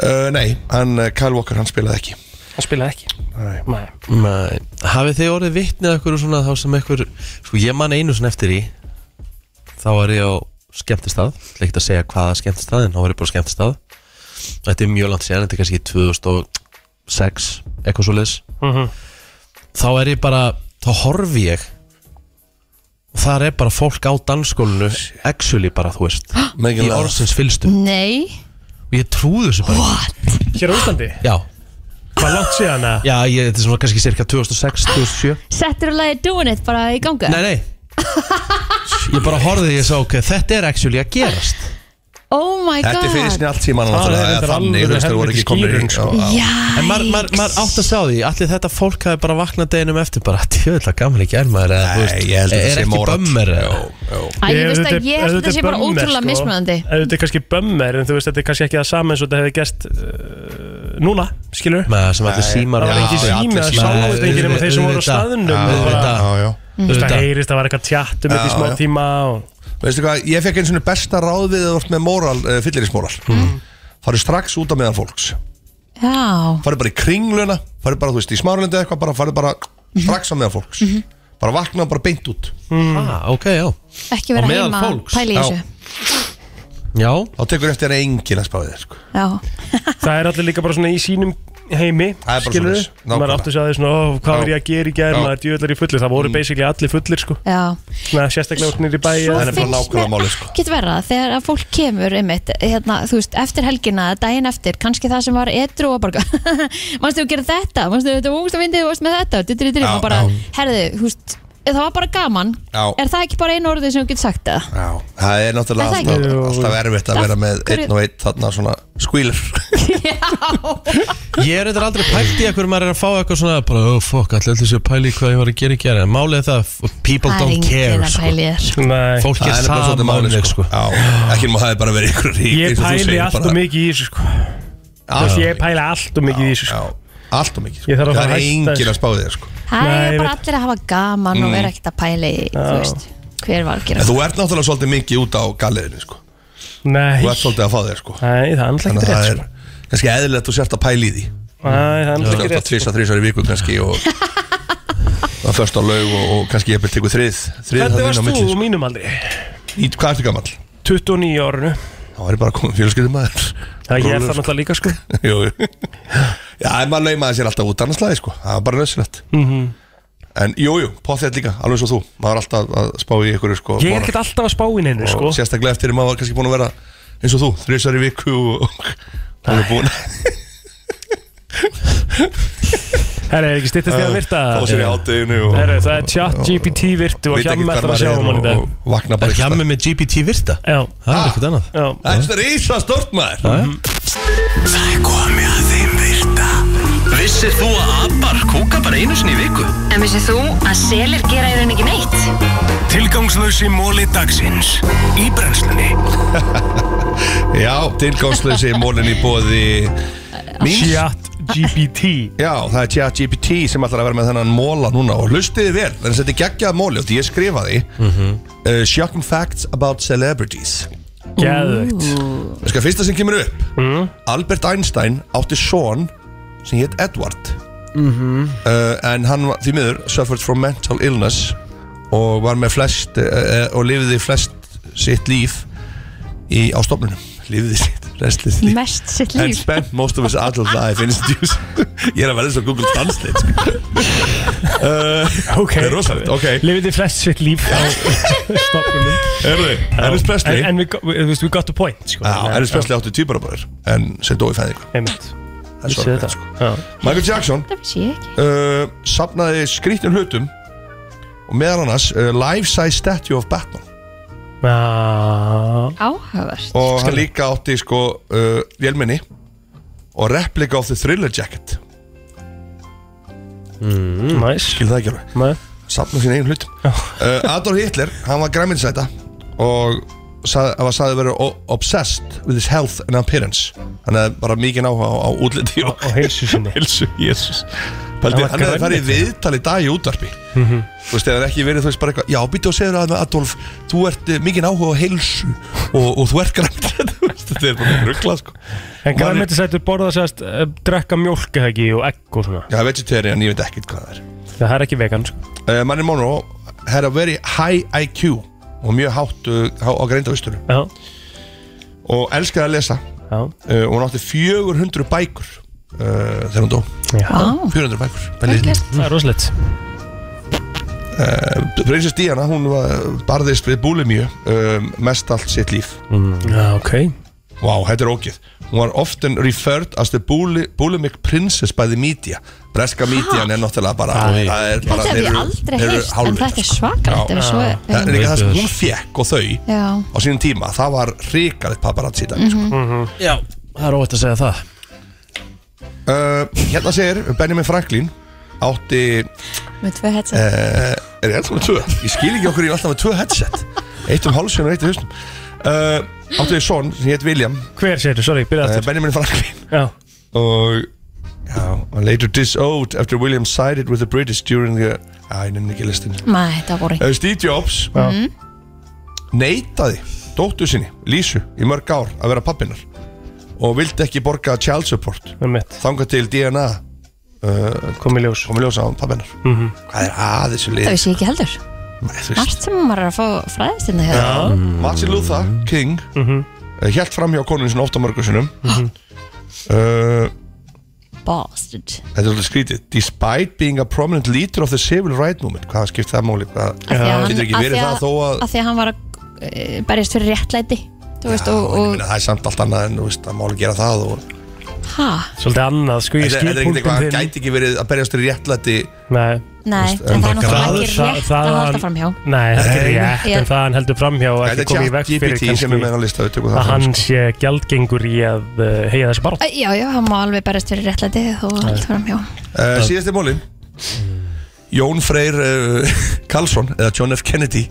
uh, Nei, hann eh, Kyle Walker, hann spilaði ekki
Hann spilaði ekki
Nei.
Nei.
Nei, hafið þið orðið vitnið eitthvað svona þá sem eitthvað, sko ég man einu svona eftir í þá var ég á skemmtistað ætla ekkert að segja hvaða skemmtistað en þá var ég bara á skemmtistað þetta er mjög langt séðan, þetta er kannski 2006 eitthvað svo leis
Mhm.
þá er ég bara, þá horfi ég og þar er bara fólk á dansskólinu actually bara, þú veist
Making
í
love.
orðsins fylstu
Nei
og ég trúði þessu bara What?
Hér á Íslandi?
Já
Hvað langt síðan að?
Já, ég, þetta er svona kannski cirka 2006, 2007
Settur að lagi doing it bara í ganga
Nei, nei Ég bara horfði ég sá, ok, þetta er actually að gerast
(laughs) Oh my god
Þetta er fyrir snjáltíman
Það er
Þannig,
reyndar alveg
þannig, þú veist, það voru
helviti
ekki komin
skýring, sko.
Jæks.
En maður mað, mað átt að sjá því Allir þetta fólk hafi bara vaknað deginum eftir bara, djöðla gammal ekki er maður eða, þú veist,
ég held að þetta
Er
sé
ekki
mórat.
bömmir eða?
Æ, ég veist að ég held að þetta sé bara ótrúlega mismunandi
Ef þetta sko. er kannski bömmer, en þú veist, þetta er kannski ekki það sama eins og þetta hefði gerst uh, núna, skilur?
Með það sem allir símar
Það var engin sími, það sáu þetta enginn nema þeir sem voru á staðnum og bara- Þú veist, það heyrist að var eitthvað tjatt um þetta í smá tíma
Veistu hvað, ég fekk eins og besta ráð við að vart með móral, uh, fyllirismóral mm. Farðu strax út af meðan fólks
Já
Farðu bara í kringluna Farðu bara, þú veist, í smárlindi eða eitthvað bara, Farðu bara
Mhm.
strax á meðan fólks Bara vakna og bara beint út
Mm.
ah, Ok, já
Ekki vera
Á meðal
heima
fólks.
pæli í
Já.
þessu
Já
Þá tekur eftir að enginn að spáði þér sko.
Já
Það er allir líka bara svona í sínum heimi
Það er bara
skilurðu?
svoleiðis, nákvæmlega.
Maður átti sig að því svona, ó, hvað
Já.
var ég að gera í gær
Já. Mm.
Maður er djöðlar í fullir, það voru basically allir fullir sko
Já
Svona sérstaklega út nýri bæ
Svo finnst mér
sko.
(laughs) ekkert verra þegar að fólk kemur einmitt, hérna, þú veist, eftir helgina eða daginn eftir, kannski það sem var etru og bara, (laughs) mannstu þú gera þetta mannstu þetta var úrst að myndið, þú varst með þetta dittir, dittir,
Já,
og bara,
já.
herðu, þú veist það var bara gaman,
Já.
er það ekki bara einu orðið sem þú getur sagt það?
Já, það er
Er
náttúrulega
það
alltaf,
ekki?
alltaf erfitt að
Af
vera með
hverju-
einn og einn þarna svona skvílur
Ég er eitthvað aldrei pælt í að hverju maður er að fá eitthvað svona bara, oh fuck, allir allir séu að pæli hvað ég var að gera í gera Málið er það, f- people
Það er
don't
enginn
care
að
sko.
pæla í þér.
Fólk er
nefnilega svolítið
sama um
málið,
þig, sko.
Já, ekki maður hafi bara verið ykkur rík eins og
Ég
þú
pæli
segir,
allt
bara-
og mikið í þessu sko Þú veist, ég pæli allt og mikið í þessu sko
Allt og mikið
Ég þarf að
Það er
fara að hætta
enginn
þessu.
að spá þér sko
það
Nei, ég
er bara
veit.
allir að hafa gaman
Mm.
og vera ekkert að pæli í, þú
Já.
veist, hver var að
En
gera
þú ert náttúrulega svolítið mikið út á galliðinu sko
Nei
Þú ert svolítið að fá þér sko
Nei, það er annars
Þannig að
ekki rétt
það
sko
er kannski eðlilegt að þú sért að pæli í því
Nei, það er
Þú
annars ekki
sért að
rétt sko.
tvisa þrísar í viku kannski og það först á laug og, og kannski ég byrði tegur þrið Þrið
Hvernig
þarna inn á
varst
milli,
þú
sko.
á mínum aldri?
Í- Hvað ertu gamall?
29 árinu
Það var ég bara komið fjölskyldum maður
Já, ég er það náttúrulega líka sko
(laughs) Jú, jú. Já, en maður laumaði sér alltaf út annarslaði sko Það var bara nöðsilegt
Mhm.
En jú, jú, potþétt líka, alveg eins og þú Maður er alltaf að spá í ykkur sko,
Ég er
moral.
ekkert alltaf að spá í neinu
Og
sko
Sérstaklega eftir að maður var kannski búin að vera eins og þú, þrísar í viku og og hún er búin
Herra, er ekki styttist því að virta
Fá sér í hádeginu og-
Herra, það er chat GPT virtu og
Veit
hjá
ekki
með
hvar
það að sjá um hann í dag
vakna
bara ekki Hjá með GPT virta?
Já
Það er ekkert annað
Já
Það er ísa stort maður
Það er komið að þeim virta Vissir þú að abar kúka bara einu sinni í viku?
En vissið þú að selir gera í raun ekki neitt?
Tilgangslösi móli dagsins Í
(laughs)
brennslunni
Já, tilgangslösi mólin í bóði Míns
Chat
GPT Já, það er chat GPT sem ætlar að vera með þennan móla núna og hlustiði vel, þannig að þetta er geggjað móli og því ég skrifaði uh, Shocking Facts About Celebrities
Geðveikt. Mm.
Það skal fyrsta sem kemur upp Albert Einstein átti son sem hétt Edward
Mhm.
uh, en hann var, því miður suffered from mental illness og var með flest uh, og lifiði flest sitt líf í, á stofnunum lifiði sitt restlið líf
Mest sitt
and
líf
spent most of his adult life in institutes ég er að verða svo Google Translate sko. uh,
Ok.
það er rosalegt ok
Livið þið flest sitt líf
(laughs)
á stoppunum
Herðu, Elvis Presley.
En, en við, við, við, við got the point sko.
Já, Elvis Presley átti tvíbarabræður en sem dói fæðingu
Einmitt
Það er
Vissi
svolítið
þetta.
sko. Michael Jackson
Það vissi ég ekki
uh, safnaði skrýtnum hlutum og meðal annars uh, life-size statue of Batman
Já
Áhugavert
og hann líka átti sko uh, vélminni og replika of the thriller jacket
mm, Nice
Skil það ekki alveg Safnaði sín eigin hlutum uh, Adolf Hitler, hann var græminsæta og sað, var sagði að vera o- obsessed with his health and appearance hann hefði bara mikið náhuga á, á útliti og,
og heilsu sinni
(laughs) heilsu, jésus Paldi,
Hann var
hann hefði farið í
grænmeti.
viðtal í dag í útvarpi
Mhm.
Þú veist, það er ekki verið þú veist bara eitthvað Já, býttu og segir að Adolf, þú ert eh, mikinn áhuga á heilsu og, og þú ert græmt Þetta er bara ruggla sko
En hvað með þetta sættur borða sérst uh, drekka mjólk eða ekki og egg og svona
Já, vegetarian, ég veit ekkert hvað það er
Það er ekki vegan sko.
uh, Manni Monroe had a very high IQ og mjög hátt uh, há, á greindavistur
Já.
og elskaði að lesa
Já.
uh, og hún átti 400 bækur uh, þegar hún dó
Já. Vá.
400 bækur
Vel gert. Það er rosalegt
uh, Prinsess Diana, hún var, barðist við búlimíu um, mest allt sitt líf
Já, ok
Vá, þetta er ógið Hún var often referred as the buli, bulimic princess by the media Breska median er náttúrulega bara
Æ.
það er
Þetta
bara,
hef
þeir
ég aldrei
eru- þeir eru
heist En
hálfvita,
þetta er
sko.
svakalegt ef svo er-
Það er líka það sem hún fekk og þau
Já.
á sínum tíma, það var ríkalið paparazzi í dag sko.
Mhm.
Já, það er óvægt að segja það
uh, Hérna segir Benjamin Franklin átti
Með tvö headset
uh, er ég alltaf með tvö? Ég skil ekki okkur ég er alltaf með tvö headset eitt um hálsinn og eitt um hausnum uh, átti við son sem hétt William
Hver segir þú, sorry, byrja
aftur Benjamin Franklin
Já.
og já, hann later disowned after William sided with the British during the já, ég nefnir ekki listin
Mæ, þetta var boring
uh, Steve Jobs
Mhm.
neitaði dóttu sinni, Lísu, í mörg ár að vera pappinnar og vildi ekki borga child support þangað til DNA uh,
komið ljós
komið ljós á pappinnar
Mhm.
hvað er að þessu lið
Það vissi ég ekki heldur
þú veist.
Margt sem maður er að fá fræðist hérna
Já,
hérna
Mhm.
Martin Luther King mm -hmm. Hjælt fram hjá konunum sinna ofta mörgur sinum mm
Mhm.
-hmm.
Bastard
Eh, Þetta er alveg skrítið Despite being a prominent leader of the civil right movement Hvað skipt það máli? Hvað
Af því að hann-
getur
af
ekki verið
því
það þó að
Af því að hann var að eh, berjast fyrir réttlæti Þú veist, og,
Ég
og
meina, Það er samt allt annað en þú veist, það máli gera það og,
Hæ?
Svolítið annað, sko, ég
Þetta þetta er
skil
ekkert
punktum
eitthvað, það
þinn
gæti ekki verið að berjast í réttlæti
Nei,
Nei,
Þú veist,
en
um
það er
það
náttúrulega
graður-
ekki
það-
rétt
það-
að halda fram hjá
Nei, það er
Nei.
rétt, en það hann heldur framhjá og
Þetta
ekki
er
komið í veg fyrir
ChatGPT sem er með á lista, við tökum það
að
fram, sko.
hann sé gjaldgengur í að uh, heyja þessi barn
Já, já, hann má alveg berjast fyrir réttlæti og halda fram hjá
uh, Síðasti máli Jón Freyr uh, (laughs) Karlsson eða John F. Kennedy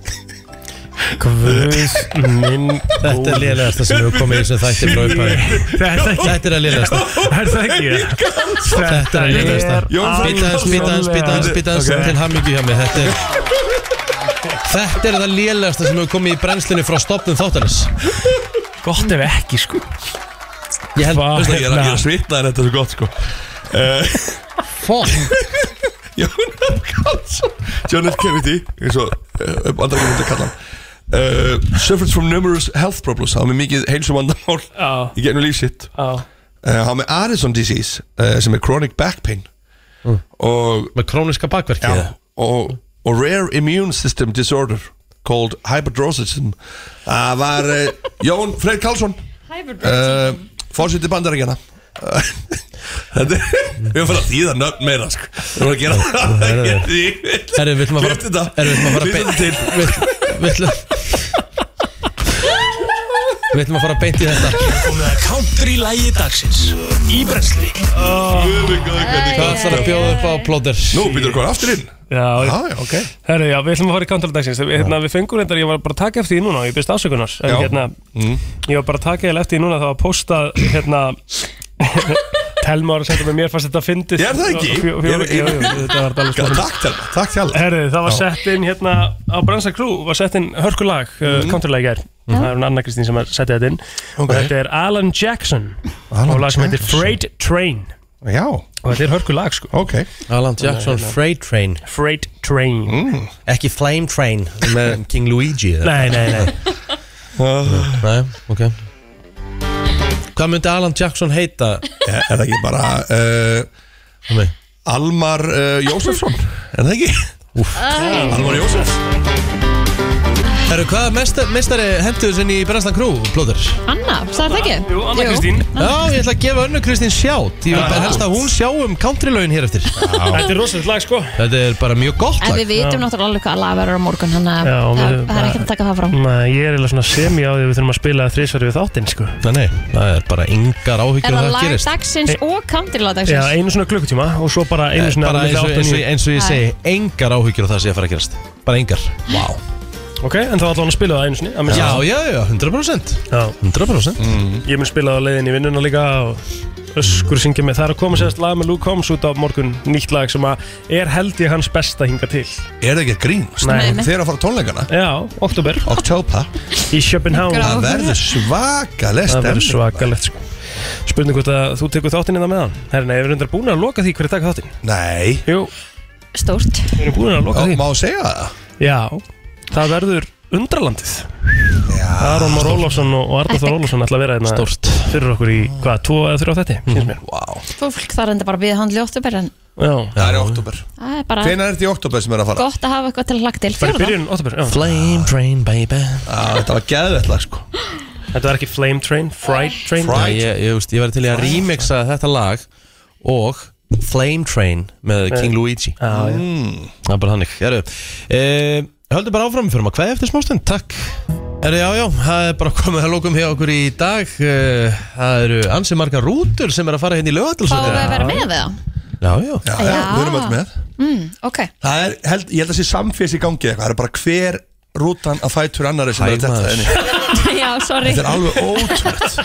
Guðs minn
Þetta er lélegasta sem hefur komið í þessu þætti frá upphafi
(laughs)
Þetta er að lélegasta
Er það ekki?
Þetta er að lélegasta
Jón Þór
Býta hans, býta hans, býta hans, býta hans
Ok.
Til hamingju hjá mig Þetta er Þetta er það lélegasta sem hefur komið í brennslunni frá stopnum þáttarins
Gott ef ekki sko
Ég held
Þú veist, ég er að- ég er að
hérna,
svitna en þetta er svo gott sko uh, (laughs) Jón F. Karlsson John F. Kennedy eins og uh, andra ekki myndi að kalla hann uh, Suffered from numerous health problems hann var með mikið heilsumandamál
Já.
í gegnum líf sitt
uh,
hann var með Addison disease uh, sem er chronic back pain og
Mm. með króniska bakverki
já, og, og rare immune system disorder called hyperdrosism það var uh, Jón Freyr Karlsson uh, fórsýtti bandaríkjana (laughs) Þetta er, við erum bara að þýða nöfn meira sko. Við erum að
(laughs)
gera það
Herri, við ætlum að
Klipptu þetta.
fara Herri, við ætlum að fara
Klipptu þetta til.
beint Við ætlum Við ætlum að fara beint í þetta
Komið að country lægi dagsins Í brensli
Hvað ætlar að bjóða upp á plóter?
Nú, býtur okkur aftur inn
Já,
Já, já, ok
Herru, já, við ætlum að fara í country dagsins Við- hérna, Við fengum reyndar, ég var bara að taka eftir því núna og Ég byrst ásökunar En
Já.
hérna, ég var bara að taka eða eftir því núna Það var að posta, hérna Telma var að senda með mér fannst þetta að fyndið
Er það ekki?
Fjó- fjó-
Ég-
fjó-
ég-
jú, jú, Þetta var alveg
Já, takk, Telma, takk Telma
Herðu, það var
Já.
sett inn hérna á Bransa Crew var sett inn hörkulag, uh, counterlag er
Mhm.
það er hún Anna Kristín sem er settið þetta inn og þetta er Alan Jackson
Alan
og lag sem heitir
Jackson.
Freight Train
Já og
þetta er hörkulag sko
okay.
Alan Jackson
hérna-
Freight Train
Freight Train
mm. Ekki Flame Train með
(laughs)
King Luigi eða?
Nei, nei, nei.
Ah.
Nei, ok Hvað myndi Alan Jackson heita? Eh,
Er það ekki bara uh, Almar uh, Jósefsson Er það ekki? Almar Jósefs
Herru, hvað mesta- meistari hendur þess inn í Brennslan Crew, plóður?
Anna, sagði það ekki? Jú,
Anna Kristín.
Já, ég ætla að gefa önnu Kristín sjátt Ég vil bara helst að hún sjá um countrylaun hér eftir
Þetta er rosalegt lag sko
Þetta er bara mjög gott
En
lag
við vitum náttúrulega alveg hvað lag verður á morgun Þannig að
Já,
það
við-
það er ekkert að taka það frá
Nei, ég er eiginlega svona semi á því að við þurfum að spila þrísværi við þáttinn sko
Nei, nei, það er bara yngar áhyggjur
Er
að
það lag
gerist.
dagsins og country lag
Já,
dagsins?
einu svona klukkutíma og svo bara einu svona
Eh, bara
milli
eins og,
átta
eins, og,
níu.
eins og ég segi engar áhyggjur á það sem ég að fara að gerast bara engar wow.
Ok, en þá allan að spila það einu sinni að minnsta
já,
kosti.
já, já, 100%
já.
100%
Ég mun spila það á leiðin í vinnuna líka og öskur syngja með það er að koma sérst lag með Luke Combs út á morgun nýtt lag sem að er held ég hans besta hinga til
Er það ekki að grínast?
Nei. Nei.
Þeir eru að fara á tónleikana?
Já, oktober
Oktober
Í Schopenhauer
Það verður svakalegt
Það
stemning.
verður svakalegt sko Spurning hvort að þú tekur þáttinn hérna innan meðan Herri, nei, við erum reyndar búin að loka því hverju dag þáttinn
Nei
Jú
Stórt
Við erum búin að loka
Já,
því
Má segja það?
Já, það verður undralandið Aron Már Ólafsson og og Arnar Þór Ólafsson ætla að vera hérna Stort Fyrir okkur í, hvað, tvo eða þrjá þetta, finnst mér
wow.
Fólk þarf enda bara að við hann ljóttu bara en
Já
Það er í oktober
það er bara
Hvenær er þetta í oktober sem er að fara?
gott að hafa eitthvað til að lagt til Fjórða.
oktober
Flame Train baby
ah, Þetta var gæðvett lag sko
Þetta var ekki Flame Train, Fright Train
Fright. Ég, ég, veist, ég var til í að remixa þetta lag og Flame Train með
Nei.
King Luigi
já.
Mm, Það er bara hannig Heru, e, Höldum bara áfram, við fyrir maður hvað eftir smástund Takk Heru, Já, já, það er bara komið að lókum hjá okkur í dag Eh, Það eru ansi margar rútur sem er að fara hérna í
Fáum
lögatilsönd
við að vera með það?
Já, já,
já,
Já.
við erum öll með
Mm, ok, (laughs)
Það er, held, ég held að sé samfés í gangi eitthvað Það er bara hver rútan að fætur annari sem er að þetta inn í.
já, sorry
Þetta er alveg ótrúlegt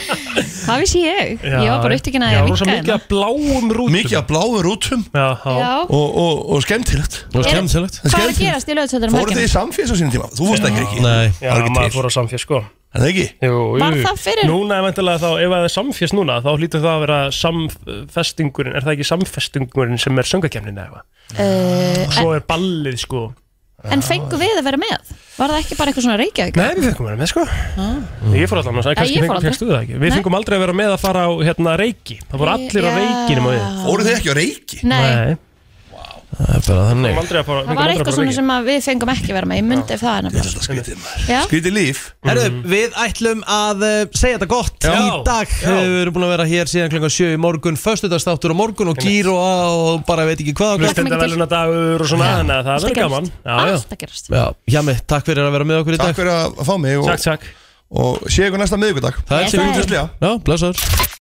Hvað vissi ég? ég var bara upptökin að ég vinka hérna
að bláum rútum
Mikið að bláum rútum
Já,
Já.
Og, og, og skemmtilegt
Og
skemmtilegt. Hvað var að gerast í lögatöldunum
Fóruð þið í samfés á sínum tíma? Þú fórst ekki ekki
Nei
Já, maður fór á samfér sko
Það ekki?
Jú, jú.
Var það fyrir-
Núna er vantilega þá, ef það er samférst núna þá hlýtur það að vera samfestingurinn er það ekki samfestingurinn sem er söngakefnin eða eitthvað
uh,
Svo
en,
er ballið sko
en fengu við að vera með? Var það ekki bara eitthvað svona reykjavík? Ah.
Nei, við fengum að vera með sko Ég fór allan að
Nei,
sagði,
ég fór
kannski fengum
aldrei.
fengstu það ekki Við
Nei.
fengum aldrei að vera með að fara á hérna reiki Það voru allir á
Já.
reikinum og við
Fóruð þið ekki á reiki?
Nei,
Það er bara þannig
Fengum aldrei að fara
það var eitthvað svona sem að við fengum ekki vera með Ég myndi ef það er nefnilega
skrítið
Já.
Skrítið líf
Herru,
Mm.
við ætlum að eh, segja þetta gott
Já.
í dag
Já.
Eh, Við erum búin að vera hér síðan kl. 7 í morgun Föstudagstáttur á morgun og gýr og, og bara veit ekki hvað og hvað.
Hlustenda veluna dagur og svona
Já.
Þannig að það verður gaman Já, já.
Já, Hjami, takk fyrir að vera með okkur í dag
Takk fyrir að fá mig og,
Takk, takk
Og séu ykkur næsta miðvikudag
Það er til ykkur Já, blessaður